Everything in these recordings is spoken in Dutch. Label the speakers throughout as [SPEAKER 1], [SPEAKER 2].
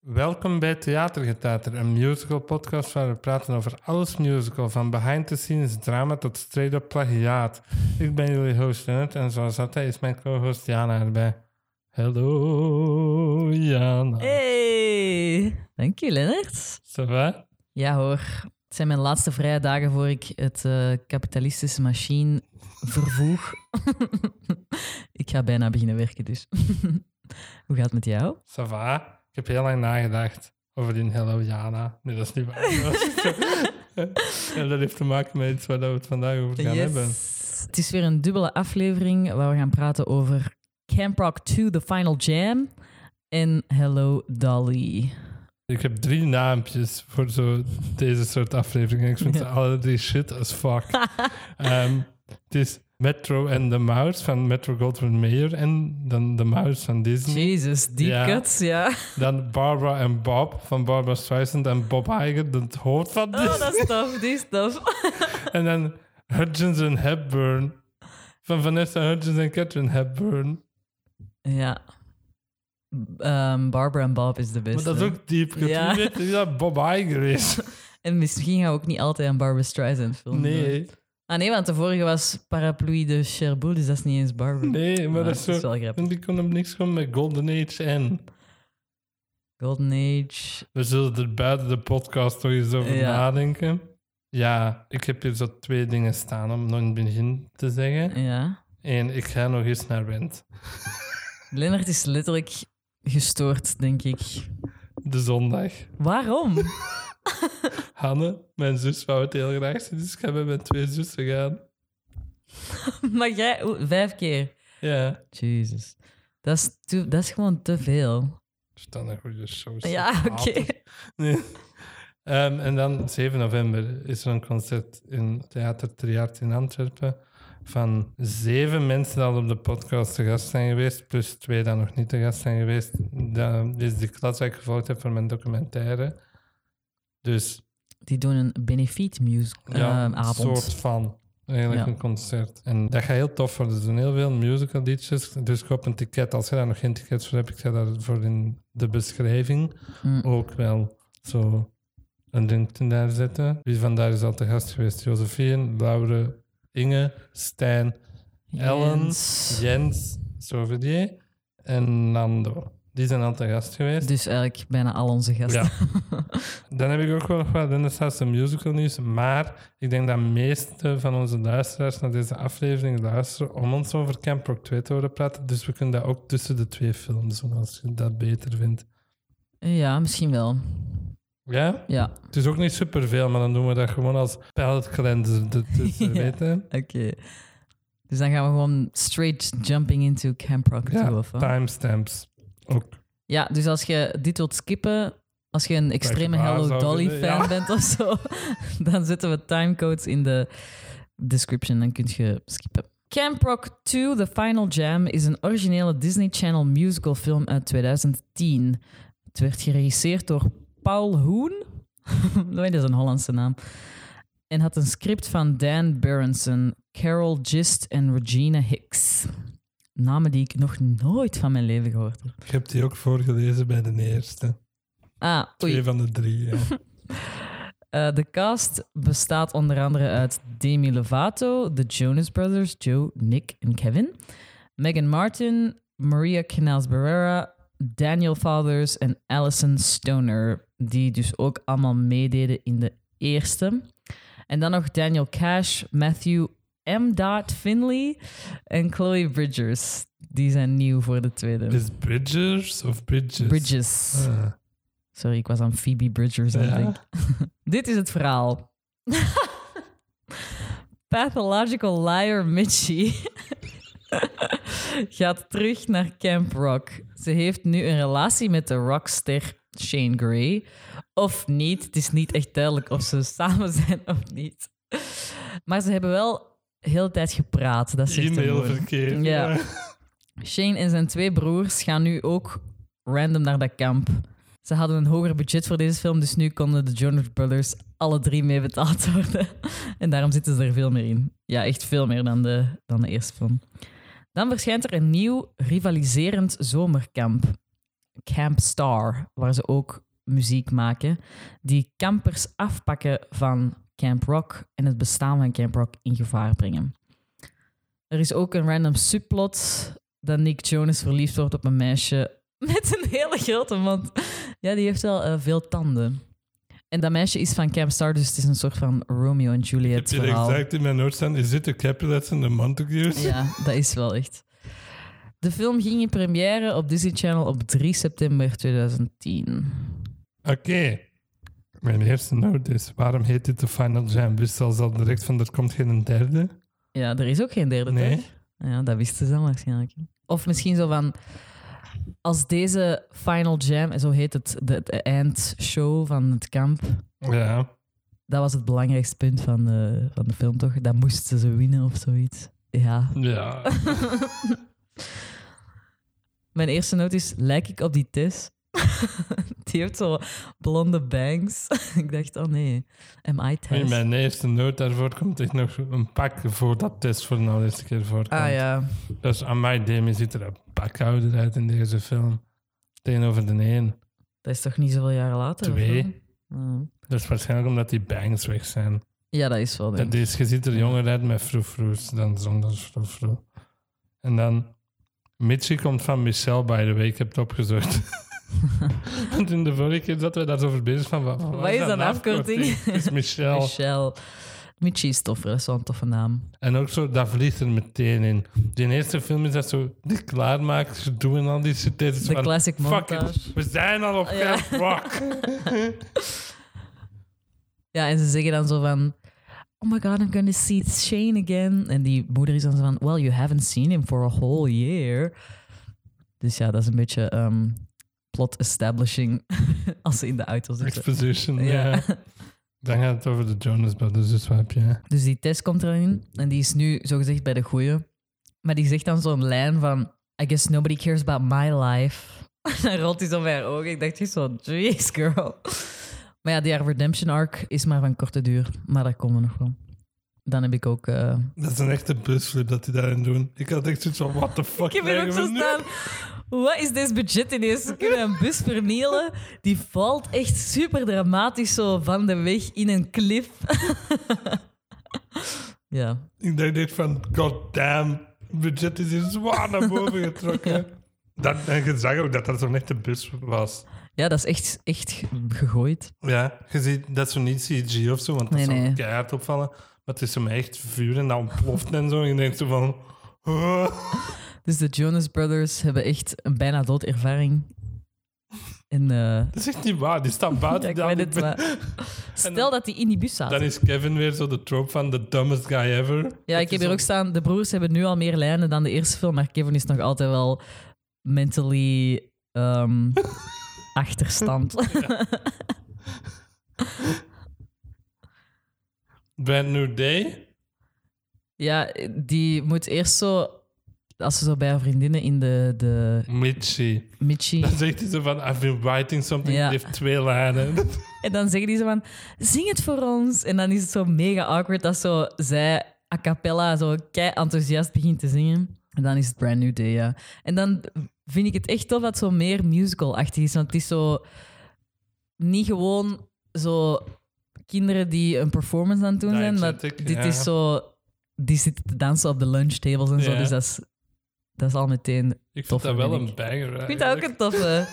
[SPEAKER 1] Welkom bij Theatergetater, een musical podcast waar we praten over alles musical, van behind the scenes drama tot straight-up plagiaat. Ik ben jullie host Lennart en zoals altijd is mijn co-host Jana erbij. Hallo Jana.
[SPEAKER 2] Hey! Dank je, Lennart.
[SPEAKER 1] Ça va?
[SPEAKER 2] Ja hoor, het zijn mijn laatste vrije dagen voor ik het eh, kapitalistische machine vervoeg. ik ga bijna beginnen werken dus. Hoe gaat het met jou?
[SPEAKER 1] Ça va? Ik heb heel lang nagedacht over die Hello Jana. Nee, dat is niet waar. en dat heeft te maken met iets waar we het vandaag over gaan hebben.
[SPEAKER 2] Het is weer een dubbele aflevering waar we gaan praten over Camp Rock 2 The Final Jam en Hello Dolly.
[SPEAKER 1] Ik heb drie naampjes voor zo deze soort afleveringen. Ik vind ze
[SPEAKER 2] Ja.
[SPEAKER 1] alle drie shit as fuck. Ehm, het is Metro en de Mouse van Metro Goldwyn Mayer en dan de Mouse van Disney.
[SPEAKER 2] Jezus, die
[SPEAKER 1] Ja.
[SPEAKER 2] cuts, ja.
[SPEAKER 1] Dan Barbara en Bob van Barbara Streisand en Bob Iger, het hoofd van Disney.
[SPEAKER 2] Oh, dat is tof, die is tof.
[SPEAKER 1] En dan Hudgens en Hepburn van Vanessa Hudgens en Catherine Hepburn.
[SPEAKER 2] Ja. Ehm, Barbara en Bob is de
[SPEAKER 1] Maar
[SPEAKER 2] beste.
[SPEAKER 1] dat is ook diep. kut.
[SPEAKER 2] Ja.
[SPEAKER 1] Wie weet wie dat Bob Iger is?
[SPEAKER 2] En misschien gaan we ook niet altijd aan Barbara Streisand filmen.
[SPEAKER 1] Nee,
[SPEAKER 2] Ah Oh, nee, want de vorige was Parapluie de Cherbourg, dus dat is niet eens Barbara.
[SPEAKER 1] nee, maar
[SPEAKER 2] Maar
[SPEAKER 1] dat is zo...
[SPEAKER 2] wel grappig.
[SPEAKER 1] En die kon hem niks komen met Golden Age en...
[SPEAKER 2] Golden Age.
[SPEAKER 1] We zullen er buiten de podcast toch eens over
[SPEAKER 2] Ja.
[SPEAKER 1] nadenken. Ja, ik heb hier zo twee dingen staan om nog in het begin te zeggen.
[SPEAKER 2] Ja.
[SPEAKER 1] En ik ga nog eens naar Wend.
[SPEAKER 2] Lennart is letterlijk gestoord, denk ik.
[SPEAKER 1] De zondag.
[SPEAKER 2] Waarom?
[SPEAKER 1] Hanne, mijn zus, wou het heel graag zien, dus ik ga met mijn twee zussen gaan.
[SPEAKER 2] maar jij... oeh, vijf keer.
[SPEAKER 1] Ja.
[SPEAKER 2] Jezus. Dat is, te- dat is gewoon te veel.
[SPEAKER 1] Dus dan een goede show.
[SPEAKER 2] Ja, oké.
[SPEAKER 1] Nee. Ehm, en dan 7 november is er een concert in Theater Triaard in Antwerpen. Van zeven mensen die al op de podcast te gast zijn geweest, plus twee die nog niet te gast zijn geweest. Dat is de klas die ik gevolgd heb voor mijn documentaire. Dus
[SPEAKER 2] Die doen een benefiet music
[SPEAKER 1] ja,
[SPEAKER 2] ehm,
[SPEAKER 1] een
[SPEAKER 2] avond.
[SPEAKER 1] soort van. Eigenlijk
[SPEAKER 2] Ja.
[SPEAKER 1] een concert. En dat gaat heel tof worden. Er zijn heel veel musical liedjes. Dus koop een ticket. Als je daar nog geen tickets voor hebt, ik ga daarvoor in de beschrijving
[SPEAKER 2] Mm.
[SPEAKER 1] ook wel zo een linkje daar zetten. Wie van daar is al te gast geweest? Josephine, Laure, Inge, Stijn, Ellen,
[SPEAKER 2] Jens.
[SPEAKER 1] Jens, Sauvier en Nando. Die zijn al te gast geweest.
[SPEAKER 2] Dus eigenlijk bijna al onze gasten.
[SPEAKER 1] Ja. Dan heb ik ook wel nog wat Dennis musical nieuws. Maar ik denk dat de meeste van onze luisteraars naar deze aflevering luisteren om ons over Camp Rock 2 te horen praten. Dus we kunnen dat ook tussen de twee films doen, als je dat beter vindt.
[SPEAKER 2] Ja, misschien wel.
[SPEAKER 1] Ja?
[SPEAKER 2] Ja,
[SPEAKER 1] Het is ook niet superveel, maar dan doen we dat gewoon als palette cleanser ertussen,
[SPEAKER 2] Ja.
[SPEAKER 1] weet je?
[SPEAKER 2] oké. Dus dan gaan we gewoon straight jumping into Camp Rock oh
[SPEAKER 1] Ja,
[SPEAKER 2] 2 of wat?
[SPEAKER 1] Timestamps. Ook.
[SPEAKER 2] Ja, dus als je dit wilt skippen, als je een extreme
[SPEAKER 1] waar
[SPEAKER 2] Hello
[SPEAKER 1] zou
[SPEAKER 2] Dolly fan
[SPEAKER 1] willen, ja.
[SPEAKER 2] bent of zo, dan zetten we timecodes in de description, dan kun je skippen. Camp Rock 2 The Final Jam is een originele Disney Channel musical film uit 2010. Het werd geregisseerd door Paul Hoen. Nee, dat is een Hollandse naam. En had een script van Dan Berenson, Carol Gist en Regina Hicks. Namen die ik nog nooit van mijn leven gehoord heb.
[SPEAKER 1] Ik heb die ook voorgelezen bij de eerste.
[SPEAKER 2] Ah,
[SPEAKER 1] Twee
[SPEAKER 2] oei.
[SPEAKER 1] van de drie, ja.
[SPEAKER 2] Eh, de cast bestaat onder andere uit Demi Lovato, de Jonas Brothers, Joe, Nick en Kevin, Meghan Martin, Maria Canals Barrera, Daniel Fathers en Allison Stoner, die dus ook allemaal meededen in de eerste. En dan nog Daniel Cash, Matthew M. Dot Finley en Chloe Bridgers. Die zijn nieuw voor de tweede.
[SPEAKER 1] Is Bridgers of Bridges?
[SPEAKER 2] Bridges.
[SPEAKER 1] Ah.
[SPEAKER 2] Sorry, ik was aan Phoebe Bridgers aan het
[SPEAKER 1] Ja.
[SPEAKER 2] denken. Dit is het verhaal. Pathological liar Mitchie gaat terug naar Camp Rock. Ze heeft nu een relatie met de rockster Shane Gray. Of niet, het is niet echt duidelijk of ze samen zijn of niet. Maar ze hebben wel heel de tijd gepraat. Dat zegt de moeder.
[SPEAKER 1] E-mailverkeer.
[SPEAKER 2] Ja. Shane en zijn twee broers gaan nu ook random naar dat kamp. Ze hadden een hoger budget voor deze film, dus nu konden de Jonas Brothers alle drie mee betaald worden. En daarom zitten ze er veel meer in. Ja, echt veel meer dan de, dan de eerste film. Dan verschijnt er een nieuw rivaliserend zomerkamp. Camp Star, waar ze ook muziek maken, die campers afpakken van Camp Rock en het bestaan van Camp Rock in gevaar brengen. Er is ook een random subplot dat Nick Jonas verliefd wordt op een meisje met een hele grote mond. Ja, die heeft wel eh, veel tanden. En dat meisje is van Camp Star, dus het is een soort van Romeo en
[SPEAKER 1] Heb
[SPEAKER 2] Juliet
[SPEAKER 1] je er
[SPEAKER 2] verhaal.
[SPEAKER 1] exact in mijn noot staan? Is dit de Capulets en de Montagues?
[SPEAKER 2] Ja, dat is wel echt. De film ging in première op Disney Channel op 3 september 2010.
[SPEAKER 1] Oké. Mijn eerste noot is, waarom heet dit de Final Jam? Wist ze al direct van, er komt geen derde?
[SPEAKER 2] Ja, er is ook geen derde
[SPEAKER 1] Nee.
[SPEAKER 2] toch? Ja, dat wisten ze dan waarschijnlijk. Of misschien zo van... Als deze Final Jam, en zo heet het, de, de eindshow van het kamp...
[SPEAKER 1] Ja.
[SPEAKER 2] Dat was het belangrijkste punt van de, van de film, toch? Dat moesten ze winnen of zoiets. Ja.
[SPEAKER 1] Ja.
[SPEAKER 2] Mijn eerste noot is, lijk ik op die Tess? die heeft zo blonde bangs. ik dacht, oh nee, am I
[SPEAKER 1] In
[SPEAKER 2] Tess?
[SPEAKER 1] mijn eerste noot daarvoor komt echt nog een pak voor dat test voor nou de allereerste keer voorkomt.
[SPEAKER 2] Ah ja.
[SPEAKER 1] Dus aan mij, Demi, ziet er een pakhouder uit in deze film. Tegenover de een.
[SPEAKER 2] Dat is toch niet zoveel jaren later? of
[SPEAKER 1] Twee.
[SPEAKER 2] wel? Hmm.
[SPEAKER 1] Dat is Dus waarschijnlijk omdat die bangs weg zijn.
[SPEAKER 2] Ja, dat is wel. denk ik.
[SPEAKER 1] Dat is, je ziet er jonger uit met froe-froes dan zonder froe-froe. En dan... Mitchie komt van Michelle, by the way. Ik heb het opgezocht. Want in de vorige keer zaten we daar zo over bezig van... Wat,
[SPEAKER 2] Wat is dat
[SPEAKER 1] een
[SPEAKER 2] afkorting?
[SPEAKER 1] Het is Michelle.
[SPEAKER 2] Michelle. Michi is toffer, dat is wel een toffe naam.
[SPEAKER 1] En ook zo, dat vliegt er meteen in. Die eerste film is dat zo, die klaarmaakt, ze doen al die shit. Dit is
[SPEAKER 2] De
[SPEAKER 1] van,
[SPEAKER 2] classic
[SPEAKER 1] fuck it,
[SPEAKER 2] montage.
[SPEAKER 1] we zijn al op
[SPEAKER 2] Ja.
[SPEAKER 1] Camp Rock.
[SPEAKER 2] Ja, en ze zeggen dan zo van... Oh my god, I'm gonna see Shane again. En die moeder is dan zo van... Well, you haven't seen him for a whole year. Dus ja, dat is een beetje ehm, plot establishing als ze in de auto zitten.
[SPEAKER 1] Exposition, ja.
[SPEAKER 2] Ja.
[SPEAKER 1] Dan gaat het over de Jonas Brothers, dus wat heb je?
[SPEAKER 2] Dus die test komt erin en die is nu zogezegd bij de goeie. Maar die zegt dan zo'n lijn van... I guess nobody cares about my life. en rolt hij zo bij haar ogen. Ik dacht echt zo, jeez girl. maar ja, die haar redemption arc is maar van korte duur. Maar daar komen we nog wel. Dan heb ik ook... eh,
[SPEAKER 1] Dat is een echte busflip dat die daarin doen. Ik had echt zoiets van, what the fuck
[SPEAKER 2] ik heb hier ook
[SPEAKER 1] krijgen
[SPEAKER 2] zo
[SPEAKER 1] we nu?
[SPEAKER 2] staan... Wat is dit budget ineens? Ze kunnen een bus vernielen. Die valt echt super dramatisch zo van de weg in een cliff. ja,
[SPEAKER 1] Ik dacht echt van, goddamn, budget is hier zwaar naar boven getrokken. dat, en je zag ook dat dat zo'n echte bus was.
[SPEAKER 2] Ja, dat is echt, echt ge- gegooid.
[SPEAKER 1] Ja, je ziet dat zo niet CG of zo, want dat
[SPEAKER 2] Nee,
[SPEAKER 1] zou
[SPEAKER 2] nee.
[SPEAKER 1] keihard opvallen. Maar het is hem echt vuur en dat ontploft en zo. En je denkt zo van... "Huh?"
[SPEAKER 2] Dus de Jonas Brothers hebben echt een bijna dood ervaring. En, eh,
[SPEAKER 1] dat is echt niet waar. Die staat buiten.
[SPEAKER 2] ja, ik
[SPEAKER 1] die
[SPEAKER 2] weet
[SPEAKER 1] andere
[SPEAKER 2] het,
[SPEAKER 1] bus.
[SPEAKER 2] maar stel dat die in die bus zaten.
[SPEAKER 1] Dan is Kevin weer zo de trope van the dumbest guy ever.
[SPEAKER 2] ja, ik heb hier ook staan, de broers hebben nu al meer lijnen dan de eerste film, maar Kevin is nog altijd wel mentally ehm, achterstand.
[SPEAKER 1] Brand New Day.
[SPEAKER 2] ja, die moet eerst zo, als ze zo bij haar vriendinnen in de, de
[SPEAKER 1] Mitchie.
[SPEAKER 2] Mitchie...
[SPEAKER 1] Dan zegt hij zo van, I've been writing something.
[SPEAKER 2] Ja.
[SPEAKER 1] Die heeft twee lijnen.
[SPEAKER 2] En dan zeggen die zo van, zing het voor ons. En dan is het zo mega awkward dat zo zij a cappella zo kei enthousiast begint te zingen. En dan is het Brand New Day, ja. En dan vind ik het echt tof dat het zo meer musical-achtig is. Want het is zo niet gewoon zo kinderen die een performance aan het doen
[SPEAKER 1] Ja,
[SPEAKER 2] zijn. Maar
[SPEAKER 1] exact,
[SPEAKER 2] dit
[SPEAKER 1] ja.
[SPEAKER 2] is zo... Die zitten te dansen op de lunchtables en
[SPEAKER 1] Ja.
[SPEAKER 2] zo. Dus dat is, dat is al meteen...
[SPEAKER 1] Ik vind
[SPEAKER 2] Tof,
[SPEAKER 1] dat wel
[SPEAKER 2] vind
[SPEAKER 1] een
[SPEAKER 2] ik.
[SPEAKER 1] banger.
[SPEAKER 2] Ik vind dat ook een toffe...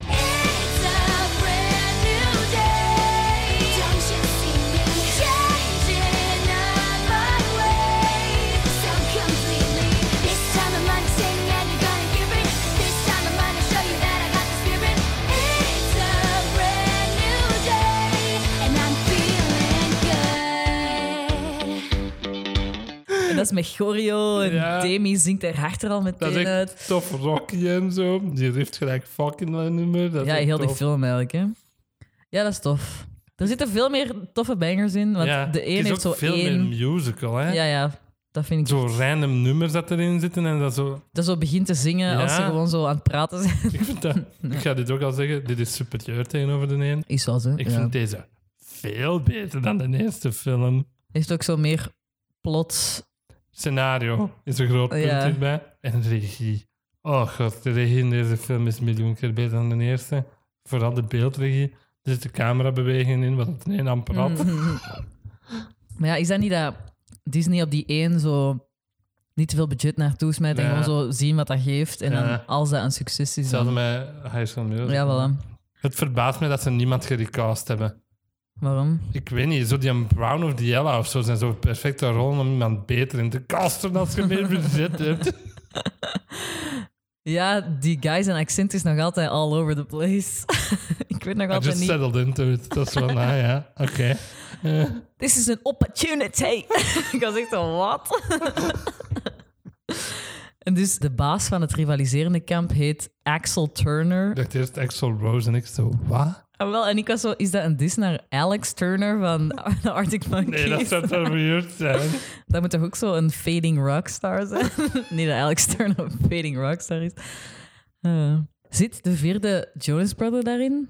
[SPEAKER 3] It's a brand new day. Don't you see me changing up my ways? So completely. This time I'm understanding and you're gonna hear it. This time I'm gonna show you that I got the spirit. It's a brand new day, and I'm feeling good.
[SPEAKER 2] En dat is met choreo en
[SPEAKER 1] Ja.
[SPEAKER 2] Demi zingt haar hart er al meteen
[SPEAKER 1] Dat is
[SPEAKER 2] uit.
[SPEAKER 1] echt tof Rocky en zo. Die heeft gelijk fucking dat nummer. Dat is
[SPEAKER 2] Ja,
[SPEAKER 1] echt
[SPEAKER 2] heel die
[SPEAKER 1] tof.
[SPEAKER 2] film eigenlijk. Hè? Ja, dat is tof. Er zitten veel meer toffe bangers in. Want de
[SPEAKER 1] het
[SPEAKER 2] een
[SPEAKER 1] is
[SPEAKER 2] heeft
[SPEAKER 1] ook
[SPEAKER 2] zo
[SPEAKER 1] veel
[SPEAKER 2] één.
[SPEAKER 1] meer musical, hè?
[SPEAKER 2] Ja, ja, dat vind ik.
[SPEAKER 1] Zo random nummers dat erin zitten en dat zo.
[SPEAKER 2] Dat zo begint te zingen
[SPEAKER 1] Ja.
[SPEAKER 2] als ze gewoon zo aan het praten zijn.
[SPEAKER 1] Ik, vind dat, ik ga dit ook al zeggen, dit is superieur tegenover de een.
[SPEAKER 2] Is wel zo.
[SPEAKER 1] Ik
[SPEAKER 2] ja.
[SPEAKER 1] vind deze veel beter dan de eerste film.
[SPEAKER 2] Heeft ook zo meer plot.
[SPEAKER 1] Scenario is een groot punt
[SPEAKER 2] Ja.
[SPEAKER 1] hierbij. En regie. Oh god, de regie in deze film is miljoen keer beter dan de eerste. vooral de beeldregie, er zitten camerabewegingen in, wat het een amper had.
[SPEAKER 2] Mhm. Maar ja, is dat niet dat Disney op die één zo niet te veel budget naartoe smijt en
[SPEAKER 1] Ja.
[SPEAKER 2] gewoon zo zien wat dat geeft en
[SPEAKER 1] Ja.
[SPEAKER 2] dan als dat een succes is,
[SPEAKER 1] Hetzelfde
[SPEAKER 2] dan...
[SPEAKER 1] met High School Musical.
[SPEAKER 2] Ja, voilà.
[SPEAKER 1] Het verbaast me dat ze niemand gerecast hebben.
[SPEAKER 2] Waarom?
[SPEAKER 1] Ik weet niet, zo die een Brown of die Ella of zo zijn zo perfecte rollen om iemand beter in te casten als je meer budget hebt.
[SPEAKER 2] Ja, die guy zijn accent is nog altijd all over the place. ik weet nog
[SPEAKER 1] I
[SPEAKER 2] altijd
[SPEAKER 1] just
[SPEAKER 2] niet.
[SPEAKER 1] settled into it. Dat is van, ah ja, oké. Eh,
[SPEAKER 2] This is an opportunity. ik was echt zo, wat? en dus de baas van het rivaliserende kamp heet Axel Turner.
[SPEAKER 1] ik dacht eerst Axel Rose en ik zo, wat?
[SPEAKER 2] Ah, wel, en ik was zo, is dat een dis naar Alex Turner van de Arctic Monkeys?
[SPEAKER 1] Nee, dat zou toch weird zijn?
[SPEAKER 2] Dat moet toch ook zo een fading rockstar zijn? Niet dat Alex Turner een fading rockstar is. Eh, zit de vierde Jonas Brother daarin?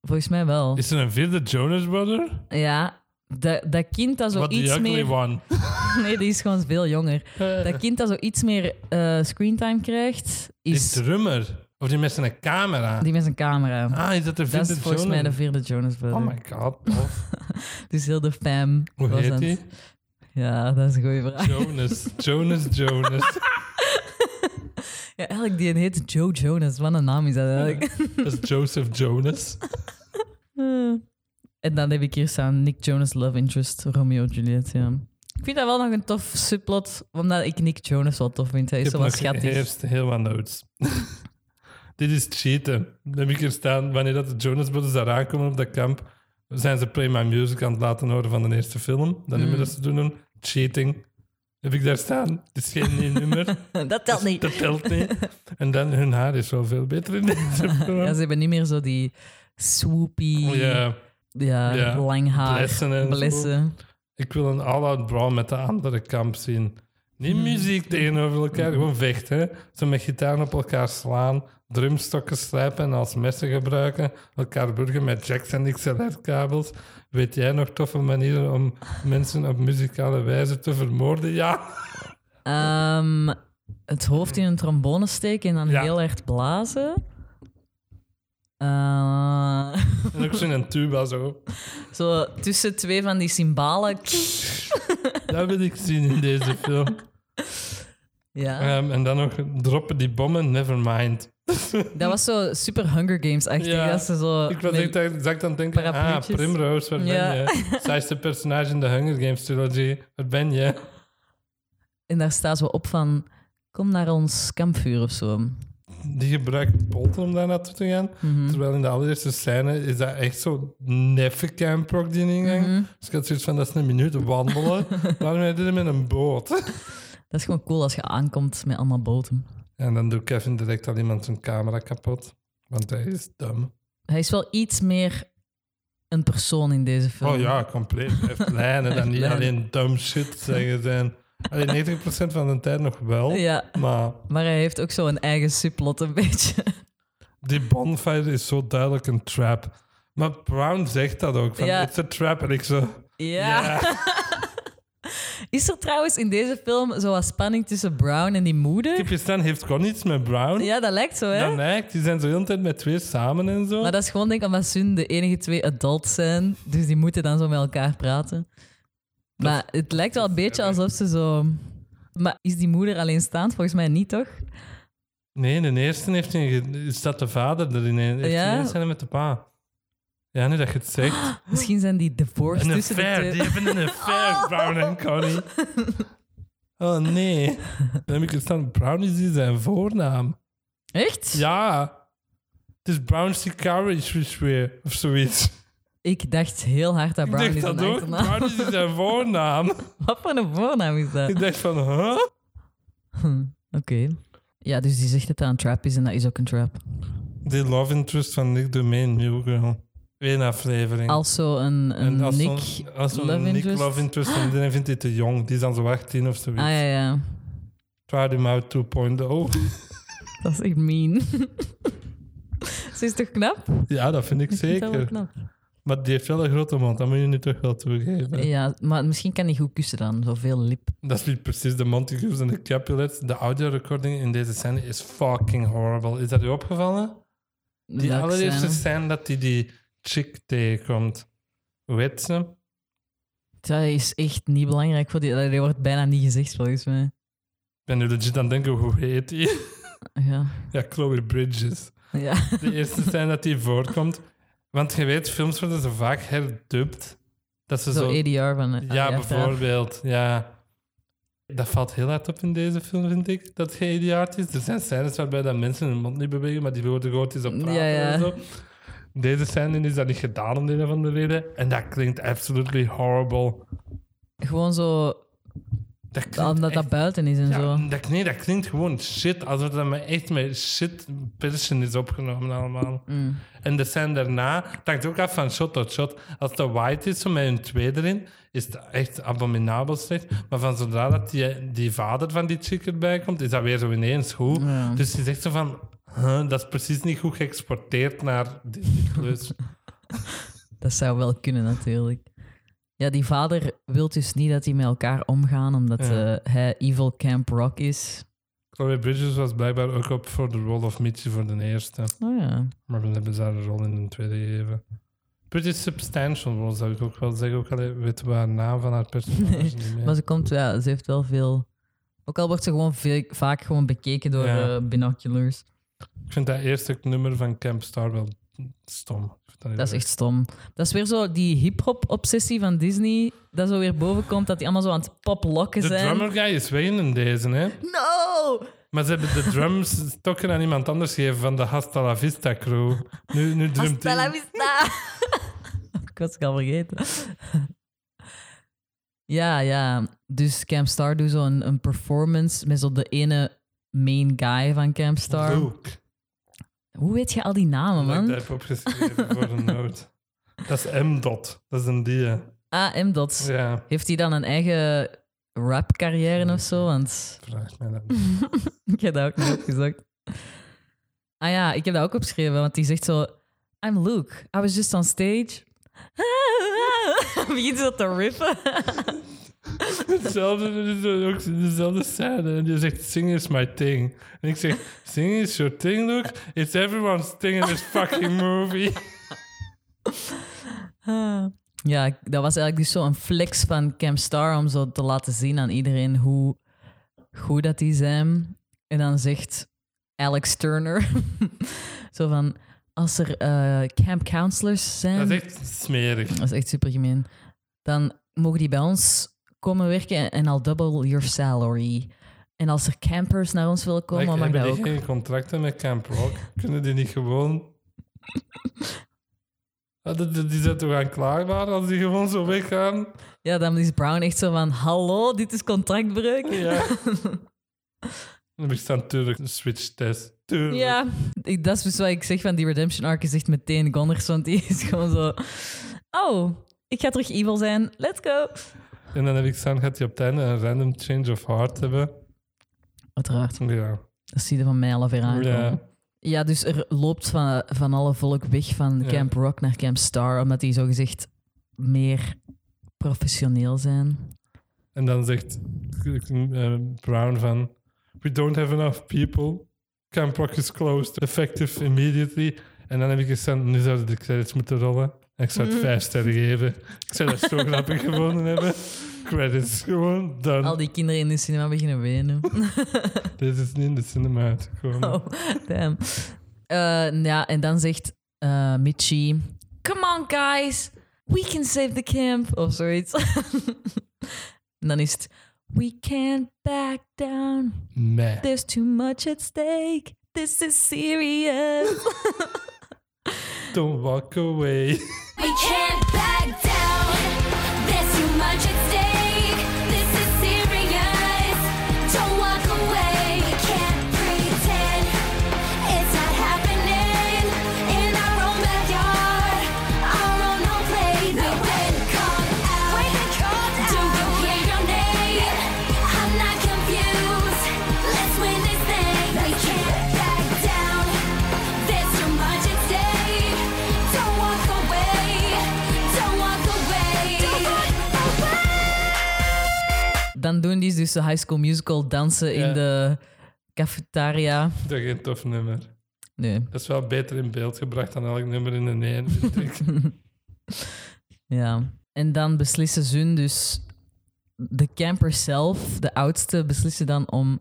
[SPEAKER 2] Volgens mij wel.
[SPEAKER 1] Is er een vierde Jonas Brother?
[SPEAKER 2] Ja, dat, dat kind dat zo
[SPEAKER 1] Wat the
[SPEAKER 2] iets
[SPEAKER 1] ugly
[SPEAKER 2] meer...
[SPEAKER 1] one.
[SPEAKER 2] Nee, die is gewoon veel jonger. Dat kind dat zo iets meer eh, screentime krijgt,
[SPEAKER 1] Die
[SPEAKER 2] is
[SPEAKER 1] drummer. Of die met zijn camera.
[SPEAKER 2] die met zijn camera.
[SPEAKER 1] Ah, is dat de
[SPEAKER 2] dat
[SPEAKER 1] vierde
[SPEAKER 2] is volgens mij de
[SPEAKER 1] Jonas?
[SPEAKER 2] vierde Jonas Brother.
[SPEAKER 1] Oh my god, tof.
[SPEAKER 2] Dus heel de fam.
[SPEAKER 1] Hoe
[SPEAKER 2] was
[SPEAKER 1] heet
[SPEAKER 2] aan
[SPEAKER 1] die?
[SPEAKER 2] het- Ja, dat is een goede vraag.
[SPEAKER 1] Jonas. Jonas, Jonas.
[SPEAKER 2] Ja, eigenlijk, die heet Joe Jonas. Wat een naam is dat eigenlijk.
[SPEAKER 1] Dat is Joseph Jonas.
[SPEAKER 2] Eh. En dan heb ik hier staan Nick Jonas Love Interest, Romeo en Juliet. Ja. Ik vind dat wel nog een tof subplot, omdat ik Nick Jonas wel tof vind. Hij is
[SPEAKER 1] Ik
[SPEAKER 2] zo
[SPEAKER 1] heb
[SPEAKER 2] wat
[SPEAKER 1] nog
[SPEAKER 2] schattig.
[SPEAKER 1] eerst heel wat notes. Dit is cheaten. Dan heb ik hier staan, wanneer dat de Jonas Brothers daar aankomen op dat kamp, zijn ze Play My Music aan het laten horen van de eerste film. Dat
[SPEAKER 2] Hmm.
[SPEAKER 1] nummer dat ze doen, cheating. Heb ik daar staan. Het is geen nieuw nummer. Dus
[SPEAKER 2] Dat telt niet.
[SPEAKER 1] Dat telt niet. En dan, hun haar is wel veel beter in deze film.
[SPEAKER 2] Ja, ze hebben niet meer zo die swoopy, ja,
[SPEAKER 1] Oh Ja, ja.
[SPEAKER 2] lang haar,
[SPEAKER 1] Blessen en zo.
[SPEAKER 2] blessen.
[SPEAKER 1] ik wil een all-out brawl met de andere kamp zien. Niet muziek tegenover elkaar, gewoon vechten. hè. Zo met gitaar op elkaar slaan, drumstokken slijpen en als messen gebruiken, elkaar burgen met jacks en XLR-kabels. Weet jij nog toffe manieren om mensen op muzikale wijze te vermoorden? Ja,
[SPEAKER 2] Ehm, het hoofd in een trombone steken en dan
[SPEAKER 1] Ja.
[SPEAKER 2] heel erg blazen. Eh,
[SPEAKER 1] en ook zo'n tuba zo.
[SPEAKER 2] zo tussen twee van die cymbalen.
[SPEAKER 1] Dat wil ik zien in deze film.
[SPEAKER 2] Ja.
[SPEAKER 1] Ehm, en dan nog droppen die bommen, nevermind.
[SPEAKER 2] Dat was zo super Hunger Games-achtig.
[SPEAKER 1] Ja.
[SPEAKER 2] dat ze zo
[SPEAKER 1] Ik was
[SPEAKER 2] met-
[SPEAKER 1] echt exact aan het denken, ah,
[SPEAKER 2] Oh, Parapluutjes.
[SPEAKER 1] Primrose, waar
[SPEAKER 2] Ja.
[SPEAKER 1] ben je? Saaiste personage in de Hunger Games trilogy, waar ben je?
[SPEAKER 2] En daar staat zo op van... Kom naar ons kampvuur of zo.
[SPEAKER 1] Die gebruikt bolten om daar naartoe te gaan.
[SPEAKER 2] Mhm.
[SPEAKER 1] Terwijl in de allereerste scène is dat echt zo neffe camprock die ingang.
[SPEAKER 2] Mhm.
[SPEAKER 1] Dus ik had zoiets van, dat is een minuut wandelen. Waarom wij dit met een boot?
[SPEAKER 2] Dat is gewoon cool als je aankomt met allemaal boten.
[SPEAKER 1] en dan doet Kevin direct al iemand zijn camera kapot. Want hij is dom.
[SPEAKER 2] Hij is wel iets meer een persoon in deze film.
[SPEAKER 1] Oh ja, compleet. Hij heeft lijnen en niet
[SPEAKER 2] lijnen.
[SPEAKER 1] alleen dumb shit zeggen zijn. Alleen 90% van de tijd nog wel.
[SPEAKER 2] Ja,
[SPEAKER 1] Maar
[SPEAKER 2] maar hij heeft ook zo een eigen subplot een beetje.
[SPEAKER 1] Die bonfire is zo duidelijk een trap. Maar Brown zegt dat ook. Van,
[SPEAKER 2] Ja.
[SPEAKER 1] It's a trap. En ik zo...
[SPEAKER 2] Ja.
[SPEAKER 1] Ja.
[SPEAKER 2] Is er trouwens in deze film zo wat spanning tussen Brown en die moeder?
[SPEAKER 1] Kipjes dan heeft gewoon niets met Brown.
[SPEAKER 2] Ja, dat lijkt zo, hè?
[SPEAKER 1] Dan eh, lijkt, die zijn zo de hele tijd met twee samen en zo.
[SPEAKER 2] Maar dat is gewoon denk ik omdat hun de enige twee adults zijn. Dus die moeten dan zo met elkaar praten. Maar het lijkt wel een beetje alsof ze zo... Maar is die moeder alleenstaand? Volgens mij niet, toch?
[SPEAKER 1] Nee, in de eerste heeft hij... ge- Is dat de vader erin? Heeft
[SPEAKER 2] Ja.
[SPEAKER 1] hij eerst zijn met de pa. Ja, nu dat je het zegt.
[SPEAKER 2] Misschien zijn die divorced
[SPEAKER 1] Een
[SPEAKER 2] tussen de
[SPEAKER 1] affair. Die
[SPEAKER 2] twee.
[SPEAKER 1] hebben een affair, Brown en Connie. Oh nee. Dan heb ik gestaan. Brown is die zijn voornaam.
[SPEAKER 2] Echt?
[SPEAKER 1] Ja. Het is Brown Sicaris weer. Of zoiets.
[SPEAKER 2] Ik dacht heel hard dat
[SPEAKER 1] Ik
[SPEAKER 2] Brown
[SPEAKER 1] dacht
[SPEAKER 2] is een
[SPEAKER 1] dat ook.
[SPEAKER 2] achternaam.
[SPEAKER 1] Brown is zijn voornaam.
[SPEAKER 2] Wat voor een voornaam is dat?
[SPEAKER 1] ik dacht van, huh?
[SPEAKER 2] Oké. Ja, dus die zegt dat dat een trap is en dat is ook een trap.
[SPEAKER 1] Die love interest van Nick Domain, New Girl. Eén aflevering.
[SPEAKER 2] Als zo een, een
[SPEAKER 1] en als
[SPEAKER 2] Nick
[SPEAKER 1] zo'n- als zo'n
[SPEAKER 2] love
[SPEAKER 1] Nick
[SPEAKER 2] interest.
[SPEAKER 1] love interest, en dan vindt hij te jong. Die is dan zo 18 of zoiets.
[SPEAKER 2] Ah ja, ja.
[SPEAKER 1] Try them out oh. 2.0.
[SPEAKER 2] Dat is echt mean. Ze is toch knap?
[SPEAKER 1] ja, dat vind ik
[SPEAKER 2] Ik vind dat wel
[SPEAKER 1] zeker.
[SPEAKER 2] knap.
[SPEAKER 1] Maar die heeft wel een grote mond, dat moet je nu toch wel toegeven.
[SPEAKER 2] Ja, maar misschien kan hij goed kussen dan. Zoveel lip.
[SPEAKER 1] Dat is niet precies de Montagues en de Capulets. De audio recording in deze scène is fucking horrible. Is dat je opgevallen? Die
[SPEAKER 2] Welke
[SPEAKER 1] allereerste
[SPEAKER 2] scène?
[SPEAKER 1] scène dat hij die chick tegenkomt. Weet ze?
[SPEAKER 2] Dat is echt niet belangrijk voor die. Dat wordt bijna niet gezegd, volgens mij.
[SPEAKER 1] Ik ben nu legit aan het denken, hoe heet die?
[SPEAKER 2] Ja.
[SPEAKER 1] Ja, Chloe Bridges.
[SPEAKER 2] ja.
[SPEAKER 1] De eerste scène dat die voorkomt. Want je weet, films worden zo vaak herdubt. Dat ze
[SPEAKER 2] Zo
[SPEAKER 1] zo...
[SPEAKER 2] ADR van... eh,
[SPEAKER 1] ja,
[SPEAKER 2] ADR.
[SPEAKER 1] bijvoorbeeld. Ja. Dat valt heel hard op in deze film, vind ik. Dat geen idioot is. Er zijn scènes waarbij dat mensen hun mond niet bewegen, maar die worden gewoon iets op praten
[SPEAKER 2] Ja, ja.
[SPEAKER 1] en zo. Deze scène is dat niet gedaan om de een of andere reden. En dat klinkt absolutely horrible.
[SPEAKER 2] Gewoon zo,
[SPEAKER 1] Dat klinkt
[SPEAKER 2] omdat
[SPEAKER 1] echt-
[SPEAKER 2] dat buiten is en
[SPEAKER 1] ja,
[SPEAKER 2] zo.
[SPEAKER 1] dat, nee, dat klinkt gewoon shit. Alsof dat me echt met shit person is opgenomen allemaal.
[SPEAKER 2] Mm.
[SPEAKER 1] En de scène daarna, het hangt ook af van shot tot shot. Als de white is, zo met hun twee erin, is het echt abominabel slecht. Maar van zodra dat die, die vader van die chick erbij komt, is dat weer zo ineens goed.
[SPEAKER 2] Ja.
[SPEAKER 1] Dus die zegt zo van, huh, dat is precies niet goed geëxporteerd naar Disney+. Plus.
[SPEAKER 2] Dat zou wel kunnen, natuurlijk. Ja, die vader wil dus niet dat die met elkaar omgaan, omdat
[SPEAKER 1] Ja.
[SPEAKER 2] eh, hij Evil Camp Rock is.
[SPEAKER 1] Chloe Bridges was blijkbaar ook op voor de rol of Mitchie voor de eerste.
[SPEAKER 2] Oh ja.
[SPEAKER 1] Maar we hebben ze haar een rol in een tweede gegeven. Pretty substantial rol, zou ik ook wel zeggen. Ook al weten we haar naam van haar personage
[SPEAKER 2] Nee,
[SPEAKER 1] niet meer.
[SPEAKER 2] Maar ze komt, ja, ze heeft wel veel... Ook al wordt ze gewoon veel, vaak gewoon bekeken door
[SPEAKER 1] Ja.
[SPEAKER 2] eh, binoculars.
[SPEAKER 1] Ik vind dat eerste nummer van Camp Star wel stom. Ik vind heel
[SPEAKER 2] Dat is
[SPEAKER 1] erg.
[SPEAKER 2] echt stom. Dat is weer zo die hip-hop-obsessie van Disney, dat zo weer boven komt, dat die allemaal zo aan het poplokken
[SPEAKER 1] De
[SPEAKER 2] zijn.
[SPEAKER 1] drummer guy is weg in deze, hè?
[SPEAKER 2] No!
[SPEAKER 1] Maar ze hebben de drumstokken aan iemand anders gegeven van de Hasta la Vista crew. Nu, nu drumt
[SPEAKER 2] Hasta
[SPEAKER 1] hij.
[SPEAKER 2] la vista. ik was het al vergeten. ja, ja. Dus Camp Star doet zo'n een performance met zo de ene main guy van Camp Star.
[SPEAKER 1] Luke.
[SPEAKER 2] Hoe weet je al die namen,
[SPEAKER 1] Dat ik dat
[SPEAKER 2] man?
[SPEAKER 1] heb opgeschreven voor een noot. Dat is M-dot. Dat is een die. hè.
[SPEAKER 2] Ah, M. Dots.
[SPEAKER 1] Ja,
[SPEAKER 2] Heeft hij dan een eigen rapcarrière of zo? Want
[SPEAKER 1] vraag mij dat.
[SPEAKER 2] ik heb dat ook niet opgezocht. Ah ja, ik heb dat ook opgeschreven, want die zegt zo... I'm Luke. I was just on stage. Begint zo te rippen.
[SPEAKER 1] Hetzelfde, dit is ook dezelfde scène. En die zegt, sing is my thing. En ik zeg, sing is your thing, Luke. It's everyone's thing in this fucking movie.
[SPEAKER 2] Ah. Ja, ik- dat was eigenlijk dus zo'n flex van Camp Star om zo te laten zien aan iedereen hoe goed dat die zijn. En dan zegt Alex Turner zo van, als er eh, camp counselors zijn,
[SPEAKER 1] Dat is echt smerig.
[SPEAKER 2] dat is echt super gemeen, dan mogen die bij ons komen werken en- en al double your salary. En als er campers naar ons willen komen,
[SPEAKER 1] Like,
[SPEAKER 2] mag
[SPEAKER 1] hebben
[SPEAKER 2] dat
[SPEAKER 1] die
[SPEAKER 2] ook.
[SPEAKER 1] geen contracten met Camp Rock? Kunnen die niet gewoon... Hadden die- Die zijn toch aan klaar waren als die gewoon zo weggaan?
[SPEAKER 2] Ja, dan is Brown echt zo van, hallo, dit is contractbreuk.
[SPEAKER 1] Ja. Dan heb ik staan, tuurlijk, een switch-test. Tuurlijk.
[SPEAKER 2] Ja, ik- dat is dus wat ik zeg van die Redemption Arc is echt meteen Gonders, want die is gewoon zo... Oh, ik ga terug evil zijn. Let's go.
[SPEAKER 1] En dan heb ik staan, gaat hij op het einde een random change of heart hebben?
[SPEAKER 2] Uiteraard,
[SPEAKER 1] Ja.
[SPEAKER 2] dat zie je van mij al weer aankomen.
[SPEAKER 1] Ja.
[SPEAKER 2] Ja. dus er loopt van, van alle volk weg van
[SPEAKER 1] Ja.
[SPEAKER 2] Camp Rock naar Camp Star, omdat die zogezegd meer professioneel zijn.
[SPEAKER 1] En dan zegt eh, Brown van... We don't have enough people. Camp Rock is closed. Effective immediately. En dan heb ik gezegd, nu zouden de credits moeten rollen. En ik zou
[SPEAKER 2] Mhm.
[SPEAKER 1] het vijf sterren geven. Ik zou dat zo grappig gevonden hebben. Credits gewoon, done.
[SPEAKER 2] Al die kinderen in de cinema beginnen wenen.
[SPEAKER 1] Dit is niet in de cinema uitgekomen.
[SPEAKER 2] Oh, damn. Eh, ja, en dan zegt eh, Mitchie... Come on, guys. We can save the camp. Of zoiets. en dan is het... We can't back down.
[SPEAKER 1] Meh.
[SPEAKER 2] There's too much at stake. This is serious.
[SPEAKER 1] Don't walk away.
[SPEAKER 3] We can't back down. There's too much at stake. This is serious. Don't walk away. We can't pretend it's not happening in our own backyard, our own home plate. We went called out. We went called out. Do you hear your name? I'm not confused. Let's win this thing. We can't back down. There's too much at stake. Don't walk away. Don't walk away. Don't walk away.
[SPEAKER 2] dan doen die dus de High School Musical dansen
[SPEAKER 1] Ja.
[SPEAKER 2] in de cafetaria.
[SPEAKER 1] Dat is geen tof nummer.
[SPEAKER 2] Nee.
[SPEAKER 1] Dat is wel beter in beeld gebracht dan elk nummer in een één. vind ik.
[SPEAKER 2] Ja. En dan beslissen ze hun dus... De camper zelf, de oudste, beslissen dan om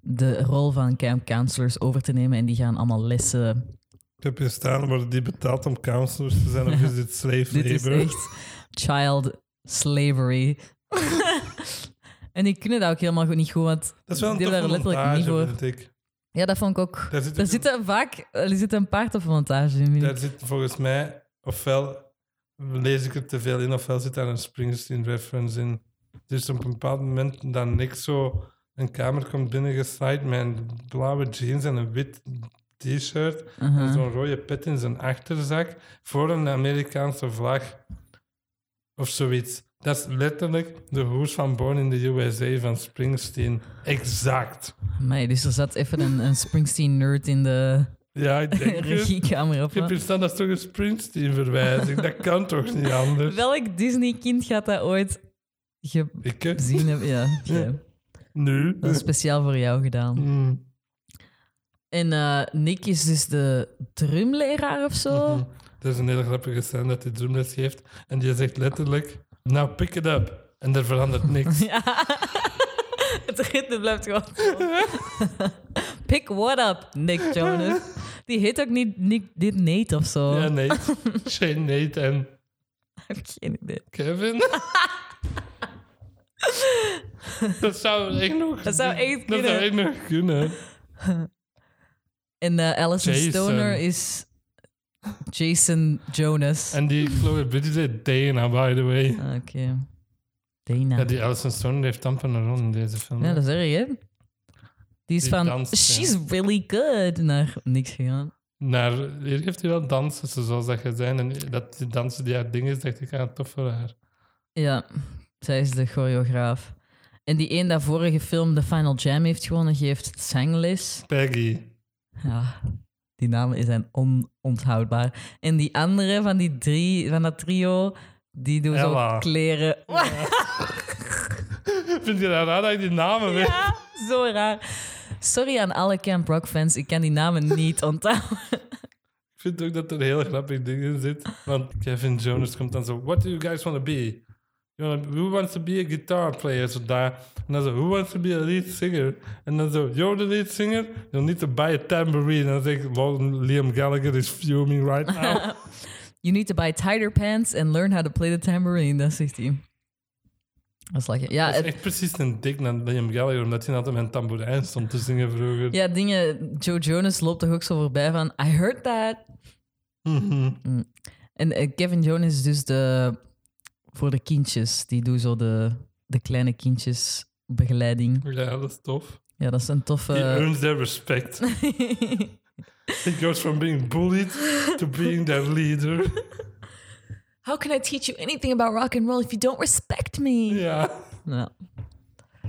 [SPEAKER 2] de rol van camp counselors over te nemen. En die gaan allemaal lessen
[SPEAKER 1] Ik heb hier staan, worden die betaald om counselors te zijn of is dit slave
[SPEAKER 2] Dit is
[SPEAKER 1] labor?
[SPEAKER 2] echt child slavery. en die kunnen dat ook helemaal goed niet goed, want
[SPEAKER 1] Dat is wel een
[SPEAKER 2] die
[SPEAKER 1] toffe
[SPEAKER 2] hebben daar letterlijk
[SPEAKER 1] montage, dus.
[SPEAKER 2] niet voor.
[SPEAKER 1] vind ik.
[SPEAKER 2] Ja, dat vond ik ook.
[SPEAKER 1] Daar zit,
[SPEAKER 2] Daar
[SPEAKER 1] ook-
[SPEAKER 2] zit een- vaak er zit een paar toffe montages in. vind ik.
[SPEAKER 1] daar zit volgens mij, ofwel lees ik er te veel in, ofwel zit daar een Springsteen-reference in. Dus op een bepaald moment dat Nick zo een kamer komt binnengesnaaid met een blauwe jeans en een wit t-shirt en
[SPEAKER 2] Uh-huh.
[SPEAKER 1] zo'n rode pet in zijn achterzak voor een Amerikaanse vlag of zoiets. Dat is letterlijk de hoes van Born in the USA van Springsteen. Exact.
[SPEAKER 2] Amai, dus er zat even een, een Springsteen-nerd in de
[SPEAKER 1] Ja, ik denk het.
[SPEAKER 2] regiekamer op.
[SPEAKER 1] Ik heb hier staan, dat is toch een Springsteen-verwijzing? Dat kan toch niet anders?
[SPEAKER 2] Welk Disney-kind gaat dat ooit gezien
[SPEAKER 1] Ik hè?
[SPEAKER 2] hebben? Ja, ja.
[SPEAKER 1] nu.
[SPEAKER 2] dat is speciaal voor jou gedaan.
[SPEAKER 1] Mm.
[SPEAKER 2] En eh, Nick is dus de drumleraar of zo.
[SPEAKER 1] Mhm. Er is een hele grappige scène dat hij drumles geeft. En die zegt letterlijk, now pick it up. En er verandert niks.
[SPEAKER 2] Ja. Het ritme blijft gewoon. zo. Pick what up, Nick Jonas. Die heet ook niet Nick dit Nate of zo.
[SPEAKER 1] Ja, Nate. Shane, Nate en
[SPEAKER 2] Ik heb geen idee.
[SPEAKER 1] Kevin. dat zou echt nog
[SPEAKER 2] Dat zou echt
[SPEAKER 1] Dat zou
[SPEAKER 2] kunnen.
[SPEAKER 1] echt nog kunnen.
[SPEAKER 2] En eh Alison
[SPEAKER 1] Jason.
[SPEAKER 2] Stoner is Jason Jonas.
[SPEAKER 1] En die Chloe Bridget heet Dana, by the way.
[SPEAKER 2] Ah, Oké. Dana.
[SPEAKER 1] Ja,
[SPEAKER 2] Ja,
[SPEAKER 1] die Alison Stone heeft amper een rol in deze film.
[SPEAKER 2] dat is erg, hè? Die is
[SPEAKER 1] Die
[SPEAKER 2] van,
[SPEAKER 1] danst, ja.
[SPEAKER 2] she's really good, naar niks gegaan.
[SPEAKER 1] Naar, hier heeft hij wel dansen, zoals dat je zei. En dat die dansen die haar ding is, dacht ik, ah, tof voor haar.
[SPEAKER 2] Ja, zij is de choreograaf. En die een dat vorige film de Final Jam heeft gewonnen, geeft zangles.
[SPEAKER 1] Peggy.
[SPEAKER 2] Ja, die namen zijn ononthoudbaar. En die andere van die drie, van dat trio, die doen
[SPEAKER 1] Ella.
[SPEAKER 2] zo kleren.
[SPEAKER 1] Vind je dat raar dat ik die namen weet?
[SPEAKER 2] Ja, zo raar. Sorry aan alle Camp Rock fans, ik kan die namen niet onthouden.
[SPEAKER 1] Ik vind ook dat er een heel grappig ding in zit. Want Kevin Jonas komt dan zo... What do you guys want to be? You wanna, who wants to be a guitar player? Zo daar. En dan zo... Who wants to be a lead singer? En dan zo... You're the lead singer? You'll need to buy a tambourine. En dan zeg ik... "Lol, Liam Gallagher is fuming right now.
[SPEAKER 2] You need to buy tighter pants and learn how to play the tambourine, dat zegt hij. Dat is lachen. Ja,
[SPEAKER 1] dat is
[SPEAKER 2] het-
[SPEAKER 1] echt precies een dik naar Liam Gallagher. Omdat hij altijd met een tamboerijn stond te zingen vroeger.
[SPEAKER 2] ja, dingen. Joe Jonas loopt toch ook zo voorbij van. I heard that.
[SPEAKER 1] Mhm.
[SPEAKER 2] En eh, Kevin Jones is dus de, voor de kindjes. Die doet zo de, de kleine kindjesbegeleiding.
[SPEAKER 1] Ja, dat is tof.
[SPEAKER 2] Ja, dat is een toffe...
[SPEAKER 1] He earns their respect. He goes from being bullied to being their leader.
[SPEAKER 2] How can I teach you anything about rock and roll if you don't respect me?
[SPEAKER 1] Ja.
[SPEAKER 2] Nou,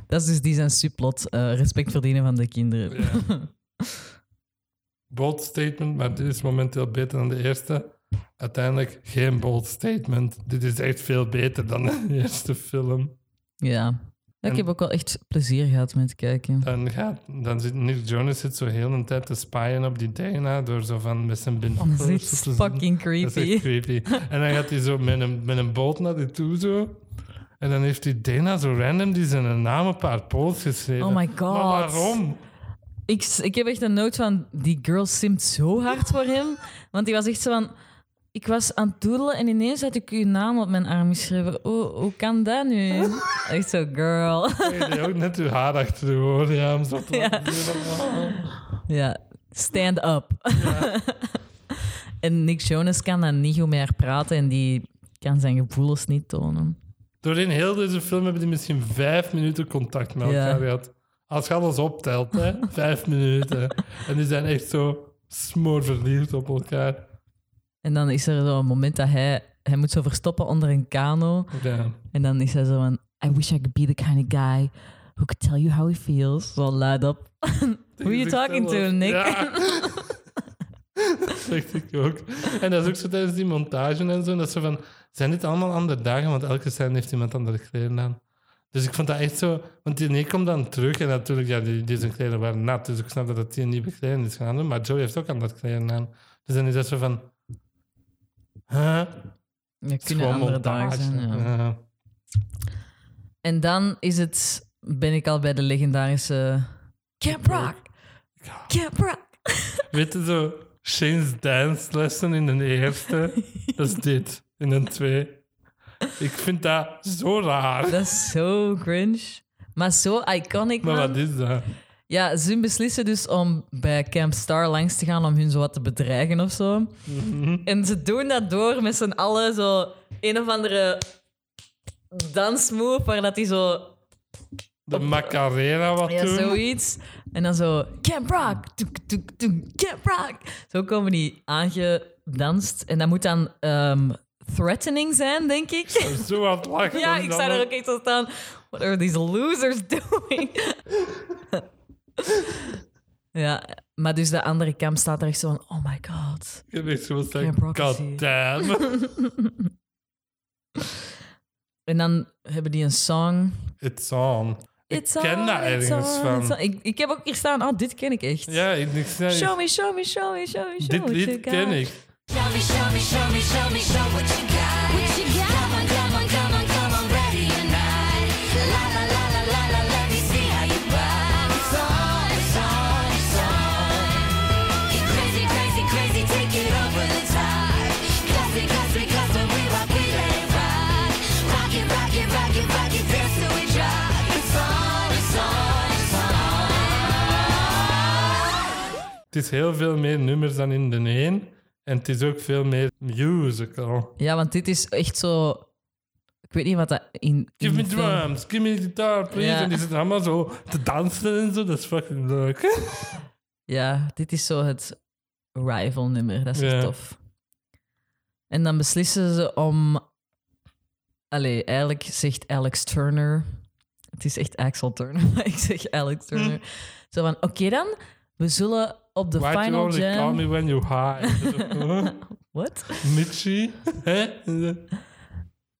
[SPEAKER 2] dat is dus die zijn subplot. eh, respect verdienen van de kinderen.
[SPEAKER 1] ja. Bold statement, maar dit is momenteel beter dan de eerste. Uiteindelijk geen bold statement. Dit is echt veel beter dan de eerste film.
[SPEAKER 2] Ja. Ik
[SPEAKER 1] En-
[SPEAKER 2] heb ook wel echt plezier gehad met kijken.
[SPEAKER 1] Dan, gaat, dan zit Nick Jonas zit zo heel een tijd te spyen op die Dana door zo van met zijn binoculars
[SPEAKER 2] Dat is
[SPEAKER 1] zo te
[SPEAKER 2] echt
[SPEAKER 1] zien.
[SPEAKER 2] fucking
[SPEAKER 1] Dat is
[SPEAKER 2] creepy.
[SPEAKER 1] echt creepy. En dan gaat hij zo met een, met een boot naar die toe zo. En dan heeft die Dana zo random die zijn naam op haar pols geschreven.
[SPEAKER 2] Oh my
[SPEAKER 1] Maar
[SPEAKER 2] God.
[SPEAKER 1] waarom?
[SPEAKER 2] Ik, s- ik heb echt een noot van, die girl simt zo hard voor hem. Want die was echt zo van, ik was aan het doedelen en ineens had ik uw naam op mijn arm geschreven. Oh, hoe kan dat nu? Echt zo, girl.
[SPEAKER 1] Ik deed ook net uw haar achter de oren, ja, om zo te
[SPEAKER 2] Ja.
[SPEAKER 1] laten zien.
[SPEAKER 2] Ja, stand up. en Nick Jonas kan dan niet goed meer praten en die kan zijn gevoelens niet tonen.
[SPEAKER 1] Doorheen heel deze film hebben die misschien vijf minuten contact met elkaar
[SPEAKER 2] Ja.
[SPEAKER 1] gehad. Als je alles optelt, hè? vijf minuten. En die zijn echt zo smoorverliefd op elkaar.
[SPEAKER 2] En dan is er zo'n moment dat hij, hij moet zo verstoppen onder een kano.
[SPEAKER 1] Ja.
[SPEAKER 2] En dan is hij zo van, I wish I could be the kind of guy who could tell you how he feels. Zo luid op. Who are you talking to, Nick?
[SPEAKER 1] Ja. dat dacht ik ook. En dat is ook zo tijdens die montage en zo. Dat ze van, zijn dit allemaal andere dagen? Want elke scène heeft iemand andere kleren aan. Dus ik vond dat echt zo... Want die nee komt dan terug en natuurlijk, ja, die, die zijn kleren waren nat. Dus ik snap dat dat die een nieuwe kleren is gaan doen. Maar Joey heeft ook aan dat kleren aan. Dus dan is dat zo van... Huh?
[SPEAKER 2] Er
[SPEAKER 1] Het is
[SPEAKER 2] kunnen
[SPEAKER 1] gewoon
[SPEAKER 2] andere dagen
[SPEAKER 1] montage.
[SPEAKER 2] zijn. ja.
[SPEAKER 1] Ja.
[SPEAKER 2] En dan is het, ben ik al bij de legendarische Camp Rock. Camp Rock.
[SPEAKER 1] Weet je zo, Shane's dance lesson in de eerste, dat is dit. In de twee. Ik vind dat zo raar.
[SPEAKER 2] Dat is zo cringe. Maar zo iconic,
[SPEAKER 1] Maar
[SPEAKER 2] man.
[SPEAKER 1] wat is dat?
[SPEAKER 2] Ja, ze beslissen dus om bij Camp Star langs te gaan om hun zo wat te bedreigen of zo. En ze doen dat door met z'n allen zo een of andere dansmove waar dat die zo...
[SPEAKER 1] De Macarena wat
[SPEAKER 2] Ja,
[SPEAKER 1] doen?
[SPEAKER 2] zoiets. En dan zo... Camp Rock! Toek, toek, toek, Camp Rock! Zo komen die aangedanst. En dat moet dan ehm, threatening zijn, denk ik.
[SPEAKER 1] Zo aan het lachen.
[SPEAKER 2] Ja, ik sta er ook echt zo staan. What are these losers doing? ja, maar dus de andere kamp staat er echt zo van... Oh my god.
[SPEAKER 1] Ik heb echt zo gezegd,
[SPEAKER 2] Camp Rock is
[SPEAKER 1] god
[SPEAKER 2] hier.
[SPEAKER 1] damn.
[SPEAKER 2] En dan hebben die een song.
[SPEAKER 1] It's on. ik ken dat ergens van.
[SPEAKER 2] Ik, ik heb ook hier staan... Oh, dit ken ik echt.
[SPEAKER 1] Ja, ik, ik snap niet.
[SPEAKER 2] Show me, show me, show me, show me, show
[SPEAKER 1] Dit
[SPEAKER 2] me.
[SPEAKER 1] lied ken ik.
[SPEAKER 3] Show me, show me, show me, show me, show what you got. What you got? Come on, come on, come on, come on, ready or not. La la la la la la, let me see how you rock. It's on, it's on, it's on. Get crazy, crazy, crazy, take it over the top. 'Cause it, 'cause it, 'cause when we rock, we let it rock. Rock it, rock it, rock it, rock it, dance till we drop. It's on, it's on, it's on.
[SPEAKER 1] Het is heel veel meer nummers dan in de één. En het is ook veel meer musical.
[SPEAKER 2] Ja, want dit is echt zo... Ik weet niet wat dat in...
[SPEAKER 1] Give
[SPEAKER 2] in
[SPEAKER 1] me
[SPEAKER 2] de film-
[SPEAKER 1] drums, give me guitar, please.
[SPEAKER 2] Ja.
[SPEAKER 1] En die zitten allemaal zo te dansen en zo. Dat is fucking eh?" leuk.
[SPEAKER 2] Ja, dit is zo het rival nummer. Dat is
[SPEAKER 1] Ja.
[SPEAKER 2] echt tof. En dan beslissen ze om. Allee, eigenlijk zegt Alex Turner. Het is echt Axel Turner, maar ik zeg Alex
[SPEAKER 1] Hm.
[SPEAKER 2] Turner. Zo van: oké dan, we zullen op de
[SPEAKER 1] Why do you
[SPEAKER 2] final
[SPEAKER 1] only call
[SPEAKER 2] jam.
[SPEAKER 1] me when you high? Huh?
[SPEAKER 2] Wat?
[SPEAKER 1] Mitchie? Hè?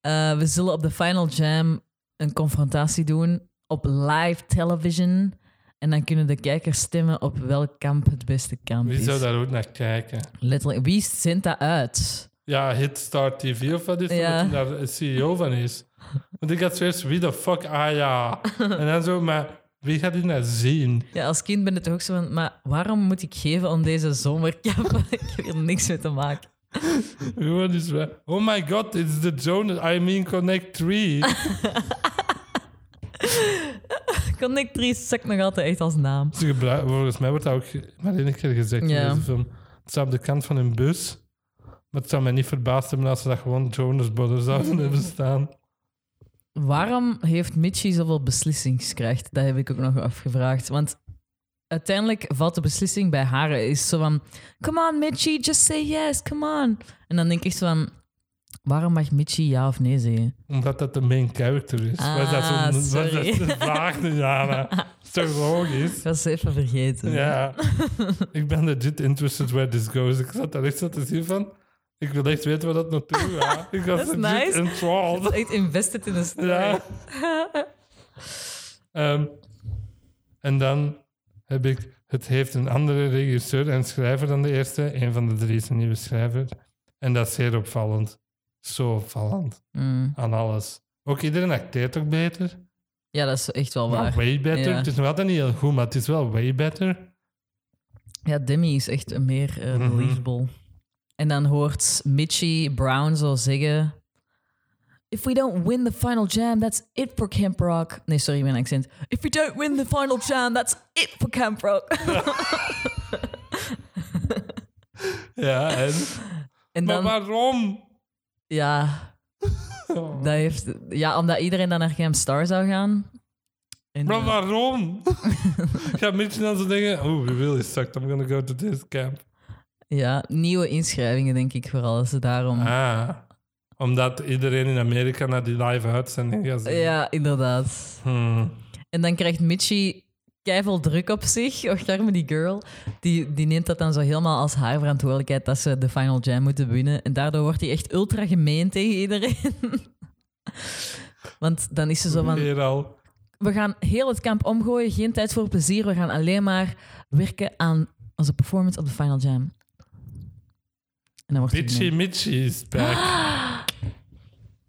[SPEAKER 2] Eh, we zullen op de final jam een confrontatie doen op live television. En dan kunnen de kijkers stemmen op welk kamp het beste kamp
[SPEAKER 1] Wie
[SPEAKER 2] is.
[SPEAKER 1] zou daar ook naar kijken?
[SPEAKER 2] Letterlijk, wie zendt dat uit?
[SPEAKER 1] Ja, Hitstar TV of wat is dat?
[SPEAKER 2] Ja.
[SPEAKER 1] Dat hij daar de CEO van is. Want ik had zoiets, wie de fuck, ah ja. En dan zo, maar wie gaat die nou zien?
[SPEAKER 2] Ja, als kind ben ik toch ook zo van, maar waarom moet ik geven om deze zomerkap? ik heb er niks mee te maken.
[SPEAKER 1] Gewoon is wel, oh my god, it's the Jonas, I mean Connect 3.
[SPEAKER 2] Connectrice zakt nog altijd echt als naam.
[SPEAKER 1] Ze gebruiken- volgens mij wordt dat ook ge- maar één keer gezegd
[SPEAKER 2] Ja.
[SPEAKER 1] in deze film. Het staat op de kant van een bus. Maar het zou mij niet verbaasd hebben als ze dat gewoon Jonas Brothers zouden hebben staan.
[SPEAKER 2] Waarom heeft Mitchie zoveel beslissingskracht? Dat heb ik ook nog afgevraagd. Want uiteindelijk valt de beslissing bij haar. Is zo van, come on Mitchie, just say yes, come on. En dan denk ik zo van, waarom mag Mitchie ja of nee zeggen?
[SPEAKER 1] Omdat dat de main character is.
[SPEAKER 2] Ah,
[SPEAKER 1] was dat zo'n- was
[SPEAKER 2] sorry.
[SPEAKER 1] dat de vraag, Jana? Dat is toch
[SPEAKER 2] Ik
[SPEAKER 1] logisch?
[SPEAKER 2] was ze even vergeten.
[SPEAKER 1] Ja. ik ben legit interested where this goes. Ik zat daar echt zo te zien van... Ik wil echt weten waar dat naartoe gaat. Ik was
[SPEAKER 2] Dat is
[SPEAKER 1] legit
[SPEAKER 2] nice.
[SPEAKER 1] enthralled.
[SPEAKER 2] Echt invested in de story.
[SPEAKER 1] Ja. Ehm, en dan heb ik... Het heeft een andere regisseur en schrijver dan de eerste. Een van de drie is een nieuwe schrijver. En dat is zeer opvallend. Zo opvallend.
[SPEAKER 2] Mm.
[SPEAKER 1] Aan alles. Ook iedereen acteert ook beter.
[SPEAKER 2] Ja, dat is echt wel
[SPEAKER 1] Maar
[SPEAKER 2] waar.
[SPEAKER 1] way better.
[SPEAKER 2] Ja.
[SPEAKER 1] Het is nog altijd niet heel goed, maar het is wel way better.
[SPEAKER 2] Ja, Demi is echt een meer eh,
[SPEAKER 1] Mhm.
[SPEAKER 2] believable. En dan hoort Mitchie Brown zo zeggen... If we don't win the final jam, that's it for Camp Rock. Nee, sorry, mijn accent. If we don't win the final jam, that's it for Camp Rock.
[SPEAKER 1] Ja, en...
[SPEAKER 2] en
[SPEAKER 1] Maar
[SPEAKER 2] dan...
[SPEAKER 1] waarom?
[SPEAKER 2] Ja, dat heeft... Ja, omdat iedereen dan naar Camp Star zou gaan. En,
[SPEAKER 1] Maar
[SPEAKER 2] eh,
[SPEAKER 1] waarom? Ik ga Mitch dan zo denken... Oh, we really sucked. I'm gonna go to this camp.
[SPEAKER 2] ja, nieuwe inschrijvingen, denk ik vooral. Dat ze daarom...
[SPEAKER 1] Ah. Omdat iedereen in Amerika naar die live uitzending gaat zien.
[SPEAKER 2] Ja, inderdaad.
[SPEAKER 1] Hmm.
[SPEAKER 2] En dan krijgt Mitchie keivel druk op zich. Och, arme die girl. Die, die neemt dat dan zo helemaal als haar verantwoordelijkheid dat ze de Final Jam moeten winnen. En daardoor wordt hij echt ultra gemeen tegen iedereen. Want dan is ze zo van,
[SPEAKER 1] Weer al.
[SPEAKER 2] we gaan heel het kamp omgooien, geen tijd voor plezier, we gaan alleen maar werken aan onze performance op de Final Jam. En dan wordt het
[SPEAKER 1] Bitchy
[SPEAKER 2] niet meer.
[SPEAKER 1] Mitchy is back.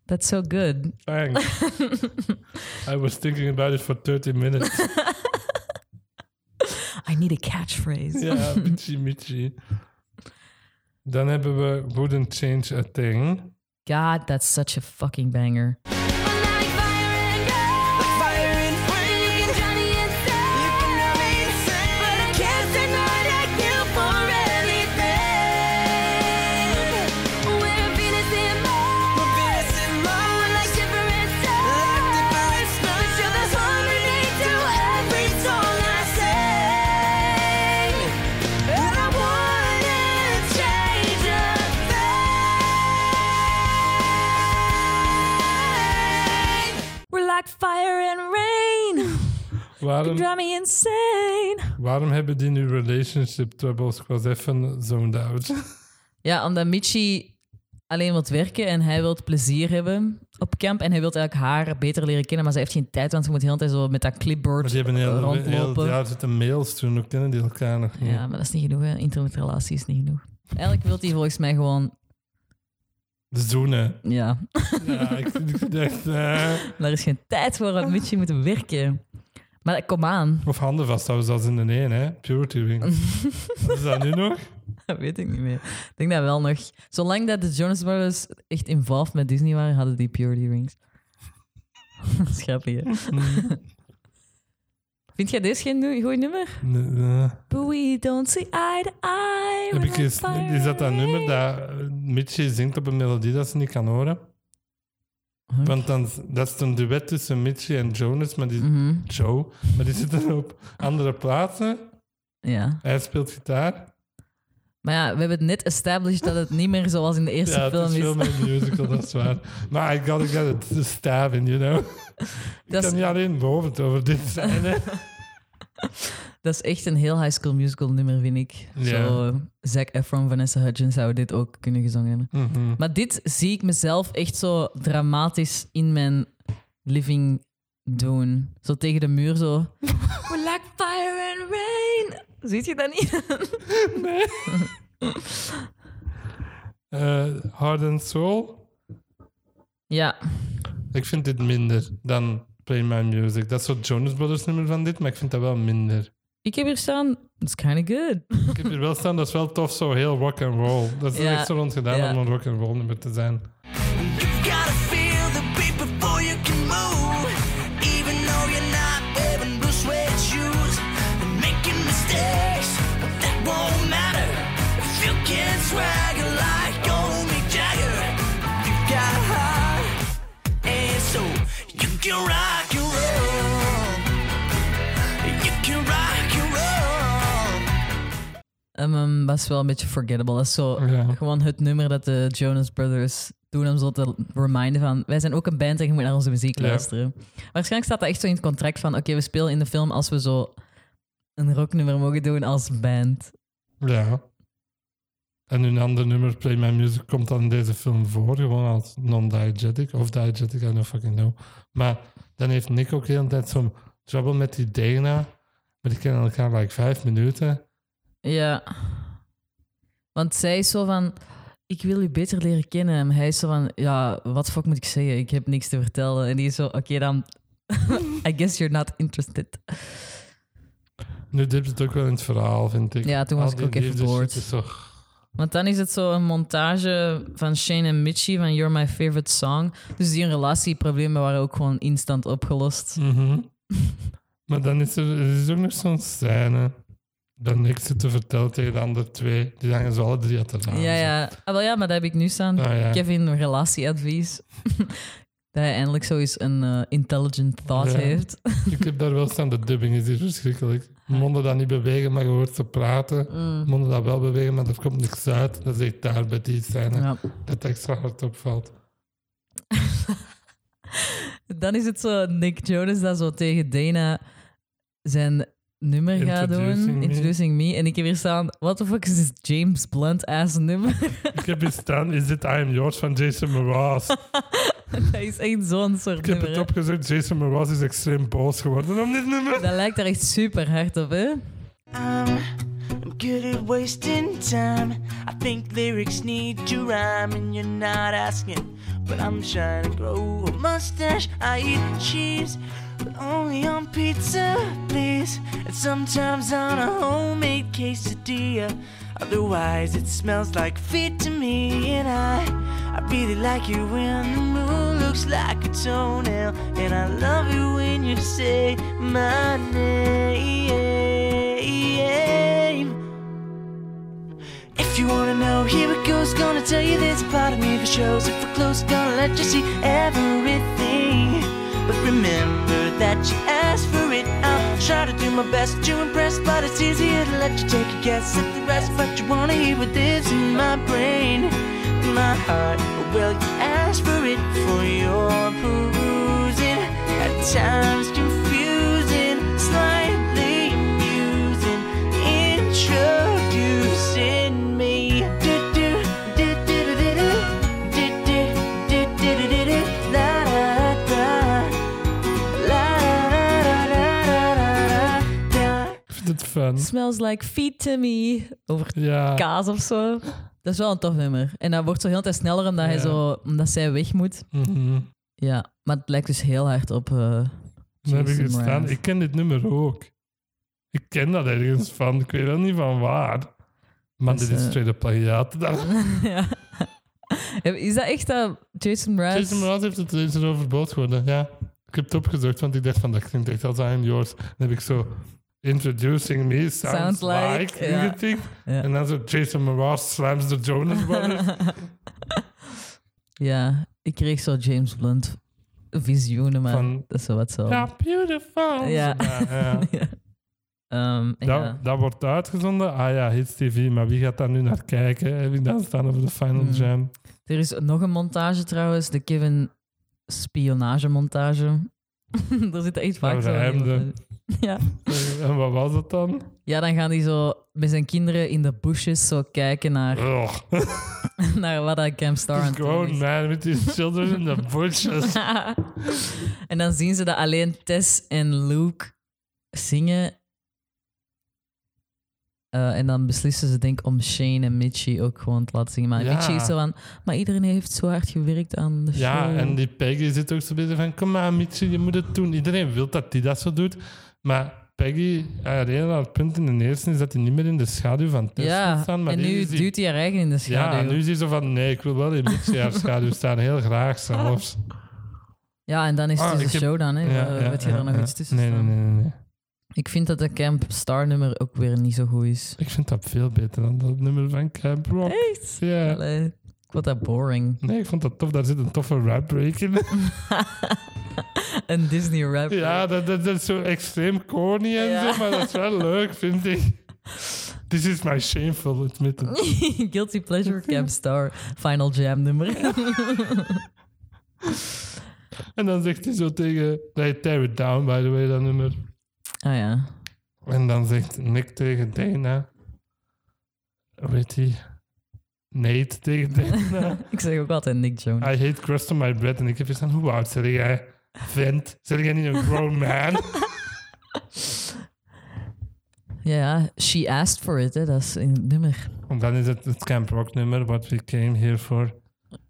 [SPEAKER 2] That's so good.
[SPEAKER 1] Thanks. I was thinking about it for 30 minutes.
[SPEAKER 2] I need a catchphrase.
[SPEAKER 1] ja, Bitchy Mitchy. Dan hebben we Wouldn't Change a Thing.
[SPEAKER 2] God, that's such a fucking banger.
[SPEAKER 3] Like fire and gold. You can drown me inside. But I can't say no to you for anything. We're Venus and Mars. Moon like shiver and stars. But you're the harmony to every song I sing. And I wouldn't change a thing.
[SPEAKER 2] We're like fire and rain.
[SPEAKER 1] Waarom,
[SPEAKER 2] Drive me insane.
[SPEAKER 1] waarom hebben die nu relationship troubles? Ik was even zoned out.
[SPEAKER 2] Ja, omdat Michi alleen wilt werken en hij wil plezier hebben op kamp. En hij wil eigenlijk haar beter leren kennen, maar ze heeft geen tijd, want ze moet de hele tijd zo met dat clipboard
[SPEAKER 1] Maar die hebben heel, heel,
[SPEAKER 2] rondlopen.
[SPEAKER 1] ja, er zitten mails toen. Hoe kennen die elkaar nog niet?
[SPEAKER 2] Ja, maar dat is niet genoeg. Hè. Internetrelatie is niet genoeg. Eigenlijk wil hij volgens mij gewoon...
[SPEAKER 1] Zoenen.
[SPEAKER 2] Ja,
[SPEAKER 1] Ja, ik, ik dacht... eh,
[SPEAKER 2] daar is geen tijd voor, want Michi moet werken. Maar kom aan,
[SPEAKER 1] Of handen vasthouden, zoals in de een, hè? Purity ring. Wat is dat nu nog?
[SPEAKER 2] dat weet ik niet meer. Ik denk dat wel nog. Zolang dat de Jonas Brothers echt involved met Disney waren, hadden die Purity Rings. dat is grappig, hè?
[SPEAKER 1] Hmm.
[SPEAKER 2] Vind jij deze geen goed nummer?
[SPEAKER 1] Nee, nee.
[SPEAKER 2] But we don't see eye to eye.
[SPEAKER 1] Heb ik eens, is dat dat nummer dat eh, Mitchie zingt op een melodie dat ze niet kan horen?
[SPEAKER 2] Huh?
[SPEAKER 1] Want dan, dat is een duet tussen Mitchie en Jonas, maar die,
[SPEAKER 2] Mhm.
[SPEAKER 1] Joe, maar die zitten op andere plaatsen.
[SPEAKER 2] Ja.
[SPEAKER 1] Hij speelt gitaar.
[SPEAKER 2] Maar ja, we hebben het net established dat het niet meer zoals in de eerste
[SPEAKER 1] Ja, het
[SPEAKER 2] film
[SPEAKER 1] is
[SPEAKER 2] is.
[SPEAKER 1] veel meer musical, dat is waar. Maar I gotta get it, the stabbing, you know? Ik
[SPEAKER 2] Dat is-
[SPEAKER 1] kan niet alleen boven het over dit zijn, hè?
[SPEAKER 2] Dat is echt een heel High School Musical nummer, vind ik.
[SPEAKER 1] Ja.
[SPEAKER 2] Zo, eh, Zac Efron, Vanessa Hudgens zou dit ook kunnen gezongen hebben.
[SPEAKER 1] Mhm.
[SPEAKER 2] Maar dit zie ik mezelf echt zo dramatisch in mijn living doen. Zo tegen de muur, zo. We like fire and rain. Ziet je dat niet?
[SPEAKER 1] Eh, Hard and Soul.
[SPEAKER 2] ja.
[SPEAKER 1] Ik vind dit minder dan Play My Music. Dat is zo'n Jonas Brothers nummer van dit, maar ik vind dat wel minder.
[SPEAKER 2] Ik heb hier staan, it's kind of good.
[SPEAKER 1] Ik heb hier wel staan, dat is wel tof, zo heel rock and roll. Dat is er
[SPEAKER 2] Ja,
[SPEAKER 1] echt zo rond gedaan
[SPEAKER 2] ja.
[SPEAKER 1] om een rock and roll nummer te zijn.
[SPEAKER 4] You've gotta feel the beat before you can move. Even though you're not wearing blue suede shoes and making mistakes, but that won't matter if you can't swagger like old Mick Jagger. You got a heart, and so you can rock and roll. You can rock and roll.
[SPEAKER 2] Ehm, ehm, dat is wel een beetje forgettable. Dat is zo
[SPEAKER 1] Ja.
[SPEAKER 2] gewoon het nummer dat de Jonas Brothers doen om zo te reminden van... Wij zijn ook een band en je moet naar onze muziek
[SPEAKER 1] Ja.
[SPEAKER 2] luisteren. Waarschijnlijk staat dat echt zo in het contract van... Oké, we spelen in de film als we zo een rocknummer mogen doen als band.
[SPEAKER 1] Ja. En hun ander nummer, Play My Music, komt dan in deze film voor, gewoon als non-diegetic of diegetic, I don't fucking know. Maar dan heeft Nick ook heel de tijd zo'n trouble met die Dana, maar die kennen elkaar like vijf minuten.
[SPEAKER 2] Ja. Want zij is zo van... Ik wil u beter leren kennen. En hij is zo van... Ja, wat fuck moet ik zeggen? Ik heb niks te vertellen. En die is zo... Oké, dan... I guess you're not interested.
[SPEAKER 1] Nu dipt het ook wel in het verhaal, vind ik.
[SPEAKER 2] Ja, toen was
[SPEAKER 1] Al
[SPEAKER 2] ik
[SPEAKER 1] die
[SPEAKER 2] ook even
[SPEAKER 1] liefdes-
[SPEAKER 2] bored.
[SPEAKER 1] het is zo-
[SPEAKER 2] Want dan is het zo een montage van Shane en Mitchie van You're My Favorite Song. Dus die relatieproblemen waren ook gewoon instant opgelost.
[SPEAKER 1] Mhm. Maar dan is er, er is ook nog zo'n scène dat niks zit te vertellen tegen de andere twee. Die hangen zo alle drie uit de raam.
[SPEAKER 2] Ja, ja. Ah, wel ja, maar dat heb ik nu staan.
[SPEAKER 1] Ah, ja.
[SPEAKER 2] Kevin, relatieadvies. dat hij eindelijk zo eens een eh, intelligent thought
[SPEAKER 1] Ja.
[SPEAKER 2] heeft.
[SPEAKER 1] Ik heb daar wel staan, de dubbing is hier verschrikkelijk.
[SPEAKER 2] Ah.
[SPEAKER 1] Monden dat niet bewegen, maar je hoort ze praten. Monden dat wel bewegen, maar er komt niks uit. Dat is echt daar bij die scène
[SPEAKER 2] Ja.
[SPEAKER 1] dat het extra hard opvalt.
[SPEAKER 2] Dan is het zo Nick Jonas dat zo tegen Dana zijn nummer gaat
[SPEAKER 1] Introducing
[SPEAKER 2] doen.
[SPEAKER 1] Me.
[SPEAKER 2] Introducing me. En ik heb hier staan, what the fuck is this James Blunt ass nummer?
[SPEAKER 1] Ik heb hier staan, is dit I Am Yours van Jason Mraz?
[SPEAKER 2] dat is echt zo'n soort
[SPEAKER 1] Ik heb
[SPEAKER 2] nummer.
[SPEAKER 1] het
[SPEAKER 2] hè.
[SPEAKER 1] opgezocht. Jason Mraz is extreem boos geworden om dit nummer.
[SPEAKER 2] Dat lijkt er echt super hard op, hè?
[SPEAKER 1] Hm.
[SPEAKER 4] I'm, I'm good at wasting time. I think lyrics need to rhyme, and you're not asking. But I'm trying to grow a mustache. I eat cheese, but only on pizza, please. And sometimes on a homemade quesadilla. Otherwise, it smells like feet to me, and I, I really like you when the moon looks like a toenail, and I love you when you say my name. If you wanna know, here it goes. Gonna tell you this part of me for shows. If we're close, gonna let you see everything. But remember that you asked for it. I'll try to do my best to impress, but it's easier to let you take a guess at the rest. But you wanna hear what lives in my brain, in my heart. Well, you asked for it for your perusing. At times confusing, slightly amusing, introducing me. Do-do, do-do-do-do-do, do-do, do-do-do-do-do, la-da-da, la-da-da-da-da-da-da.
[SPEAKER 1] Ik vind het fun.
[SPEAKER 2] Smells like feet to me. Over
[SPEAKER 1] Ja.
[SPEAKER 2] kaas of zo. Dat is wel een tof nummer. En dat wordt zo heel de tijd sneller omdat, hij
[SPEAKER 1] Ja.
[SPEAKER 2] zo, omdat zij weg moet.
[SPEAKER 1] Mhm.
[SPEAKER 2] Ja, maar het lijkt dus heel hard op. eh,
[SPEAKER 1] Dan heb ik
[SPEAKER 2] Jason
[SPEAKER 1] gestaan.
[SPEAKER 2] Mraz.
[SPEAKER 1] Ik ken dit nummer ook. Ik ken dat ergens van. Ik weet wel niet van waar. Maar
[SPEAKER 2] Dus,
[SPEAKER 1] dit is
[SPEAKER 2] eh,
[SPEAKER 1] tweede plagiaat. Dat-
[SPEAKER 2] ja. Is dat echt dat Jason Mraz?
[SPEAKER 1] Jason Mraz heeft het eens erover boos geworden. Ja. Ik heb het opgezocht, want ik dacht van dat klinkt echt als I'm yours. Dan heb ik zo Introducing Me Sounds,
[SPEAKER 2] Sounds
[SPEAKER 1] Like,
[SPEAKER 2] like, ja.
[SPEAKER 1] ingetikt.
[SPEAKER 2] Ja.
[SPEAKER 1] En dan zo Jason Mraz slams de Jonas Brothers.
[SPEAKER 2] ja, ik kreeg zo James Blunt visioenen, maar
[SPEAKER 1] Van-
[SPEAKER 2] dat is zo wat zo.
[SPEAKER 1] ja, beautiful.
[SPEAKER 2] Ja.
[SPEAKER 1] ja.
[SPEAKER 2] Ja. Ehm,
[SPEAKER 1] Dat,
[SPEAKER 2] ja.
[SPEAKER 1] dat wordt uitgezonden. Ah ja, Hits TV. Maar wie gaat daar nu naar kijken? Heb ik dan staan over de Final
[SPEAKER 2] Hmm.
[SPEAKER 1] Jam?
[SPEAKER 2] Er is nog een montage trouwens, de Kevin spionagemontage. Daar zit echt vaak zo.
[SPEAKER 1] Verheimde.
[SPEAKER 2] Ja.
[SPEAKER 1] Eh, En wat was dat dan?
[SPEAKER 2] ja, dan gaan die zo met zijn kinderen in de bushes zo kijken naar,
[SPEAKER 1] Ugh.
[SPEAKER 2] naar wat dat Camp Star aan het doen
[SPEAKER 1] Grown
[SPEAKER 2] is.
[SPEAKER 1] man with his children in the bushes.
[SPEAKER 2] en dan zien ze dat alleen Tess en Luke zingen. Eh, en dan beslissen ze denk ik om Shane en Mitchie ook gewoon te laten zingen. Maar
[SPEAKER 1] Ja.
[SPEAKER 2] Mitchie is zo van... Maar iedereen heeft zo hard gewerkt aan de
[SPEAKER 1] Ja,
[SPEAKER 2] show.
[SPEAKER 1] en die Peggy zit ook zo bezig van... Kom maar, Mitchie, je moet het doen. Iedereen wil dat hij dat zo doet. Maar Peggy, haar enige punt in de eerste is dat hij niet meer in de schaduw van Tess wil
[SPEAKER 2] Ja,
[SPEAKER 1] staan. Dus Maar
[SPEAKER 2] en
[SPEAKER 1] hier
[SPEAKER 2] nu
[SPEAKER 1] is hij-
[SPEAKER 2] duwt hij haar eigen in de
[SPEAKER 1] Ja,
[SPEAKER 2] schaduw. Ja,
[SPEAKER 1] nu is hij zo van... Nee, ik wil wel in Mitchie haar schaduw staan. Heel graag zelfs.
[SPEAKER 2] en dan is het
[SPEAKER 1] Ah,
[SPEAKER 2] dus
[SPEAKER 1] ik
[SPEAKER 2] de
[SPEAKER 1] heb-
[SPEAKER 2] show dan. Hè.
[SPEAKER 1] Ja,
[SPEAKER 2] Wat
[SPEAKER 1] ja,
[SPEAKER 2] wat je
[SPEAKER 1] ja,
[SPEAKER 2] er nog
[SPEAKER 1] ja.
[SPEAKER 2] iets tussen
[SPEAKER 1] nee, nee,
[SPEAKER 2] staan?
[SPEAKER 1] nee, nee, nee.
[SPEAKER 2] Ik vind dat de Camp Star nummer ook weer niet zo goed is.
[SPEAKER 1] Ik vind dat veel beter dan dat nummer van Camp Rock.
[SPEAKER 2] Echt?
[SPEAKER 1] Ja.
[SPEAKER 2] Allee, ik vond dat boring.
[SPEAKER 1] Nee, ik vond dat tof. Daar zit een toffe rap break in.
[SPEAKER 2] een Disney rap.
[SPEAKER 1] Ja, dat, dat, dat is zo extreem corny en
[SPEAKER 2] Ja.
[SPEAKER 1] zo, maar dat is wel leuk, vind ik. This is my shameful admittance.
[SPEAKER 2] Guilty Pleasure Camp Star Final Jam nummer.
[SPEAKER 1] En dan zegt hij zo tegen... Nee, tear it down, by the way, dat nummer.
[SPEAKER 2] Ah ja.
[SPEAKER 1] En dan zegt Nick tegen Dana... Hoe heet hij? Nate tegen Dana.
[SPEAKER 2] Ik zeg ook altijd Nick Jones.
[SPEAKER 1] I hate crust on my bread. En ik heb eens aan, hoe oud zeg jij? Vent, zeg jij niet een grown man?
[SPEAKER 2] Ja, ja, She Asked For It, hè. dat is in het nummer.
[SPEAKER 1] En dan is het het Camp Rock nummer, What We Came Here For.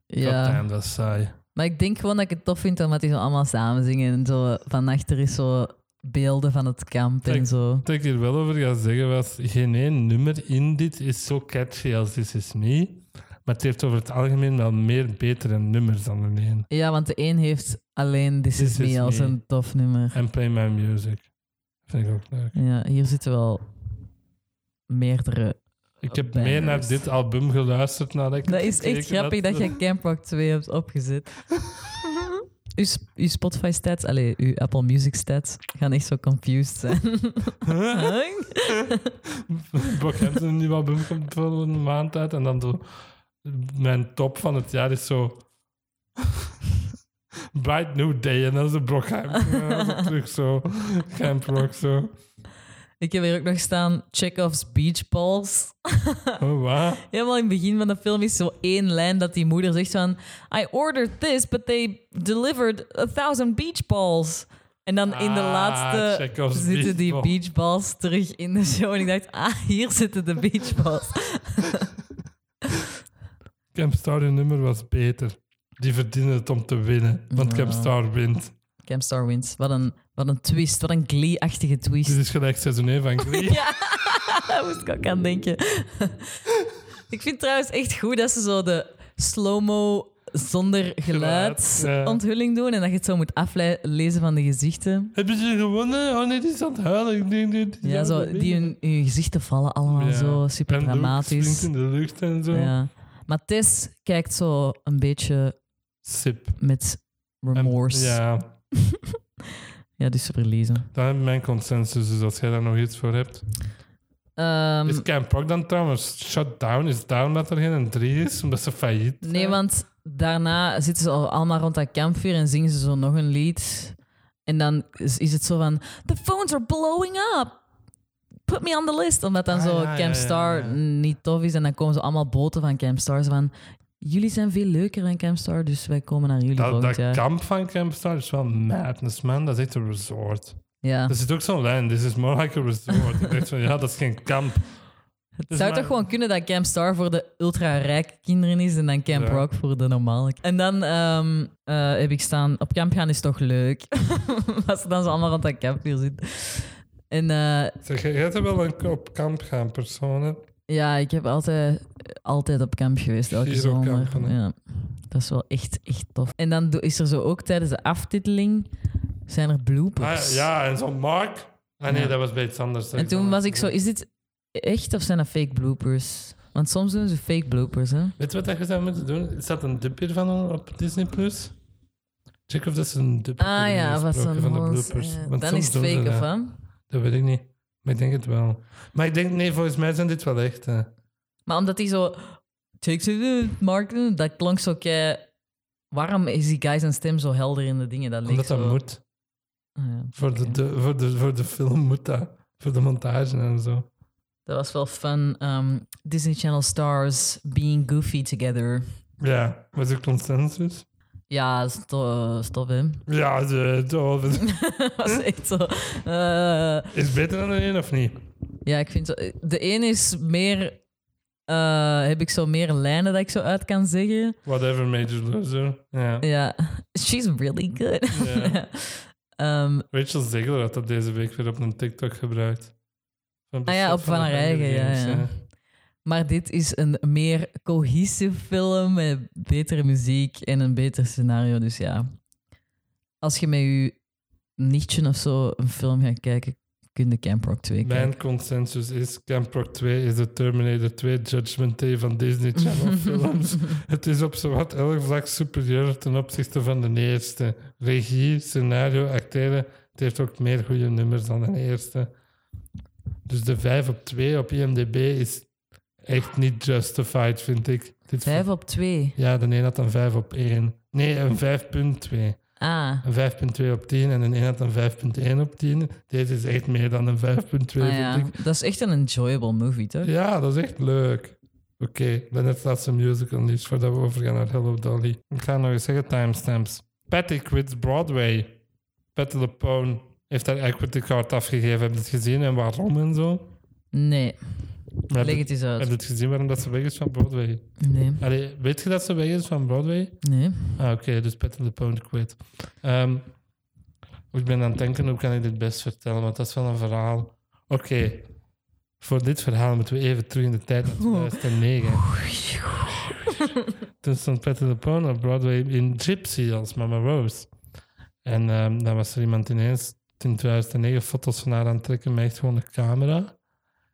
[SPEAKER 1] Ja.
[SPEAKER 2] Ja.
[SPEAKER 1] dat is saai.
[SPEAKER 2] Maar ik denk gewoon dat ik het tof vind omdat die zo allemaal samen zingen. En zo van achter is zo beelden van het kamp en
[SPEAKER 1] Kijk.
[SPEAKER 2] zo.
[SPEAKER 1] Wat ik hier wel over ga zeggen was, geen één nummer in dit is zo catchy als This Is Me. Maar het heeft over het algemeen wel meer betere nummers dan een één.
[SPEAKER 2] Ja, want de een heeft alleen This, Is Me als een tof nummer.
[SPEAKER 1] En Play My Music. Vind ik ook leuk.
[SPEAKER 2] Ja, hier zitten wel meerdere.
[SPEAKER 1] Ik heb
[SPEAKER 2] Bangers.
[SPEAKER 1] meer naar dit album geluisterd nadat ik
[SPEAKER 2] Dat
[SPEAKER 1] het
[SPEAKER 2] is echt
[SPEAKER 1] gekeken
[SPEAKER 2] grappig
[SPEAKER 1] had.
[SPEAKER 2] dat je Camp Rock 2 hebt opgezet. Uw, sp- uw Spotify stats, allee, uw Apple Music stats gaan echt zo confused zijn. Huh?
[SPEAKER 1] Brockhampton, een nieuw album komt volgende maand uit. En dan zo... Mijn top van het jaar is zo... Bright New Day. En dan is de Brockhampton. En dan is het terug zo. Camp Rock zo.
[SPEAKER 2] Ik heb hier ook nog staan Chekhov's Beach Balls.
[SPEAKER 1] Oh, wat?
[SPEAKER 2] Helemaal in het begin van de film is zo één lijn dat die moeder zegt van... I ordered this, but they delivered a thousand beach balls. En dan in de
[SPEAKER 1] Ah,
[SPEAKER 2] laatste
[SPEAKER 1] Chekhov's
[SPEAKER 2] zitten
[SPEAKER 1] beach
[SPEAKER 2] die
[SPEAKER 1] ball.
[SPEAKER 2] beach balls terug in de show. En ik dacht, ah, hier zitten de beach balls.
[SPEAKER 1] Campstar, hun nummer was beter. Die verdienen het om te winnen, want Campstar wint.
[SPEAKER 2] Camstar wins. Wat een, wat een twist. Wat een Glee-achtige
[SPEAKER 1] Dit
[SPEAKER 2] twist.
[SPEAKER 1] is gelijk seizoen 1 van Glee.
[SPEAKER 2] Daar moest ik ook aan denken. ik vind het trouwens echt goed dat ze zo de slow-mo zonder
[SPEAKER 1] ja.
[SPEAKER 2] geluidsontthulling doen. En dat je het zo moet aflezen van de gezichten.
[SPEAKER 1] Hebben ze gewonnen? Oh nee, die is aan het huilen. Die- die- die-
[SPEAKER 2] Ja, zo, die hun, hun gezichten vallen allemaal
[SPEAKER 1] Ja.
[SPEAKER 2] zo super
[SPEAKER 1] En Luke springt
[SPEAKER 2] dramatisch.
[SPEAKER 1] in de lucht en zo.
[SPEAKER 2] Ja. Maar Tess kijkt zo een beetje
[SPEAKER 1] Sip.
[SPEAKER 2] met
[SPEAKER 1] En-
[SPEAKER 2] remorse. ja.
[SPEAKER 1] Ja,
[SPEAKER 2] dus ze verliezen.
[SPEAKER 1] dat is mijn consensus. Dus als jij daar nog iets voor hebt.
[SPEAKER 2] Ehm,
[SPEAKER 1] is Camp Rock dan trouwens shut down? Is down dat er geen 3 is? Omdat ze failliet
[SPEAKER 2] nee,
[SPEAKER 1] zijn?
[SPEAKER 2] want daarna zitten ze al- allemaal rond dat kampvuur en zingen ze zo nog een lied. En dan is, is het zo van... The phones are blowing up! Put me on the list! Omdat dan
[SPEAKER 1] Ah,
[SPEAKER 2] zo
[SPEAKER 1] ja, ja, ja,
[SPEAKER 2] Camp Star
[SPEAKER 1] ja.
[SPEAKER 2] niet tof is. En dan komen ze allemaal boten van Camp Stars van... Jullie zijn veel leuker dan Camp Star, dus wij komen naar jullie
[SPEAKER 1] Dat,
[SPEAKER 2] volgend
[SPEAKER 1] dat
[SPEAKER 2] jaar.
[SPEAKER 1] kamp van Campstar is wel madness, man. Dat is echt een resort.
[SPEAKER 2] Ja.
[SPEAKER 1] Er zit ook zo'n lijn. This is more like a resort. Ik dacht van, ja, dat is geen kamp.
[SPEAKER 2] Het zou
[SPEAKER 1] maar-
[SPEAKER 2] toch gewoon kunnen dat Camp Star voor de ultra-rijke kinderen is en dan Camp
[SPEAKER 1] Ja.
[SPEAKER 2] Rock voor de normale. En dan ehm, eh, heb ik staan, op camp gaan is toch leuk. Als ze dan zo allemaal rond dat kampvuur zitten. En eh,
[SPEAKER 1] Zeg, jij bent wel een op kamp gaan persoon, hè?
[SPEAKER 2] ja, ik heb altijd, altijd op kamp geweest, elke
[SPEAKER 1] Vier op
[SPEAKER 2] zomer.
[SPEAKER 1] kampen, hè.
[SPEAKER 2] Ja, dat is wel echt, echt tof. En dan do- is er zo ook tijdens de aftiteling, zijn er
[SPEAKER 1] Ah,
[SPEAKER 2] bloopers.
[SPEAKER 1] ja, en zo'n Mark. Ah nee,
[SPEAKER 2] Ja.
[SPEAKER 1] dat was bij iets anders.
[SPEAKER 2] En toen was ik zo, is dit echt of zijn dat fake bloopers? Want soms doen ze fake bloopers, hè?
[SPEAKER 1] Weet je wat dat je zou moeten doen? Is dat een dubje van op Disney Plus? Check of dat ze een dubje
[SPEAKER 2] Ah ja, wat
[SPEAKER 1] van
[SPEAKER 2] een
[SPEAKER 1] de
[SPEAKER 2] mos.
[SPEAKER 1] bloopers.
[SPEAKER 2] Ja,
[SPEAKER 1] Want
[SPEAKER 2] Dan
[SPEAKER 1] soms
[SPEAKER 2] is het
[SPEAKER 1] doen ze
[SPEAKER 2] fake,
[SPEAKER 1] dat.
[SPEAKER 2] of hè?
[SPEAKER 1] Dat weet ik niet. Maar ik denk het wel. Maar ik denk, nee, volgens mij zijn dit wel echt. eh, hè.
[SPEAKER 2] Maar omdat hij zo... Takes it, Mark, dat klonk zo kei... Waarom is die guy zijn stem zo helder in de dingen? Dat leek
[SPEAKER 1] Omdat
[SPEAKER 2] zo...
[SPEAKER 1] dat moet.
[SPEAKER 2] Ah ja,
[SPEAKER 1] Voor de,
[SPEAKER 2] oké.
[SPEAKER 1] de- voor, de, voor de film moet dat. Voor de montage en zo.
[SPEAKER 2] Dat was wel fun. ehm, Disney Channel stars being goofy together.
[SPEAKER 1] Ja, was er consensus?
[SPEAKER 2] Ja, sto stop hem.
[SPEAKER 1] Ja, de, de-
[SPEAKER 2] dat was echt zo... eh,
[SPEAKER 1] is beter dan de één of niet?
[SPEAKER 2] Ja, ik vind zo, de een is meer. eh, heb ik zo meer lijnen dat ik zo uit kan zeggen.
[SPEAKER 1] Whatever, Major Loser. Ja.
[SPEAKER 2] Ja, she's really good.
[SPEAKER 1] Ja.
[SPEAKER 2] Ehm,
[SPEAKER 1] Rachel Zegler had dat deze week weer op een TikTok gebruikt. Van
[SPEAKER 2] Ah ja,
[SPEAKER 1] besef
[SPEAKER 2] op Van
[SPEAKER 1] de
[SPEAKER 2] haar
[SPEAKER 1] Hunger
[SPEAKER 2] eigen, ja,
[SPEAKER 1] Games,
[SPEAKER 2] ja.
[SPEAKER 1] hè.
[SPEAKER 2] maar dit is een meer cohesieve film met betere muziek en een beter scenario. Dus ja, als je met je nichtje of zo een film gaat kijken, kun je Camp Rock 2 kijken.
[SPEAKER 1] Mijn consensus is: Camp Rock 2 is de Terminator 2 Judgment Day van Disney Channel films. Het is op zowat elk vlak superieur ten opzichte van de eerste. Regie, scenario, acteren. Het heeft ook meer goede nummers dan de eerste. Dus de 5 op 2 op IMDb is echt niet justified, vind ik. Dit
[SPEAKER 2] Vijf op twee.
[SPEAKER 1] Ja, de een had een 5 op 1. Nee, een 5.2.
[SPEAKER 2] Ah,
[SPEAKER 1] Een 5.2 op 10 en een 1 had een 5.1 op 10. Deze is echt meer dan een 5.2,
[SPEAKER 2] ah
[SPEAKER 1] vind
[SPEAKER 2] ja.
[SPEAKER 1] ik.
[SPEAKER 2] dat is echt een enjoyable movie, toch?
[SPEAKER 1] Ja, dat is echt leuk. Oké, dan net laatste musical nieuws voordat we overgaan naar Hello Dolly. Ik ga nog eens zeggen timestamps. Patty quits Broadway. Patty LuPone heeft haar equity card afgegeven. Heb je het gezien en waarom en zo?
[SPEAKER 2] Nee,
[SPEAKER 1] Heb
[SPEAKER 2] leg
[SPEAKER 1] je,
[SPEAKER 2] het eens
[SPEAKER 1] heb je
[SPEAKER 2] uit.
[SPEAKER 1] het gezien waarom dat ze weg is van Broadway?
[SPEAKER 2] Nee,
[SPEAKER 1] Allee, weet je dat ze weg is van Broadway?
[SPEAKER 2] nee.
[SPEAKER 1] Ah, oké, dus Patty LuPone quit. Ehm, oh, ik ben aan het denken, hoe kan ik dit best vertellen? Want dat is wel een verhaal. Oké, voor dit verhaal moeten we even terug in de tijd naar 2009. Toen stond Patty LuPone op Broadway in Gypsy als Mama Rose. En ehm dan was er iemand ineens in 2009 foto's van haar aan het trekken met echt gewoon een camera.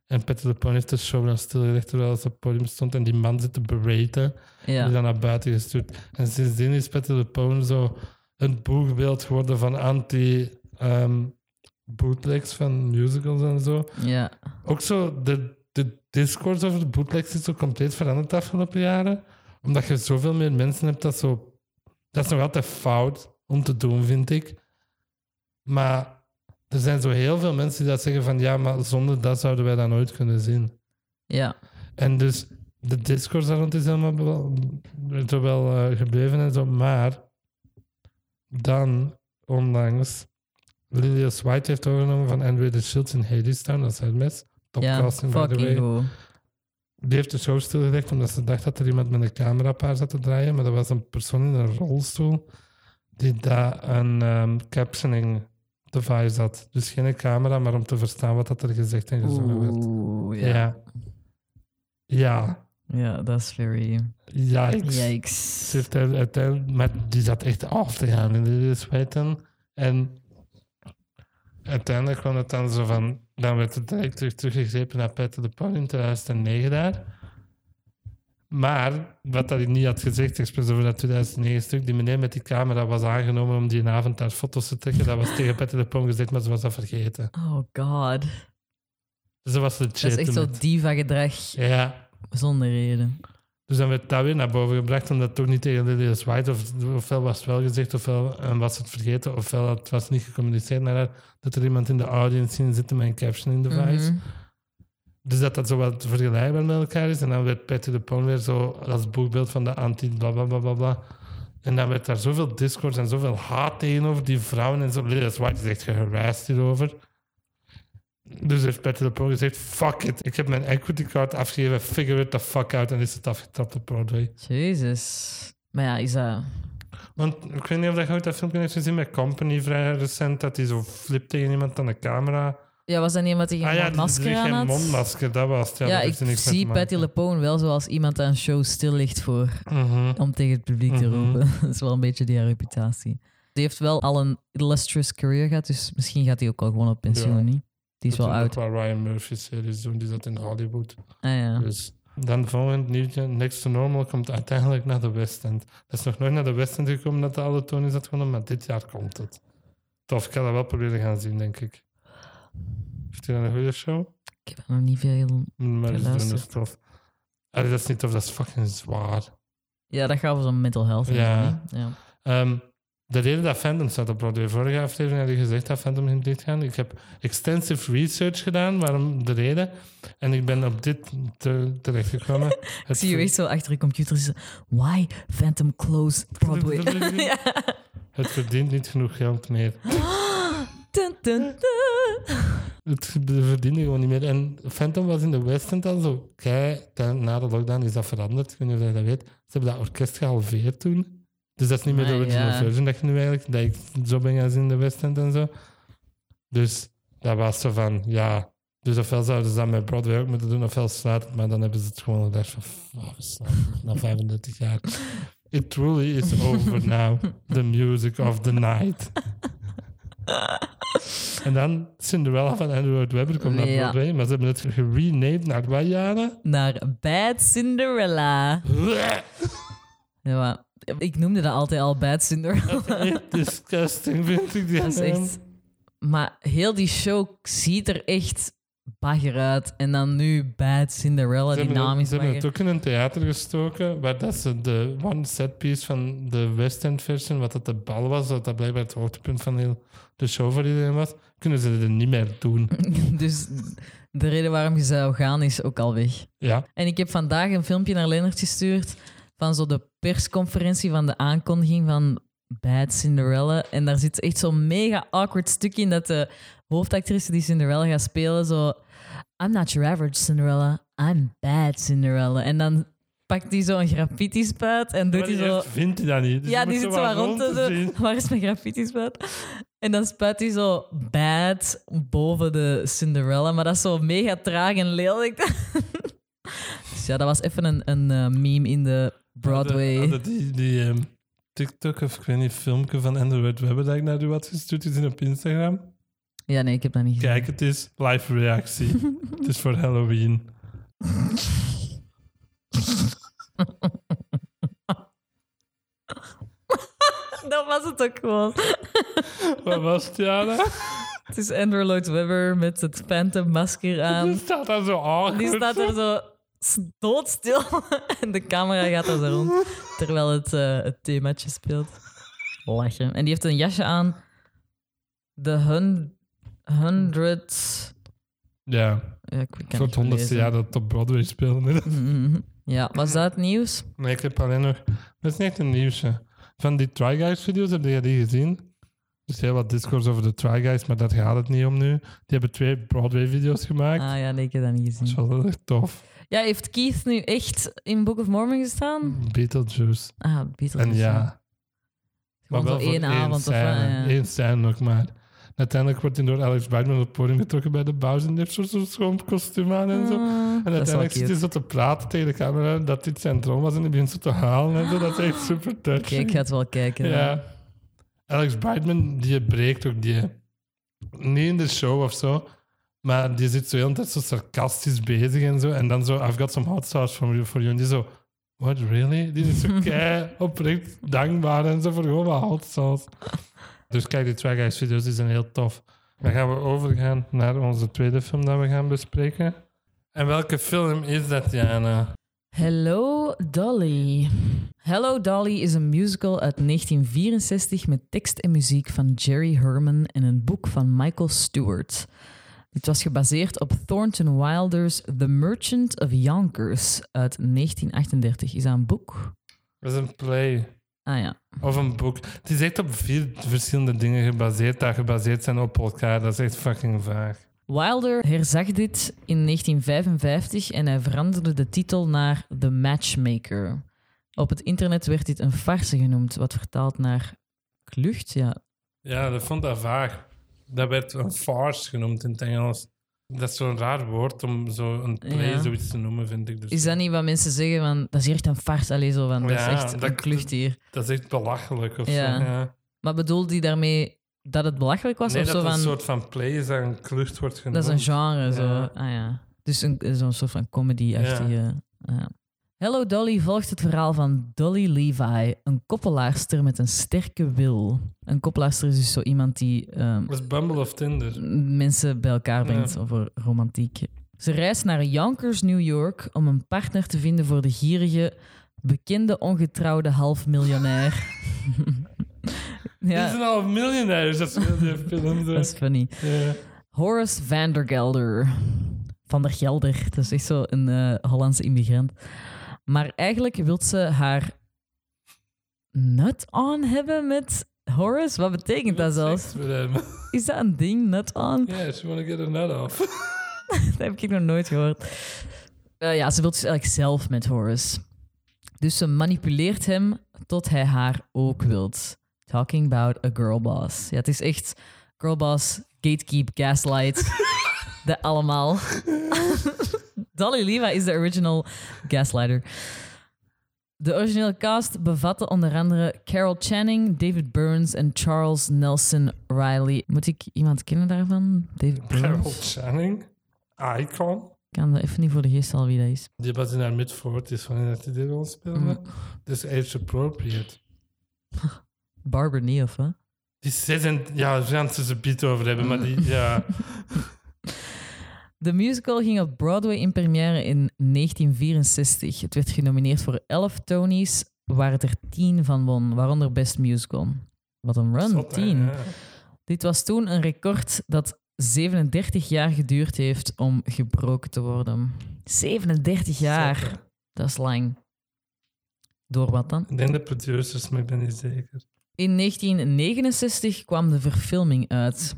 [SPEAKER 1] En Patty LuPone heeft de show dan stilgelegd terwijl ze op het podium stond en die man zit te beraten die
[SPEAKER 2] Ja.
[SPEAKER 1] dan naar buiten gestuurd. En sindsdien is Patty LuPone zo een boegbeeld geworden van anti-bootlegs van musicals en zo.
[SPEAKER 2] ja.
[SPEAKER 1] Ook zo, de, de discourse over bootlegs is zo compleet veranderd de afgelopen jaren. Omdat je zoveel meer mensen hebt dat zo... Dat is nog altijd fout om te doen, vind ik. Maar Er zijn zo heel veel mensen die dat zeggen van ja, maar zonder dat zouden wij dat nooit kunnen zien.
[SPEAKER 2] Ja.
[SPEAKER 1] En dus de discourse daar rond is helemaal wel, is er wel eh, gebleven en zo. Maar dan onlangs Lilius White heeft overgenomen van Andrew de Shields in Hadestown, dat is het mes.
[SPEAKER 2] Ja,
[SPEAKER 1] Topcasting, by the
[SPEAKER 2] fucking
[SPEAKER 1] way.
[SPEAKER 2] goed.
[SPEAKER 1] Die heeft de show stilgelegd omdat ze dacht dat er iemand met een camera op haar zat te draaien. Maar dat was een persoon in een rolstoel die daar een ehm, captioning device had. Dus geen camera, maar om te verstaan wat dat er gezegd en gezongen werd.
[SPEAKER 2] Oeh, ja.
[SPEAKER 1] Ja. Ja.
[SPEAKER 2] Ja, dat is very...
[SPEAKER 1] Yikes. Ze
[SPEAKER 2] Yikes.
[SPEAKER 1] heeft daar uiteindelijk... Maar die zat echt af te gaan in de sweaten. En uiteindelijk kwam het dan zo van... Dan werd het direct terug teruggegrepen naar Peter de Paul in 2009 daar. Maar wat dat ik niet had gezegd, expres over dat 2009 stuk, die meneer met die camera was aangenomen om die avond daar foto's te trekken. Dat was tegen Peter de Paul gezegd, maar ze was dat vergeten.
[SPEAKER 2] Oh god.
[SPEAKER 1] Ze was de
[SPEAKER 2] Dat is echt zo diva-gedrag
[SPEAKER 1] Ja.
[SPEAKER 2] zonder reden.
[SPEAKER 1] Dus dan werd dat weer naar boven gebracht, omdat het toch niet tegen Lilius White, of, ofwel was het wel gezegd, ofwel eh, was het vergeten, ofwel het was niet gecommuniceerd naar haar, dat er iemand in de audience in zit met een captioning device.
[SPEAKER 2] Mhm.
[SPEAKER 1] Dus dat dat zo wat vergelijkbaar met elkaar is. En dan werd Patty de Pon weer zo als boekbeeld van de anti bla bla bla bla bla. En dan werd daar zoveel discourse en zoveel haat tegenover die vrouwen en zo. Lilius White is echt geharassed hierover. Dus heeft Patty de Pon gezegd, fuck it, ik heb mijn equity card afgegeven, figure it the fuck out. En is het afgetrapt op Broadway.
[SPEAKER 2] Jezus. Maar ja, is dat...
[SPEAKER 1] Want ik weet niet of dat je ooit dat filmpje heeft gezien met Company vrij recent, dat hij zo flipt tegen iemand aan de camera.
[SPEAKER 2] Ja, was dat niet omdat hij geen
[SPEAKER 1] ah ja, die- die-
[SPEAKER 2] mondmasker aan
[SPEAKER 1] geen
[SPEAKER 2] had?
[SPEAKER 1] mondmasker, dat was het. Ja,
[SPEAKER 2] ja,
[SPEAKER 1] dat
[SPEAKER 2] ik
[SPEAKER 1] heeft er niks mee
[SPEAKER 2] zie
[SPEAKER 1] te maken.
[SPEAKER 2] Patty LePone wel zoals iemand aan een show stil ligt voor...
[SPEAKER 1] Mhm.
[SPEAKER 2] om tegen het publiek te
[SPEAKER 1] Mhm.
[SPEAKER 2] roepen. dat is wel een beetje die haar reputatie. Die heeft wel al een illustrious career gehad, dus misschien gaat hij ook al gewoon op pensioen,
[SPEAKER 1] Ja.
[SPEAKER 2] niet? Die is
[SPEAKER 1] Dat
[SPEAKER 2] wel
[SPEAKER 1] doen
[SPEAKER 2] oud.
[SPEAKER 1] ook wel Ryan Murphy-series doen, die dat in Hollywood.
[SPEAKER 2] Ah ja.
[SPEAKER 1] Dus dan volgend nieuwtje, Next to Normal komt uiteindelijk naar de West End. Dat is nog nooit naar de West End gekomen dat de alle Tony's had gewonnen, maar dit jaar komt het. Tof, ik ga dat wel proberen gaan zien, denk ik. Heeft hij dan een goede show?
[SPEAKER 2] Ik heb er nog niet veel...
[SPEAKER 1] Moet Maar
[SPEAKER 2] Ik
[SPEAKER 1] eens doen,
[SPEAKER 2] heb
[SPEAKER 1] dat is
[SPEAKER 2] luisterd.
[SPEAKER 1] tof. Allee, dat is niet tof, dat is fucking zwaar.
[SPEAKER 2] Ja, dat gaat over zo'n mental health. en
[SPEAKER 1] Ja.
[SPEAKER 2] zo, niet? ja.
[SPEAKER 1] Ehm, de reden dat Phantom staat op Broadway, vorige aflevering had ik gezegd dat Phantom ging dichtgaan. Ik heb extensive research gedaan, waarom de reden. En ik ben op dit te, terechtgekomen.
[SPEAKER 2] Ik
[SPEAKER 1] Het-
[SPEAKER 2] zie je echt zo achter je computer zitten. Why Phantom Close Broadway? ja.
[SPEAKER 1] Het verdient niet genoeg geld meer.
[SPEAKER 2] Dun, dun, dun.
[SPEAKER 1] Het verdiende gewoon niet meer. En Phantom was in de West End al zo. Kei, ten- na de lockdown is dat veranderd. Ik weet niet of je dat weet. Ze hebben dat orkest gehalveerd toen. Dus dat is niet meer de
[SPEAKER 2] Maar
[SPEAKER 1] original
[SPEAKER 2] ja.
[SPEAKER 1] version dat je nu eigenlijk... Dat ik zo ben gaan zien in de West End en zo. Dus dat was zo van, ja... Dus ofwel zouden ze dat met Broadway ook moeten doen, ofwel slaat het. Maar dan hebben ze het gewoon gedacht van... "Fuck, we slaan het Na 35 jaar. It truly is over now. The music of the night. en dan Cinderella van Andrew Lloyd Webber komt naar
[SPEAKER 2] Ja.
[SPEAKER 1] Broadway, maar ze hebben het gerenamed naar Guayana.
[SPEAKER 2] Naar Bad Cinderella. Ja, maar ik noemde dat altijd al Bad Cinderella.
[SPEAKER 1] Echt disgusting vind ik die
[SPEAKER 2] Dat is
[SPEAKER 1] naam.
[SPEAKER 2] echt... Maar heel die show ziet er echt bagger uit. En dan nu Bad Cinderella,
[SPEAKER 1] Ze
[SPEAKER 2] die
[SPEAKER 1] hebben,
[SPEAKER 2] naam
[SPEAKER 1] het,
[SPEAKER 2] is
[SPEAKER 1] ze hebben het
[SPEAKER 2] bagger.
[SPEAKER 1] ook in een theater gestoken, waar dat ze de one set piece van de West End version, wat dat de bal was, dat dat blijkbaar het hoogtepunt van heel de show voor iedereen was, kunnen ze er niet meer doen.
[SPEAKER 2] Dus de reden waarom je zou gaan is ook al weg.
[SPEAKER 1] Ja,
[SPEAKER 2] En ik heb vandaag een filmpje naar Lennart gestuurd van zo de persconferentie van de aankondiging van Bad Cinderella. En daar zit echt zo'n mega awkward stukje in dat de hoofdactrice die Cinderella gaat spelen zo... I'm not your average Cinderella, I'm bad Cinderella. En dan pakt hij zo een graffiti spuit en doet
[SPEAKER 1] maar
[SPEAKER 2] hij zo...
[SPEAKER 1] eerst vindt hij dat niet. Dus
[SPEAKER 2] Ja,
[SPEAKER 1] je
[SPEAKER 2] die
[SPEAKER 1] moet
[SPEAKER 2] zit zo
[SPEAKER 1] wat
[SPEAKER 2] maar rond te
[SPEAKER 1] zien.
[SPEAKER 2] doen. Waar is mijn graffiti spuit? En dan spuit hij zo bad boven de Cinderella. Maar dat is zo mega traag en lelijk. dus ja, dat was even een, een eh, meme in de Broadway.
[SPEAKER 1] Hadden- hadden die, die ehm, TikTok of ik weet niet, filmpje van Andrew Lloyd Webber dat ik naar u had gestuurd, die zien op Instagram.
[SPEAKER 2] Ja, nee, ik heb dat niet gezien.
[SPEAKER 1] Kijk, het is live reactie. het is voor Halloween.
[SPEAKER 2] Dat was het ook gewoon.
[SPEAKER 1] Wat was het, Jana?
[SPEAKER 2] Het is Andrew Lloyd Webber met het Phantom masker
[SPEAKER 1] Die
[SPEAKER 2] aan.
[SPEAKER 1] staat daar zo awkward.
[SPEAKER 2] Ehm, Die staat er zo doodstil. en de camera gaat er zo rond. Terwijl het, eh, het themaatje speelt. Lachen. En die heeft een jasje aan. De hun... 100.
[SPEAKER 1] Ja,
[SPEAKER 2] Ja, ik kan
[SPEAKER 1] voor het
[SPEAKER 2] niet
[SPEAKER 1] honderdste
[SPEAKER 2] lezen.
[SPEAKER 1] jaar dat het op Broadway speelde.
[SPEAKER 2] Mhm. Ja, was dat nieuws?
[SPEAKER 1] Maar ik heb alleen nog... Dat is niet een nieuwsje. Van die Try Guys video's, heb je die gezien? Er is heel wat discourse over de Try Guys, maar daar gaat het niet om nu. Die hebben twee Broadway video's gemaakt.
[SPEAKER 2] Ah ja, nee, ik heb dat niet
[SPEAKER 1] Dat is
[SPEAKER 2] gezien.
[SPEAKER 1] wel heel erg tof.
[SPEAKER 2] Ja, heeft Keith nu echt in Book of Mormon gestaan?
[SPEAKER 1] Beetlejuice.
[SPEAKER 2] Ah, Beatles.
[SPEAKER 1] En ja, maar
[SPEAKER 2] Gewoon
[SPEAKER 1] wel
[SPEAKER 2] zo
[SPEAKER 1] voor
[SPEAKER 2] één
[SPEAKER 1] één
[SPEAKER 2] avond of wat,
[SPEAKER 1] scène.
[SPEAKER 2] ja.
[SPEAKER 1] Eén scène nog maar. En Uiteindelijk wordt hij door Alex Bridgman op het podium getrokken bij de pauze. En die heeft zo- zo'n schoon kostuum aan en zo.
[SPEAKER 2] Ah,
[SPEAKER 1] En
[SPEAKER 2] dat is wel
[SPEAKER 1] uiteindelijk zit hij
[SPEAKER 2] cute.
[SPEAKER 1] zo te praten tegen de camera dat dit zijn droom was en hij begint zo te halen en zo. Dat is echt super
[SPEAKER 2] Oké, ik
[SPEAKER 1] touching.
[SPEAKER 2] ga het wel kijken. dan.
[SPEAKER 1] ja. Alex Brightman, die breekt ook die... Niet in de show of zo, maar die zit zo heel de tijd zo sarcastisch bezig en zo. En dan zo, I've got some hot sauce for you. For you. En die zo, what, really? Die is zo kei oprecht dankbaar en zo voor gewoon wat hot sauce. Dus kijk, die Try Guys video's die zijn heel tof. Dan gaan we overgaan naar onze tweede film dat we gaan bespreken. En welke film is dat, Jana?
[SPEAKER 2] Hello Dolly. Hello Dolly is een musical uit 1964 met tekst en muziek van Jerry Herman en een boek van Michael Stewart. Dit was gebaseerd op Thornton Wilder's The Merchant of Yonkers uit 1938. Is dat een boek?
[SPEAKER 1] Dat is een play.
[SPEAKER 2] Ah ja.
[SPEAKER 1] Of een boek. Het is echt op vier verschillende dingen gebaseerd, dat gebaseerd zijn op elkaar. Dat is echt fucking vaag.
[SPEAKER 2] Wilder herzag dit in 1955 en hij veranderde de titel naar The Matchmaker. Op het internet werd dit een farce genoemd, wat vertaald naar klucht. Ja,
[SPEAKER 1] Ja, dat vond dat vaag. Dat werd een farce genoemd in het Engels. Dat is zo'n raar woord om zo een play
[SPEAKER 2] Ja.
[SPEAKER 1] zoiets te noemen, vind ik. Dus
[SPEAKER 2] Is dat niet wat mensen zeggen van dat is hier echt een farce alleen zo van dat
[SPEAKER 1] Ja,
[SPEAKER 2] is echt
[SPEAKER 1] dat-
[SPEAKER 2] een klucht hier.
[SPEAKER 1] dat is echt belachelijk of
[SPEAKER 2] Ja.
[SPEAKER 1] zo. Ja.
[SPEAKER 2] Maar bedoelde die daarmee dat het belachelijk was
[SPEAKER 1] Nee,
[SPEAKER 2] of
[SPEAKER 1] dat
[SPEAKER 2] zo
[SPEAKER 1] het
[SPEAKER 2] van
[SPEAKER 1] een soort van play is dat een klucht wordt genoemd.
[SPEAKER 2] dat is een genre zo.
[SPEAKER 1] Ja.
[SPEAKER 2] Ah ja. Dus een zo'n soort van comedy-achtige. ah ja. Hello Dolly volgt het verhaal van Dolly Levi, een koppelaarster met een sterke wil. Een koppelaarster is dus zo iemand die ehm,
[SPEAKER 1] Dat is Bumble of Tinder.
[SPEAKER 2] mensen bij elkaar
[SPEAKER 1] Ja.
[SPEAKER 2] brengt over romantiek. Ze reist naar Yonkers, New York, om een partner te vinden voor de gierige, bekende ongetrouwde halfmiljonair.
[SPEAKER 1] Ja. Dit
[SPEAKER 2] ja,
[SPEAKER 1] zijn al miljonairs, dat is heel die film. zo.
[SPEAKER 2] dat is funny.
[SPEAKER 1] Ja.
[SPEAKER 2] Horace van der Gelder. Van der Gelder, dat is echt zo een eh, Hollandse immigrant. Maar eigenlijk wil ze haar nut on hebben met Horace. Wat betekent dat zelfs?
[SPEAKER 1] Seks met hem.
[SPEAKER 2] Is dat een ding, nut on?
[SPEAKER 1] eh, Yeah, she wanna get a nut off.
[SPEAKER 2] Dat heb ik nog nooit gehoord. Eh, ja, ze wil dus eigenlijk zelf met Horace. Dus ze manipuleert hem tot hij haar ook wilt. Talking about a girl boss. Ja, het is echt girl boss, gatekeep, gaslight. de allemaal. Dolly Leva is de original gaslighter. De originele cast bevatte onder andere Carol Channing, David Burns en Charles Nelson Riley. Moet ik iemand kennen daarvan? David
[SPEAKER 1] Carol
[SPEAKER 2] Burns?
[SPEAKER 1] Channing, icon.
[SPEAKER 2] Ik kan me even niet voor de geest al wie dat is.
[SPEAKER 1] Die was in haar mid-40s wanneer dat hij dit wil
[SPEAKER 2] Mm.
[SPEAKER 1] spelen. Dus age appropriate.
[SPEAKER 2] Barbara niet, of wat?
[SPEAKER 1] Die zes en... Ja, we gaan het er een beetje over hebben, maar die... Ja,
[SPEAKER 2] De musical ging op Broadway in première in 1964. Het werd genomineerd voor 11 Tonys, waar het er 10 van won, waaronder Best Musical. Wat een run,
[SPEAKER 1] zot, hè,
[SPEAKER 2] 10.
[SPEAKER 1] ja.
[SPEAKER 2] Dit was toen een record dat 37 jaar geduurd heeft om gebroken te worden. 37 jaar,
[SPEAKER 1] Zot, hè.
[SPEAKER 2] dat is lang. Door wat dan?
[SPEAKER 1] Ik denk de producers, maar ik ben niet zeker.
[SPEAKER 2] In 1969 kwam de verfilming uit.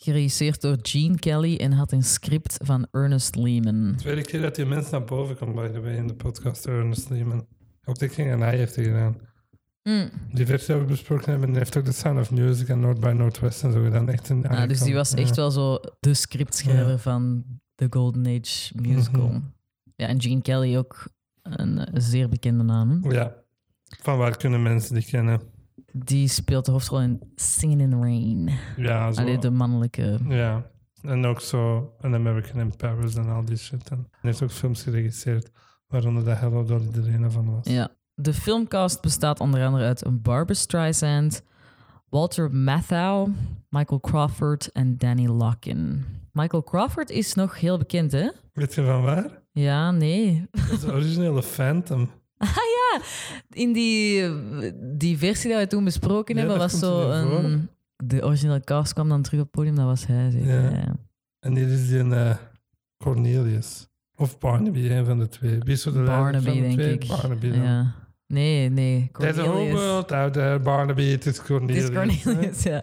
[SPEAKER 2] Geregisseerd door Gene Kelly en had een script van Ernest Lehman.
[SPEAKER 1] Tweede keer dat die mens naar boven komt, by the way, in de podcast Ernest Lehman. Ook dat ging en hij heeft hij gedaan.
[SPEAKER 2] Mm.
[SPEAKER 1] Die versie die we besproken hebben, die heeft ook The Sound of Music en North by Northwest en zo gedaan. Echt een
[SPEAKER 2] Ah, dus die
[SPEAKER 1] icon.
[SPEAKER 2] was
[SPEAKER 1] Ja.
[SPEAKER 2] echt wel zo de scriptschrijver van de Golden Age musical.
[SPEAKER 1] Mhm.
[SPEAKER 2] Ja, en Gene Kelly ook een eh, zeer bekende naam.
[SPEAKER 1] Ja. Van waar kunnen mensen die kennen?
[SPEAKER 2] Die speelt de hoofdrol in Singing in the Rain.
[SPEAKER 1] Ja, zo.
[SPEAKER 2] Allee, de mannelijke.
[SPEAKER 1] Ja, en ook zo An American in Paris en al die shit. En hij heeft ook films geregisseerd, waaronder de Hello Dolly er een van was.
[SPEAKER 2] Ja. De filmcast bestaat onder andere uit een Barbra Streisand, Walter Matthau, Michael Crawford en Danny Locken. Michael Crawford is nog heel bekend, hè?
[SPEAKER 1] Weet je van waar?
[SPEAKER 2] Ja, nee.
[SPEAKER 1] Dat is de originele Phantom.
[SPEAKER 2] In die, die versie die we toen besproken
[SPEAKER 1] Ja,
[SPEAKER 2] hebben,
[SPEAKER 1] dat
[SPEAKER 2] was
[SPEAKER 1] komt
[SPEAKER 2] zo
[SPEAKER 1] erin
[SPEAKER 2] een, de originele cast kwam dan terug op het podium, dat was hij zeker.
[SPEAKER 1] Ja.
[SPEAKER 2] Ja. ja.
[SPEAKER 1] En dit is die eh, Cornelius. Of Barnaby, een van de twee. Wie is zo de leider van de
[SPEAKER 2] Barnaby, denk
[SPEAKER 1] twee?
[SPEAKER 2] ik.
[SPEAKER 1] Barnaby dan.
[SPEAKER 2] Ja. Nee, nee,
[SPEAKER 1] There's a whole
[SPEAKER 2] Cornelius.
[SPEAKER 1] world out there, eh, Barnaby, het is
[SPEAKER 2] Het
[SPEAKER 1] Cornelius.
[SPEAKER 2] is Dus Cornelius, ja.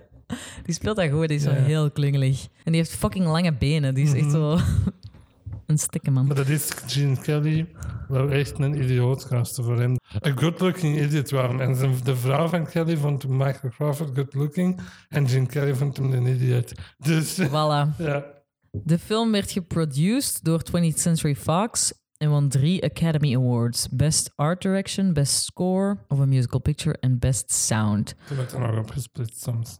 [SPEAKER 2] Die speelt dat goed, die is zo
[SPEAKER 1] Ja.
[SPEAKER 2] heel klungelig. En die heeft fucking lange benen, die is echt zo... een stikke man.
[SPEAKER 1] Maar dat is Gene Kelly, wel echt een idiootkaster voor hem. Een good-looking idiot waren. En zijn- de vrouw van Kelly vond hem Michael Crawford good-looking. En Gene Kelly vond hem een idiot. Dus
[SPEAKER 2] Voilà.
[SPEAKER 1] ja,
[SPEAKER 2] De film werd geproduced door 20th Century Fox en won drie Academy Awards: Best Art Direction, Best Score of a Musical Picture en Best Sound.
[SPEAKER 1] toen werd er nog opgesplitst soms.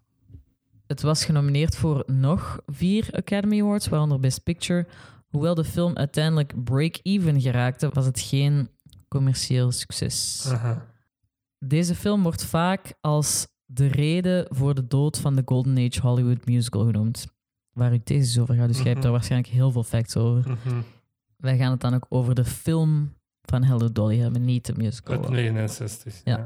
[SPEAKER 2] Het was genomineerd voor nog vier Academy Awards, waaronder Best Picture. Hoewel de film uiteindelijk break-even geraakte, was het geen commercieel succes.
[SPEAKER 1] Aha.
[SPEAKER 2] Deze film wordt vaak als de reden voor de dood van de Golden Age Hollywood musical genoemd. Waar uw thesis over gaat, dus jij hebt daar waarschijnlijk heel veel facts over.
[SPEAKER 1] Mhm.
[SPEAKER 2] Wij gaan het dan ook over de film van Hello Dolly hebben, niet de musical.
[SPEAKER 1] Uit 69.
[SPEAKER 2] Ja.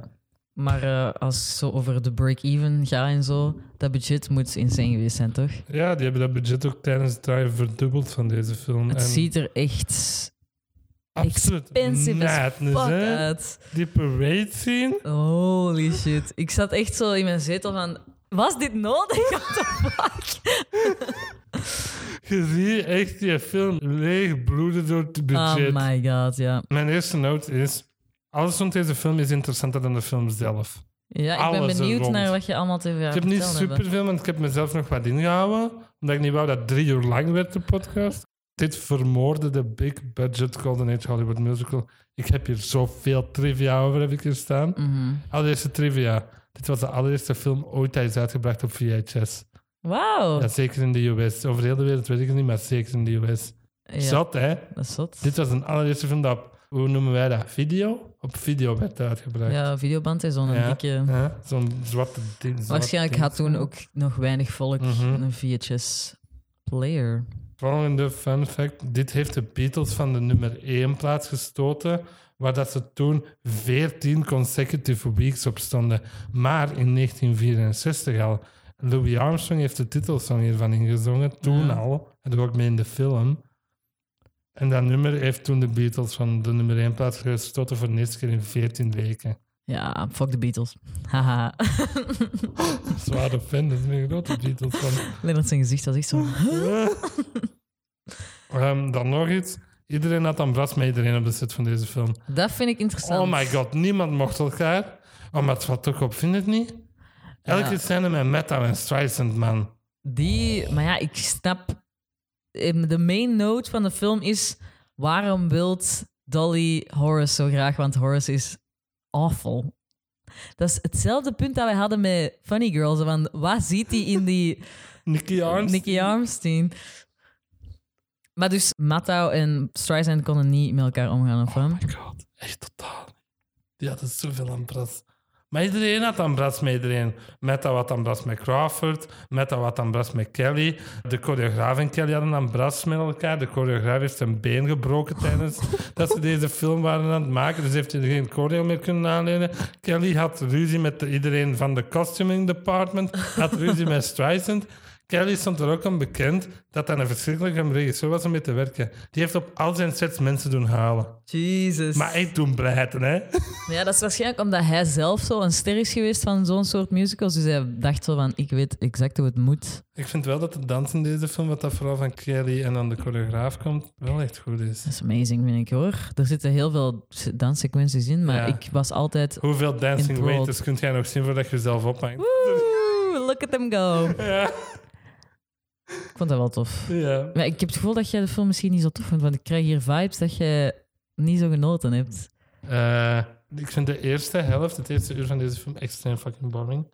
[SPEAKER 2] Maar eh, als het zo over de break-even gaat en zo, dat budget moet insane geweest zijn, toch?
[SPEAKER 1] Ja, die hebben dat budget ook tijdens het draaien verdubbeld van deze film.
[SPEAKER 2] Het ziet er echt
[SPEAKER 1] absoluut
[SPEAKER 2] expensive as
[SPEAKER 1] madness,
[SPEAKER 2] fuck
[SPEAKER 1] hè?
[SPEAKER 2] uit.
[SPEAKER 1] Die parade scene.
[SPEAKER 2] Holy shit. Ik zat echt zo in mijn zetel van... Was dit nodig? What the fuck?
[SPEAKER 1] Je ziet echt die film leeg bloeden door het
[SPEAKER 2] Oh
[SPEAKER 1] budget.
[SPEAKER 2] my god, ja.
[SPEAKER 1] Mijn eerste noot is... Alles rond deze film is interessanter dan de film zelf.
[SPEAKER 2] Ja, ik
[SPEAKER 1] Alles
[SPEAKER 2] ben
[SPEAKER 1] er
[SPEAKER 2] benieuwd
[SPEAKER 1] rond.
[SPEAKER 2] naar wat je allemaal te
[SPEAKER 1] Ik
[SPEAKER 2] vertellen
[SPEAKER 1] heb niet
[SPEAKER 2] hebt.
[SPEAKER 1] superveel, want ik heb mezelf nog wat ingehouden. Omdat ik niet wou dat drie uur lang werd, de podcast. Dit vermoorde de big budget Golden Age Hollywood musical. Ik heb hier zoveel trivia over, heb ik hier staan.
[SPEAKER 2] Mhm.
[SPEAKER 1] Allereerste trivia. Dit was de allereerste film ooit dat is uitgebracht op VHS.
[SPEAKER 2] Wauw.
[SPEAKER 1] Ja, zeker in de US. Over heel de wereld weet ik het niet, maar zeker in de US.
[SPEAKER 2] Ja,
[SPEAKER 1] Zat, hè?
[SPEAKER 2] dat is zot.
[SPEAKER 1] Dit was een allereerste film dat op, hoe noemen wij dat? Video? Op video werd uitgebracht.
[SPEAKER 2] Ja, videoband is zo'n
[SPEAKER 1] Ja,
[SPEAKER 2] dikke...
[SPEAKER 1] hè? Zo'n zwarte ding. zwart
[SPEAKER 2] Waarschijnlijk
[SPEAKER 1] ding.
[SPEAKER 2] had toen ook nog weinig volk
[SPEAKER 1] Mhm.
[SPEAKER 2] een VHS-player.
[SPEAKER 1] Volgende fun fact. Dit heeft de Beatles van de nummer 1 plaats gestoten, waar dat ze toen 14 consecutive weeks op stonden. Maar in 1964 al. Louis Armstrong heeft de titelsong hiervan ingezongen, toen
[SPEAKER 2] Ja.
[SPEAKER 1] al. En ook mee in de film. En dat nummer heeft toen de Beatles van de nummer 1 plaats gestoten voor de eerste keer in 14 weken.
[SPEAKER 2] Ja, fuck de Beatles. Haha.
[SPEAKER 1] Zware fan, dat is een grote Beatles fan.
[SPEAKER 2] Leonard zijn gezicht was echt zo...
[SPEAKER 1] Ehm, dan nog iets. Iedereen had een bras met iedereen op de set van deze film.
[SPEAKER 2] Dat vind ik interessant.
[SPEAKER 1] Oh my god, niemand mocht elkaar. Oh, maar het valt toch op, vind je het niet? Elke
[SPEAKER 2] Ja.
[SPEAKER 1] scène met Metal en Streisand, man.
[SPEAKER 2] Die... Maar ja, ik snap... Ehm, De main note van de film is... Waarom wilt Dolly Horace zo graag? Want Horace is awful. Dat is hetzelfde punt dat wij hadden met Funny Girls. Want wat ziet hij in die...
[SPEAKER 1] Nicky Arms.
[SPEAKER 2] Nicky Armstein. Maar dus Mattau en Streisand konden niet met elkaar omgaan, of wat?
[SPEAKER 1] Oh my god, echt totaal. niet. Die hadden zoveel aan bras. Maar iedereen had aan bras met iedereen. Metal had aan bras met Crawford. Metal had aan bras met Kelly. De choreograaf en Kelly hadden aan bras met elkaar. De choreograaf heeft zijn been gebroken tijdens dat ze deze film waren aan het maken. Dus heeft hij er geen choreo meer kunnen aanlenen. Kelly had ruzie met iedereen van de costuming department. Had ruzie met Streisand. Kelly stond er ook aan bekend dat hij een verschrikkelijke regisseur was om mee te werken. Die heeft op al zijn sets mensen doen halen.
[SPEAKER 2] Jesus.
[SPEAKER 1] Maar ik doe breiten, hè?
[SPEAKER 2] Ja, dat is waarschijnlijk omdat hij zelf zo een ster is geweest van zo'n soort musicals. Dus hij dacht zo van, ik weet exact hoe het moet.
[SPEAKER 1] Ik vind wel dat de dans in deze film, wat dat vooral van Kelly en dan de choreograaf komt, wel echt goed is.
[SPEAKER 2] Dat is amazing, vind ik, hoor. Er zitten heel veel s- danssequenties in, maar
[SPEAKER 1] Ja.
[SPEAKER 2] ik was altijd...
[SPEAKER 1] Hoeveel dancing
[SPEAKER 2] In broad.
[SPEAKER 1] waiters kunt jij nog zien voordat je jezelf ophangt?
[SPEAKER 2] Woe, look at them go.
[SPEAKER 1] Ja.
[SPEAKER 2] Ik vond dat wel tof.
[SPEAKER 1] ja.
[SPEAKER 2] Maar ik heb het gevoel dat jij de film misschien niet zo tof vindt, want ik krijg hier vibes dat je niet zo genoten hebt.
[SPEAKER 1] Eh, ik vind de eerste helft, het eerste uur van deze film, extreem fucking boring.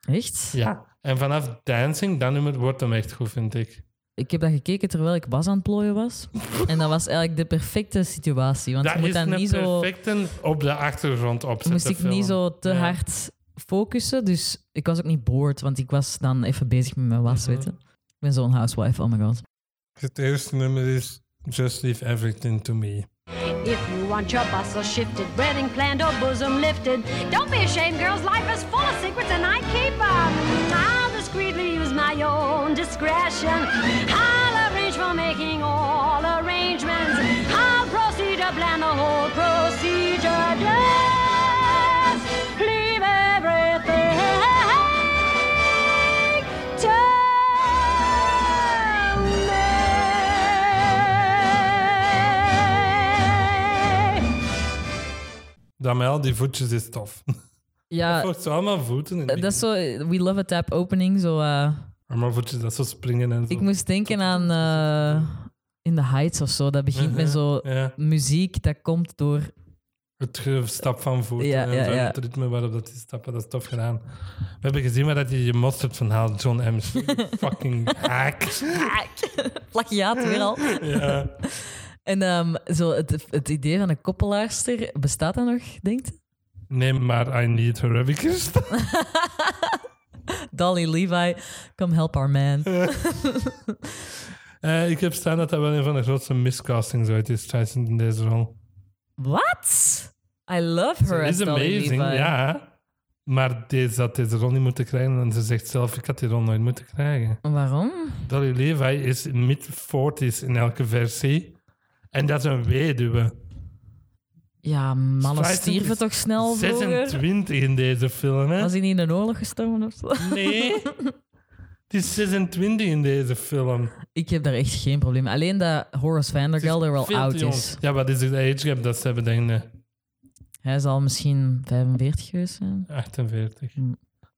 [SPEAKER 2] Echt?
[SPEAKER 1] Ja. En vanaf dancing, dat nummer wordt hem echt goed, vind ik.
[SPEAKER 2] Ik heb dat gekeken terwijl ik was aan het plooien was. En dat was eigenlijk de perfecte situatie. Want je
[SPEAKER 1] dat
[SPEAKER 2] moet
[SPEAKER 1] is
[SPEAKER 2] dan
[SPEAKER 1] een
[SPEAKER 2] niet zo,
[SPEAKER 1] perfecte op de achtergrond opzetten.
[SPEAKER 2] moest ik
[SPEAKER 1] film.
[SPEAKER 2] niet zo te
[SPEAKER 1] Ja.
[SPEAKER 2] hard focussen. Dus ik was ook niet boord, want ik was dan even bezig met mijn was,
[SPEAKER 1] Mhm.
[SPEAKER 2] weet je. Ik ben zo'n housewife, oh my god.
[SPEAKER 1] Het eerste nummer is Just Leave Everything to Me.
[SPEAKER 5] If you want your bustle shifted, breathing planned or bosom lifted, don't be ashamed, girls. Life is full of secrets and I keep 'em. I'll just discreetly use my own discretion. I'll arrange for making all arrangements. I'll proceed to plan the whole procedure. Just leave everything to me.
[SPEAKER 1] Dat met al die voetjes is tof.
[SPEAKER 2] Ja,
[SPEAKER 1] Volgens zo allemaal voeten in.
[SPEAKER 2] Eh, dat is zo... We love a tap opening, zo... eh,
[SPEAKER 1] Allemaal voetjes dat zo springen en zo.
[SPEAKER 2] Ik moest denken aan eh, In the Heights of zo. Dat begint met zo
[SPEAKER 1] Ja,
[SPEAKER 2] muziek dat komt door.
[SPEAKER 1] het ge- stap van voeten
[SPEAKER 2] Ja,
[SPEAKER 1] en
[SPEAKER 2] ja,
[SPEAKER 1] zo,
[SPEAKER 2] ja.
[SPEAKER 1] het ritme waarop dat die stappen, dat is tof gedaan. We hebben gezien waar dat je je mosterd van haalt, John M. fucking hack.
[SPEAKER 2] Plagiaat weer al.
[SPEAKER 1] Ja.
[SPEAKER 2] En ehm, zo het, het idee van een koppelaarster, bestaat dat nog, denkt? je?
[SPEAKER 1] Neem maar I Need Her heb ik gestaan.
[SPEAKER 2] Dolly Levi, come help our man.
[SPEAKER 1] Eh, ik heb staan dat dat wel een van de grootste miscastings ooit is, trouwens, in deze rol.
[SPEAKER 2] What? I love her
[SPEAKER 1] Ze
[SPEAKER 2] as
[SPEAKER 1] is
[SPEAKER 2] Dolly
[SPEAKER 1] amazing,
[SPEAKER 2] Levi.
[SPEAKER 1] ja. Maar deze had deze rol niet moeten krijgen. En ze zegt zelf, ik had die rol nooit moeten krijgen.
[SPEAKER 2] Waarom?
[SPEAKER 1] Dolly Levi is mid-40s in elke versie. En dat is een weduwe.
[SPEAKER 2] Ja, mannen
[SPEAKER 1] Strijden
[SPEAKER 2] stierven
[SPEAKER 1] is
[SPEAKER 2] toch snel vroeger?
[SPEAKER 1] 26 in deze film, hè?
[SPEAKER 2] Was hij niet in de oorlog gestorven of zo?
[SPEAKER 1] Nee. Het is 26 in deze film.
[SPEAKER 2] Ik heb daar echt geen probleem mee. Alleen dat Horace Vandergeld er wel oud is.
[SPEAKER 1] Ja, wat is de age gap dat ze hebben, denk ik?
[SPEAKER 2] Hij zal misschien 45 geweest zijn.
[SPEAKER 1] 48.
[SPEAKER 2] Hm.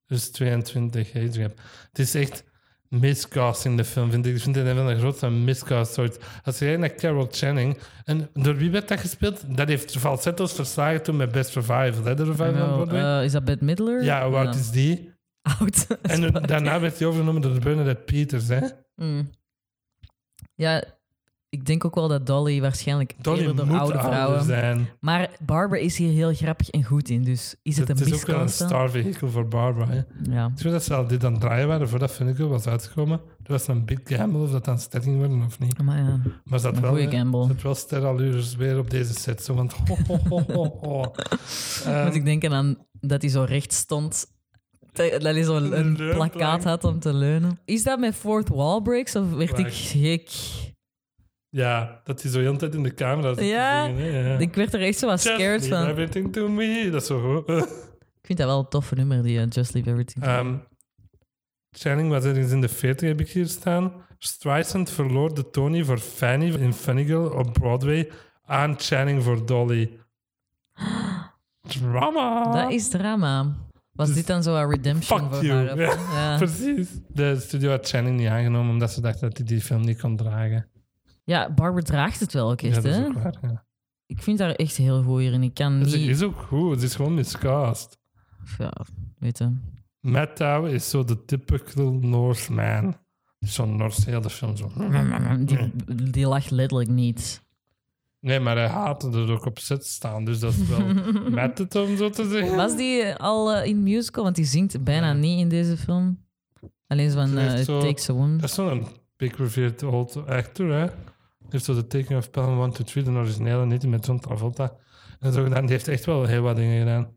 [SPEAKER 1] Dus 22 age gap. Het is echt miscast in de film, vind ik. Ik vind het een van de grootste miscast soort. Als je kijkt naar Carol Channing... En door wie werd dat gespeeld? Dat heeft falsetto's verslagen toen met Best Revival. Hè? De revival van
[SPEAKER 2] Wel,
[SPEAKER 1] Broadway.
[SPEAKER 2] eh, is dat Bette Midler?
[SPEAKER 1] ja, hoe oud is die?
[SPEAKER 2] Oud.
[SPEAKER 1] En toen- daarna werd hij overgenomen door Bernadette Peters, hè?
[SPEAKER 2] Mm. Ja, ik denk ook wel dat Dolly waarschijnlijk
[SPEAKER 1] Dolly
[SPEAKER 2] eerder
[SPEAKER 1] moet
[SPEAKER 2] door oude
[SPEAKER 1] ouder
[SPEAKER 2] vrouwen...
[SPEAKER 1] zijn.
[SPEAKER 2] Maar Barbara is hier heel grappig en goed in, dus is het,
[SPEAKER 1] Het
[SPEAKER 2] een
[SPEAKER 1] is ook wel een
[SPEAKER 2] miscast? dan?
[SPEAKER 1] star vehicle voor Barbara. Hè?
[SPEAKER 2] Ja.
[SPEAKER 1] Ik weet dat ze al dit aan het draaien waren voordat Funnicle was uitgekomen. Dat was een big gamble of dat dan sterren worden of niet.
[SPEAKER 2] Maar ja,
[SPEAKER 1] Maar ze had
[SPEAKER 2] een
[SPEAKER 1] wel,
[SPEAKER 2] goede
[SPEAKER 1] ze
[SPEAKER 2] gamble.
[SPEAKER 1] had wel sterallures weer op deze set. Zo, want ho, ho, ho, ho, ho. Ehm,
[SPEAKER 2] Moet ik denken aan dat hij zo recht stond... te- Dat hij zo een, een
[SPEAKER 1] Leunplank.
[SPEAKER 2] plakkaat had om te leunen. Is dat met fourth wall breaks of werd ik
[SPEAKER 1] Wacht.
[SPEAKER 2] gek?
[SPEAKER 1] ja, dat hij zo de hele tijd in de camera zit
[SPEAKER 2] Ja,
[SPEAKER 1] te zingen, hè, ja.
[SPEAKER 2] Ik werd er echt zo wat
[SPEAKER 1] Just
[SPEAKER 2] scared
[SPEAKER 1] leave
[SPEAKER 2] van.
[SPEAKER 1] everything to me. Dat is zo goed.
[SPEAKER 2] Ik vind dat wel een toffe nummer, die eh, Just Leave Everything. to Me.
[SPEAKER 1] Ehm, Channing was ergens in de 40, heb ik hier staan. Streisand verloor de Tony voor Fanny in Funny Girl op Broadway aan Channing voor Dolly. Drama!
[SPEAKER 2] Dat is drama. Was
[SPEAKER 1] Dus-
[SPEAKER 2] dit dan zo haar redemption
[SPEAKER 1] Fuck
[SPEAKER 2] voor
[SPEAKER 1] you.
[SPEAKER 2] haar?
[SPEAKER 1] Ja,
[SPEAKER 2] Ja.
[SPEAKER 1] Precies. De studio had Channing niet aangenomen omdat ze dachten dat hij die film niet kon dragen.
[SPEAKER 2] ja, Barbara draagt het wel ook
[SPEAKER 1] ja,
[SPEAKER 2] echt,
[SPEAKER 1] dat is
[SPEAKER 2] hè?
[SPEAKER 1] ook waar. Ja.
[SPEAKER 2] Ik vind haar echt heel goed hierin. Ik kan
[SPEAKER 1] Ze
[SPEAKER 2] niet...
[SPEAKER 1] is ook goed, ze is gewoon miscast.
[SPEAKER 2] Ja, weet je.
[SPEAKER 1] Matt Dow is zo de typical Northman. Zo'n Norse hele film. Zo. Mm.
[SPEAKER 2] Die, die lacht letterlijk niet.
[SPEAKER 1] Nee, maar hij haatte er ook op set staan, dus dat is wel met het om zo te zeggen.
[SPEAKER 2] Was die eh, al eh, in musical? Want die zingt bijna niet in deze film. Alleen zo van
[SPEAKER 1] Ze heeft
[SPEAKER 2] eh, It
[SPEAKER 1] zo-
[SPEAKER 2] Takes a Woman.
[SPEAKER 1] Dat is zo'n big revered old actor, hè? Die heeft zo de tekening of Pelham 1, 2, 3, de originele, niet die met John Travolta. En zo gedaan. Die heeft echt wel heel wat dingen gedaan.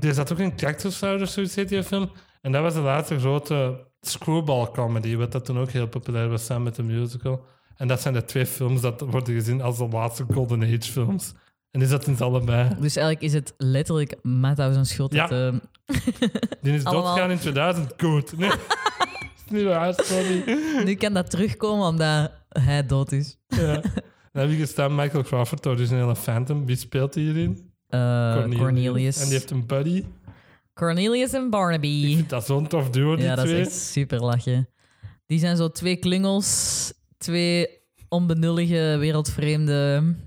[SPEAKER 1] Er zat ook een Cactus Flower of zoiets heet die film. En dat was de laatste grote screwball comedy, wat dat toen ook heel populair was samen met de musical. En dat zijn de twee films dat worden gezien als de laatste Golden Age films. En die zat in ze allebei.
[SPEAKER 2] Dus eigenlijk is het letterlijk Matthäus een schuld.
[SPEAKER 1] Ja.
[SPEAKER 2] Dat, eh,
[SPEAKER 1] Die is
[SPEAKER 2] Allemaal.
[SPEAKER 1] doodgegaan in 2000. Goed. Nee. is niet waar, sorry.
[SPEAKER 2] eh, nu kan dat terugkomen omdat hij dood is.
[SPEAKER 1] Ja. Dan heb je gestaan Michael Crawford, de originele Phantom. Wie speelt hij hierin?
[SPEAKER 2] Eh, Cornelius.
[SPEAKER 1] En die heeft een buddy.
[SPEAKER 2] Cornelius en
[SPEAKER 1] Ik
[SPEAKER 2] Barnaby.
[SPEAKER 1] vind dat zo'n tof duo, die
[SPEAKER 2] Ja, dat
[SPEAKER 1] twee.
[SPEAKER 2] is echt super lachen. Die zijn zo twee klingels, twee onbenullige wereldvreemden,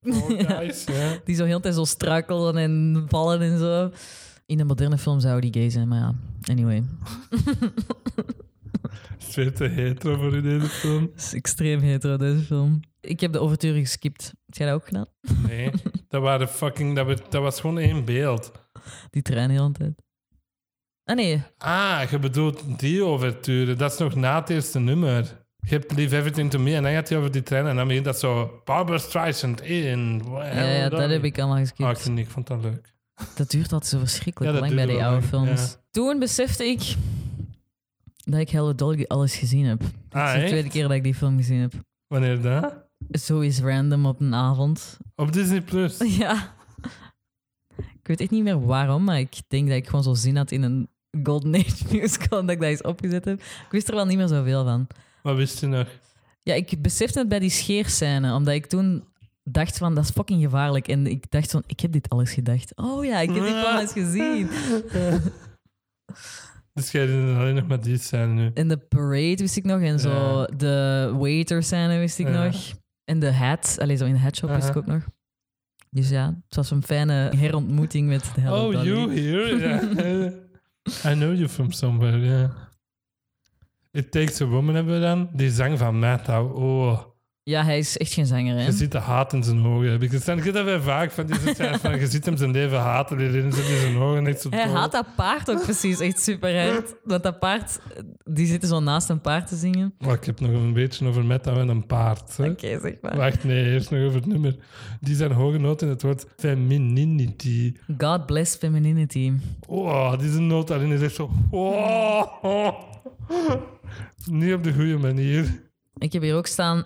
[SPEAKER 1] Fall guys, ja.
[SPEAKER 2] die zo heel de tijd zo struikelen en vallen en zo. In een moderne film zou die gay zijn, maar ja, anyway.
[SPEAKER 1] Twee te hetero voor in deze film.
[SPEAKER 2] Het is extreem hetero, deze film. Ik heb de overture geskipt. Heb jij dat ook gedaan?
[SPEAKER 1] Nee, dat, waren fucking, dat, werd- dat was gewoon één beeld.
[SPEAKER 2] Die trein heel de tijd. Ah nee,
[SPEAKER 1] Ah, je bedoelt die overture. Dat is nog na het eerste nummer. Je hebt Leave Everything to Me en dan gaat hij over die trein en dan begint dat zo... Barbara Streisand in...
[SPEAKER 2] ja, ja, dat heb ik allemaal
[SPEAKER 1] Ah, ik,
[SPEAKER 2] geskipt.
[SPEAKER 1] vind- ik vond dat leuk.
[SPEAKER 2] Dat duurt altijd zo verschrikkelijk
[SPEAKER 1] Ja, dat
[SPEAKER 2] lang bij
[SPEAKER 1] duurde
[SPEAKER 2] die
[SPEAKER 1] wel
[SPEAKER 2] oude
[SPEAKER 1] lang,
[SPEAKER 2] films.
[SPEAKER 1] ja.
[SPEAKER 2] Toen besefte ik dat ik Hello Dolly alles gezien heb.
[SPEAKER 1] Ah,
[SPEAKER 2] het is de
[SPEAKER 1] echt?
[SPEAKER 2] tweede keer dat ik die film gezien heb.
[SPEAKER 1] Wanneer dat?
[SPEAKER 2] Zo is random op een avond.
[SPEAKER 1] Op Disney Plus.
[SPEAKER 2] Ja. Ik weet echt niet meer waarom, maar ik denk dat ik gewoon zo zin had in een Golden Age musical en dat ik dat eens opgezet heb. Ik wist er wel niet meer zoveel van.
[SPEAKER 1] Wat wist je nog?
[SPEAKER 2] Ja, ik besefte het bij die scheerscène, omdat ik toen dacht van, dat is fucking gevaarlijk. En ik dacht van, ik heb dit alles gedacht. Oh ja, ik heb dit wel eens gezien.
[SPEAKER 1] Dus jij doet alleen nog maar die scène nu.
[SPEAKER 2] En de parade wist ik nog. En zo
[SPEAKER 1] Ja.
[SPEAKER 2] de waiter scène wist ik
[SPEAKER 1] Ja.
[SPEAKER 2] nog. En de hat. Allee, zo in de hatshop wist ik
[SPEAKER 1] Aha.
[SPEAKER 2] ook nog. Dus ja, het was een fijne herontmoeting met de Hello
[SPEAKER 1] oh,
[SPEAKER 2] Dolly.
[SPEAKER 1] you here? Yeah. I know you from somewhere, yeah. It Takes a Woman hebben we dan. Die zang van Matt Howe. Oh,
[SPEAKER 2] Ja, hij is echt geen zanger, hè?
[SPEAKER 1] je ziet de haat in zijn ogen. Heb ik gestaan. Ik heb dat bij vaak van die scènes van... Je ziet hem zijn leven haten, die zit in zijn ogen. Echt zo
[SPEAKER 2] Hij
[SPEAKER 1] dood.
[SPEAKER 2] haat dat paard ook precies echt super hard. Want dat paard, die zitten zo naast een paard te zingen.
[SPEAKER 1] Maar ik heb nog een beetje over Matt Howe en een paard. hè.
[SPEAKER 2] Oké, zeg maar.
[SPEAKER 1] Wacht, nee, eerst nog over het nummer. Die zijn hoge noot in het woord femininity.
[SPEAKER 2] God bless femininity.
[SPEAKER 1] Oh, die is een noot daarin is echt zo... Oh. Niet op de goede manier.
[SPEAKER 2] Ik heb hier ook staan.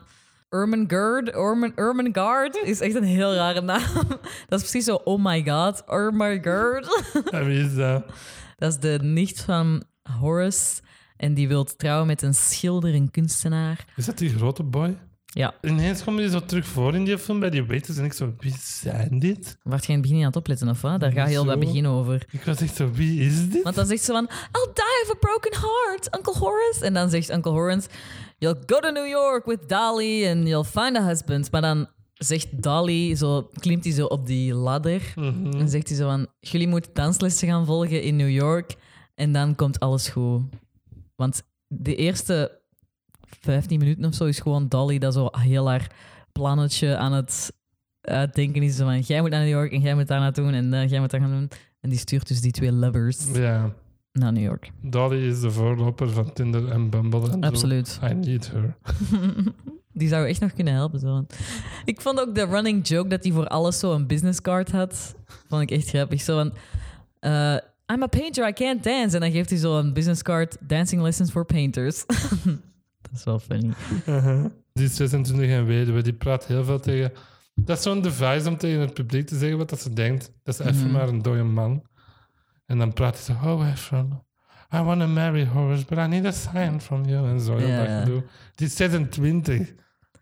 [SPEAKER 2] Ermengarde. Ermen, Ermengarde is echt een heel rare naam. Dat is precies zo, oh my god, Ermengarde.
[SPEAKER 1] En wie is dat?
[SPEAKER 2] Dat is de nicht van Horace. En die wil trouwen met een schilder, een kunstenaar.
[SPEAKER 1] Is dat die grote boy?
[SPEAKER 2] Ja,
[SPEAKER 1] Ineens komen die zo terug voor in die film bij die waiters en ik zo, wie zijn dit?
[SPEAKER 2] waar je in het begin niet aan het opletten of wat? Daar gaat heel dat
[SPEAKER 1] Zo.
[SPEAKER 2] begin over.
[SPEAKER 1] Ik was echt zo, wie is dit?
[SPEAKER 2] Want dan zegt ze van, I'll die of a broken heart, Uncle Horace. En dan zegt Uncle Horace, you'll go to New York with Dolly and you'll find a husband. Maar dan zegt Dolly, zo, klimt hij zo op die ladder.
[SPEAKER 1] Mhm.
[SPEAKER 2] En zegt hij zo van, jullie moeten danslessen gaan volgen in New York. En dan komt alles goed. Want de eerste 15 minuten of zo is gewoon Dolly dat zo heel haar plannetje aan het uitdenken is. Zo van, jij moet naar New York en jij moet daar naartoe en eh, jij moet daar gaan doen. En die stuurt dus die twee lovers
[SPEAKER 1] Ja,
[SPEAKER 2] naar New York.
[SPEAKER 1] Dolly is de voorloper van Tinder en Bumble. En zo.
[SPEAKER 2] Absoluut.
[SPEAKER 1] I need her.
[SPEAKER 2] Die zou echt nog kunnen helpen. Zo. Ik vond ook de running joke dat hij voor alles zo een business card had. Vond ik echt grappig. Zo van, eh, I'm a painter, I can't dance. En dan geeft hij zo een business card, dancing lessons for painters. dat is wel funny.
[SPEAKER 1] Die 26 en weduwe, die praat heel veel tegen... Dat is zo'n device om tegen het publiek te zeggen wat dat ze denkt. Dat is
[SPEAKER 2] Mhm.
[SPEAKER 1] even maar een dode man. En dan praat hij zo, oh Efron, I want to marry Horace, but I need a sign from you. En zo, heel
[SPEAKER 2] Ja.
[SPEAKER 1] dat gedoe. Die 26,
[SPEAKER 2] Ze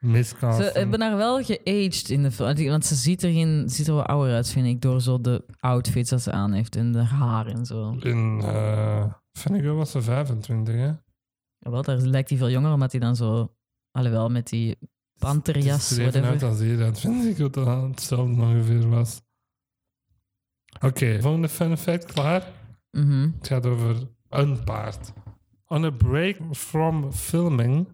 [SPEAKER 1] miskansen.
[SPEAKER 2] hebben haar wel geaged in de film. Want ze ziet er, geen, ziet er wel ouder uit, vind ik. Door zo de outfits dat ze aan heeft en de haar en zo.
[SPEAKER 1] In eh Finnegan was ze 25, hè?
[SPEAKER 2] Wel, daar lijkt hij veel jonger, omdat hij dan zo... Alhoewel, met die panterjas,
[SPEAKER 1] Het is er even uit
[SPEAKER 2] whatever.
[SPEAKER 1] als hier, dat vind ik dat dat hetzelfde ongeveer was. Oké, volgende fun fact, klaar?
[SPEAKER 2] Mhm.
[SPEAKER 1] Het gaat over een paard. On a break from filming,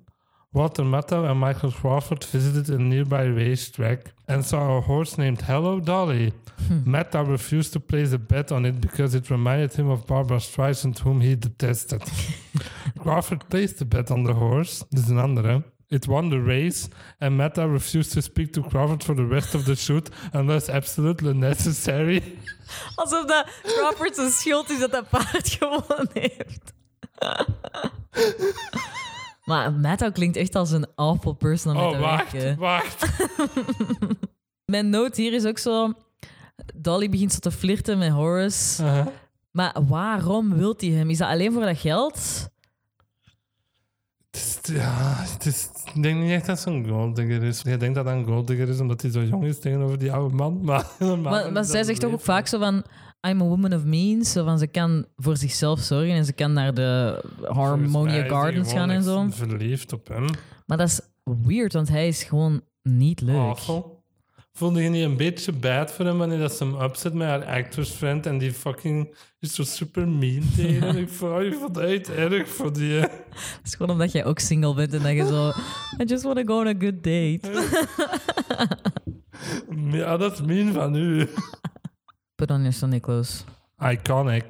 [SPEAKER 1] Walter Matthau and Michael Crawford visited a nearby racetrack and saw a horse named Hello Dolly.
[SPEAKER 2] Hm.
[SPEAKER 1] Matthau refused to place a bet on it because it reminded him of Barbara Streisand, whom he detested. Crawford placed a bet on the horse, dit is een andere. It won the race, and Meta refused to speak to Crawford for the rest of the shoot unless absolutely necessary.
[SPEAKER 2] Alsof dat Roberts een schuld is dat dat paard gewonnen heeft. maar Matto klinkt echt als een awful person om mee
[SPEAKER 1] Oh,
[SPEAKER 2] te
[SPEAKER 1] wacht,
[SPEAKER 2] werken.
[SPEAKER 1] wacht.
[SPEAKER 2] Mijn noot hier is ook zo... Dolly begint zo te flirten met Horace.
[SPEAKER 1] Uh-huh.
[SPEAKER 2] Maar waarom wilt hij hem? Is dat alleen voor dat geld?
[SPEAKER 1] Het is- Ja, het is, ik denk niet echt dat zo'n golddigger is. Je denkt dat dat een golddigger is omdat hij zo jong is tegenover die oude man. Maar, normaal
[SPEAKER 2] Maar, maar
[SPEAKER 1] is
[SPEAKER 2] zij
[SPEAKER 1] dat
[SPEAKER 2] zegt
[SPEAKER 1] een
[SPEAKER 2] toch ook vaak zo van... I'm a woman of means. Zo van, ze kan voor zichzelf zorgen en ze kan naar de
[SPEAKER 1] Volgens mij is
[SPEAKER 2] Harmonia
[SPEAKER 1] die
[SPEAKER 2] Gardens
[SPEAKER 1] gewoon
[SPEAKER 2] gaan en
[SPEAKER 1] echt
[SPEAKER 2] zo.
[SPEAKER 1] verliefd op hem.
[SPEAKER 2] Maar dat is weird, want hij is gewoon niet leuk.
[SPEAKER 1] Awful. Voelde je niet een beetje bad voor hem wanneer dat ze hem upset met haar actors friend en die fucking is zo super mean tegen hem? Ik vond oh, ik vond het echt erg voor die. eh, hè.
[SPEAKER 2] Het is gewoon omdat jij ook single bent en dat je zo... I just want to go on a good date.
[SPEAKER 1] Ja, ah, dat is mean van u.
[SPEAKER 2] Put on your Sunday clothes.
[SPEAKER 1] Iconic.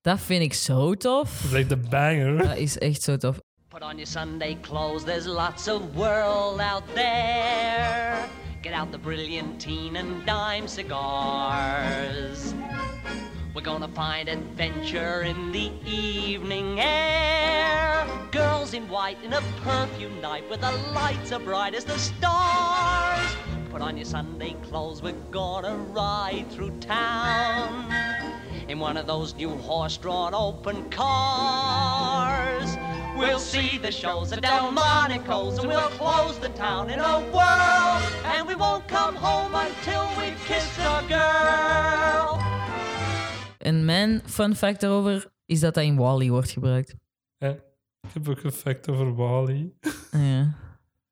[SPEAKER 2] Dat vind ik zo tof.
[SPEAKER 1] Like the banger.
[SPEAKER 2] Dat is echt zo tof.
[SPEAKER 6] Put on your Sunday clothes, there's lots of world out there. Get out the brilliantine and dime cigars. We're gonna find adventure in the evening air. Girls in white in a perfume night with the lights are bright as the stars. Put on your Sunday clothes, we're gonna ride through town in one of those new horse-drawn open cars. We'll see the shows at Delmonico's and we'll close the town in a whirl. And we won't come home until we've kissed a girl.
[SPEAKER 2] En mijn fun fact daarover is dat dat in Wally wordt gebruikt.
[SPEAKER 1] Ja. Ik heb ook een fact over Wally.
[SPEAKER 2] Ah, Ja.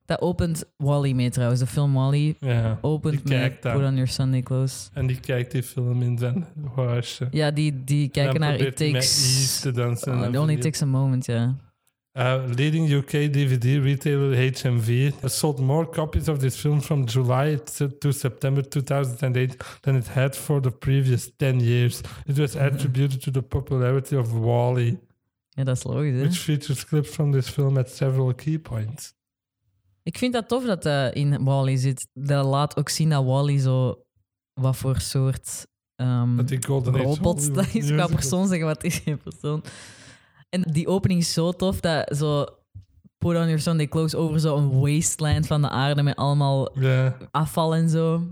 [SPEAKER 2] Dat opent Wally mee trouwens. De film Wally
[SPEAKER 1] Ja.
[SPEAKER 2] opent
[SPEAKER 1] Ik
[SPEAKER 2] met
[SPEAKER 1] kijk
[SPEAKER 2] Put
[SPEAKER 1] daar.
[SPEAKER 2] on Your Sunday Clothes.
[SPEAKER 1] En die kijkt die film in zijn huisje.
[SPEAKER 2] Ja, die, die
[SPEAKER 1] En
[SPEAKER 2] kijken
[SPEAKER 1] dan
[SPEAKER 2] naar It
[SPEAKER 1] probeert hij met
[SPEAKER 2] Takes...
[SPEAKER 1] Eve te dansen.
[SPEAKER 2] Oh,
[SPEAKER 1] en
[SPEAKER 2] it
[SPEAKER 1] dan
[SPEAKER 2] only
[SPEAKER 1] verdient-
[SPEAKER 2] takes a moment, ja.
[SPEAKER 1] Uh, leading UK DVD retailer HMV has sold more copies of this film from July t- to September 2008 than it had for the previous 10 years. It was
[SPEAKER 2] Mm-hmm.
[SPEAKER 1] attributed to the popularity of Wally,
[SPEAKER 2] Ja, dat is logisch, hè?
[SPEAKER 1] which features clips from this film at several key points.
[SPEAKER 2] Mm-hmm. Ik vind dat tof dat dat in Wally zit. Dat laat ook zien dat Wally zo... Wat voor soort... ehm,
[SPEAKER 1] Dat die Golden Age
[SPEAKER 2] robot
[SPEAKER 1] Hollywood
[SPEAKER 2] dat is qua
[SPEAKER 1] musical.
[SPEAKER 2] persoon. Zeg wat is je persoon. En die opening is zo tof dat zo... Put on your Sunday clothes over zo'n wasteland van de aarde met allemaal
[SPEAKER 1] Ja,
[SPEAKER 2] afval en zo.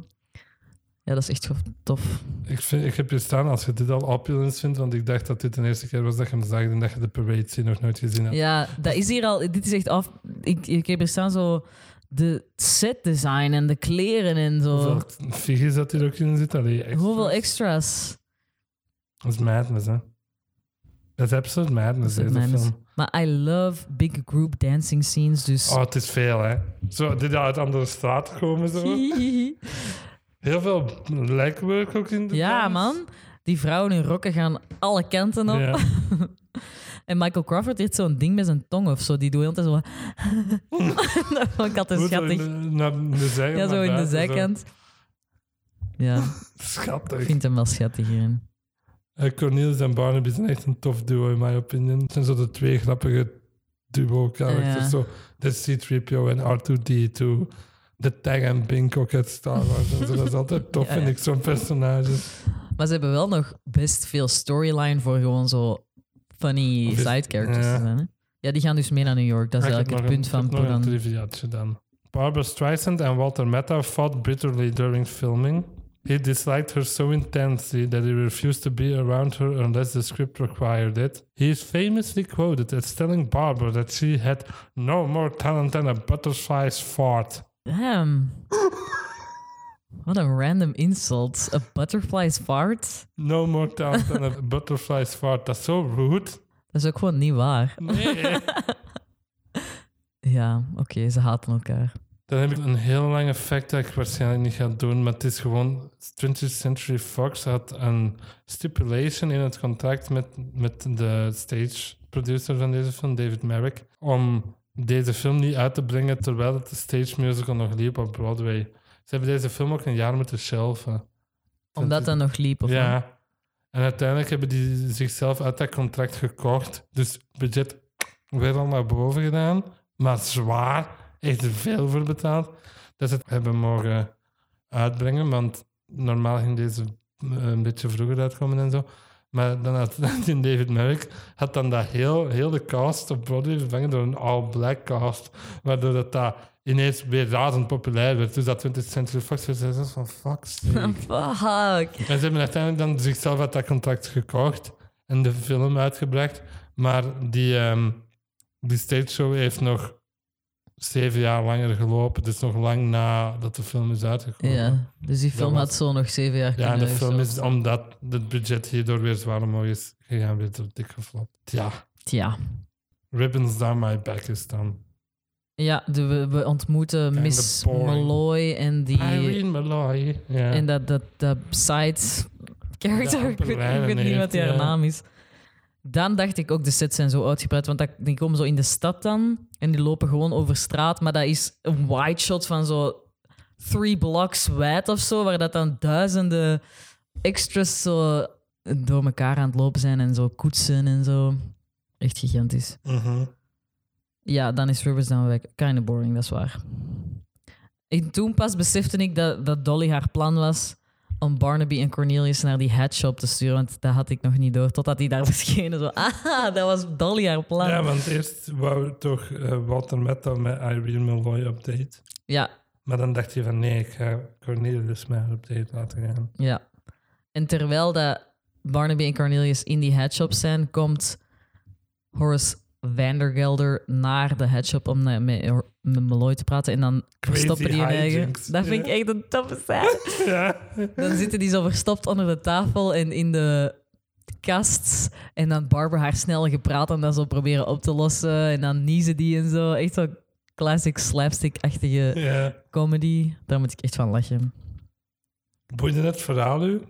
[SPEAKER 2] Ja, dat is echt tof.
[SPEAKER 1] ik, vind, ik heb hier staan als je dit al opulence vindt, want ik dacht dat dit de eerste keer was dat je hem zag en dat je de parade scene nog nooit gezien had.
[SPEAKER 2] Ja, dat is hier al. Dit is echt af. Ik, ik heb er staan zo de set design en de kleren en zo.
[SPEAKER 1] Hoeveel figures dat hier ook in zit? Allee, echt.
[SPEAKER 2] Hoeveel extras.
[SPEAKER 1] Dat is madness, hè? Dat is absolute madness, deze
[SPEAKER 2] Mijn-
[SPEAKER 1] film.
[SPEAKER 2] Maar I love big group dancing scenes. Dus.
[SPEAKER 1] Oh, het is veel, hè? Zo, dit uit andere straten komen zo.
[SPEAKER 2] Oh.
[SPEAKER 1] Heel veel legwork ook in de
[SPEAKER 2] ja,
[SPEAKER 1] films.
[SPEAKER 2] man. Die vrouwen in rokken gaan alle kanten op.
[SPEAKER 1] Ja.
[SPEAKER 2] En Michael Crawford heeft zo'n ding met zijn tong of zo. Die doet heel altijd zo. dat vond ik altijd
[SPEAKER 1] Goed, zo in
[SPEAKER 2] schattig.
[SPEAKER 1] de- naar de zij-
[SPEAKER 2] ja, zo
[SPEAKER 1] naar
[SPEAKER 2] in de
[SPEAKER 1] buiten, zo.
[SPEAKER 2] zijkant. Ja,
[SPEAKER 1] Schattig.
[SPEAKER 2] ik vind hem wel schattig hierin.
[SPEAKER 1] Eh, Cornelis en Barnaby zijn echt een tof duo, in my opinion. Het zijn zo de twee grappige duo-characters.
[SPEAKER 2] Ja.
[SPEAKER 1] Zo, de C-3PO en R2-D2. De Tag en Bink ook uit Star Wars. en zo. Dat is altijd tof,
[SPEAKER 2] Ja,
[SPEAKER 1] vind
[SPEAKER 2] ja.
[SPEAKER 1] ik, zo'n personage.
[SPEAKER 2] Maar ze hebben wel nog best veel storyline voor gewoon zo funny
[SPEAKER 1] Of is-
[SPEAKER 2] side characters
[SPEAKER 1] ja. Ah,
[SPEAKER 2] te zijn. Hè? Ja, die gaan dus mee naar New York. Dat is
[SPEAKER 1] Ik heb
[SPEAKER 2] eigenlijk het
[SPEAKER 1] nog
[SPEAKER 2] punt
[SPEAKER 1] een-
[SPEAKER 2] van
[SPEAKER 1] ik heb nog een
[SPEAKER 2] Podan.
[SPEAKER 1] triviaatje dan. Barbara Streisand and Walter Matthau fought bitterly during filming. He disliked her so intensely that he refused to be around her unless the script required it. He is famously quoted as telling Barbara that she had no more talent than a butterfly's fart.
[SPEAKER 2] Damn. Wat een random insult. A butterfly's fart?
[SPEAKER 1] No more talent than a butterfly's fart. Dat is zo rude.
[SPEAKER 2] Dat is ook gewoon niet waar.
[SPEAKER 1] Nee.
[SPEAKER 2] Ja, oké, ze haten elkaar.
[SPEAKER 1] Dan heb ik een heel lange fact dat ik waarschijnlijk niet ga doen, maar het is gewoon 20th Century Fox had een stipulation in het contract met, met de stage producer van deze film, David Merrick, om deze film niet uit te brengen terwijl het de stage musical nog liep op Broadway. Ze hebben deze film ook een jaar moeten shelven.
[SPEAKER 2] Omdat
[SPEAKER 1] is-
[SPEAKER 2] dat nog liep. Of wat?
[SPEAKER 1] Ja. En uiteindelijk hebben die zichzelf uit dat contract gekocht. Dus budget weer al naar boven gedaan. Maar zwaar, echt veel voor betaald. Dat ze het hebben mogen uitbrengen. Want normaal ging deze eh, een beetje vroeger uitkomen en zo. Maar dan had in David Merrick had dan dat heel, heel de cast op Broadway vervangen door een all-black cast. Waardoor dat, dat ineens weer razend populair werd. Dus dat 20th Century Fox was dat is van fuck sake.
[SPEAKER 2] Fuck.
[SPEAKER 1] En ze hebben uiteindelijk dan zichzelf uit dat contract gekocht en de film uitgebracht. Maar die, ehm die stage show heeft nog zeven jaar langer gelopen. Dus nog lang nadat de film is uitgekomen.
[SPEAKER 2] Ja, dus die film
[SPEAKER 1] was-
[SPEAKER 2] had zo nog zeven jaar
[SPEAKER 1] Ja, en
[SPEAKER 2] kunnen
[SPEAKER 1] de
[SPEAKER 2] of
[SPEAKER 1] film
[SPEAKER 2] zo.
[SPEAKER 1] is omdat het budget hierdoor weer zwaar omhoog is gegaan, weer door dik geflopt. Ja,
[SPEAKER 2] Ja.
[SPEAKER 1] Ribbons Down My Back is dan.
[SPEAKER 2] Ja, de- we, we ontmoeten
[SPEAKER 1] de
[SPEAKER 2] Miss
[SPEAKER 1] boring.
[SPEAKER 2] Malloy en die...
[SPEAKER 1] Irene Malloy. Ja.
[SPEAKER 2] En dat, dat, dat side character,
[SPEAKER 1] Ja,
[SPEAKER 2] ik weet, ik
[SPEAKER 1] Berlijn
[SPEAKER 2] weet niet
[SPEAKER 1] heeft,
[SPEAKER 2] wat haar
[SPEAKER 1] ja.
[SPEAKER 2] naam is. Dan dacht ik ook, de sets zijn zo uitgebreid, want dat, die komen zo in de stad dan en die lopen gewoon over straat, maar dat is een wide shot van zo three blocks wijd of zo, waar dat dan duizenden extras zo door elkaar aan het lopen zijn en zo koetsen en zo. Echt gigantisch.
[SPEAKER 1] Mhm.
[SPEAKER 2] Ja, dan is Rivers dan weg. Kind of boring, dat is waar. En toen pas besefte ik dat, dat Dolly haar plan was om Barnaby en Cornelius naar die headshop te sturen. Want dat had ik nog niet door, totdat die daar verschenen. Zo, ah, dat was Dolly haar plan.
[SPEAKER 1] Ja, want eerst wou toch eh, Walter Metal met Irene Malloy update.
[SPEAKER 2] ja,
[SPEAKER 1] Maar dan dacht je van nee, ik ga dus Cornelius mij update laten gaan.
[SPEAKER 2] Ja. En terwijl dat Barnaby en Cornelius in die headshop zijn, komt Horace Vandergelder naar de headshop om eh, met, met Malloy te praten. En dan verstoppen die hun eigen.
[SPEAKER 1] hijinks,
[SPEAKER 2] Dat vind ik echt een toffe scène.
[SPEAKER 1] Ja,
[SPEAKER 2] Dan zitten die zo verstopt onder de tafel en in de kast. En dan Barbara haar snel gepraat en dat zo proberen op te lossen. En dan niezen die en zo. Echt zo classic slapstick-achtige
[SPEAKER 1] ja.
[SPEAKER 2] comedy. Daar moet ik echt van lachen.
[SPEAKER 1] Boeide het verhaal u?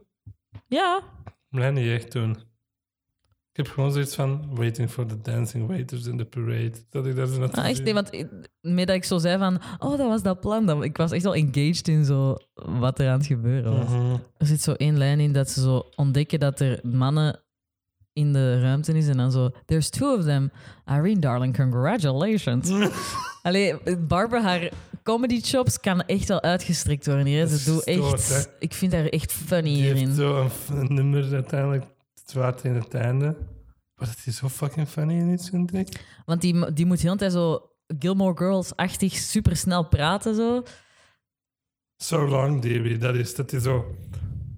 [SPEAKER 2] Ja,
[SPEAKER 1] Mij niet echt toen. Ik heb gewoon zoiets van waiting for the dancing waiters in the parade. Dat ik daar zo naartoe
[SPEAKER 2] Ah, echt
[SPEAKER 1] zit.
[SPEAKER 2] nee, want ik- met dat ik zo zei van, oh, dat was dat plan. Dan, ik was echt wel engaged in zo wat er aan het gebeuren was.
[SPEAKER 1] Mhm.
[SPEAKER 2] Er zit zo één lijn in dat ze zo ontdekken dat er mannen in de ruimte is en dan zo, there's two of them. Irene, darling, congratulations. Allee, Barbara, haar comedy chops kan echt wel uitgestrekt worden hier. hè.
[SPEAKER 1] Dat
[SPEAKER 2] Ze doet
[SPEAKER 1] stoort,
[SPEAKER 2] echt,
[SPEAKER 1] hè.
[SPEAKER 2] ik vind haar echt funny
[SPEAKER 1] Die heeft eh,
[SPEAKER 2] hierin.
[SPEAKER 1] zo een, f- een nummer uiteindelijk, het waard in het einde. Maar dat is zo fucking funny in iets, vind ik.
[SPEAKER 2] Want die, die moet heel de tijd zo Gilmore Girls-achtig supersnel praten zo.
[SPEAKER 1] So long, Davy. Dat is, dat is zo...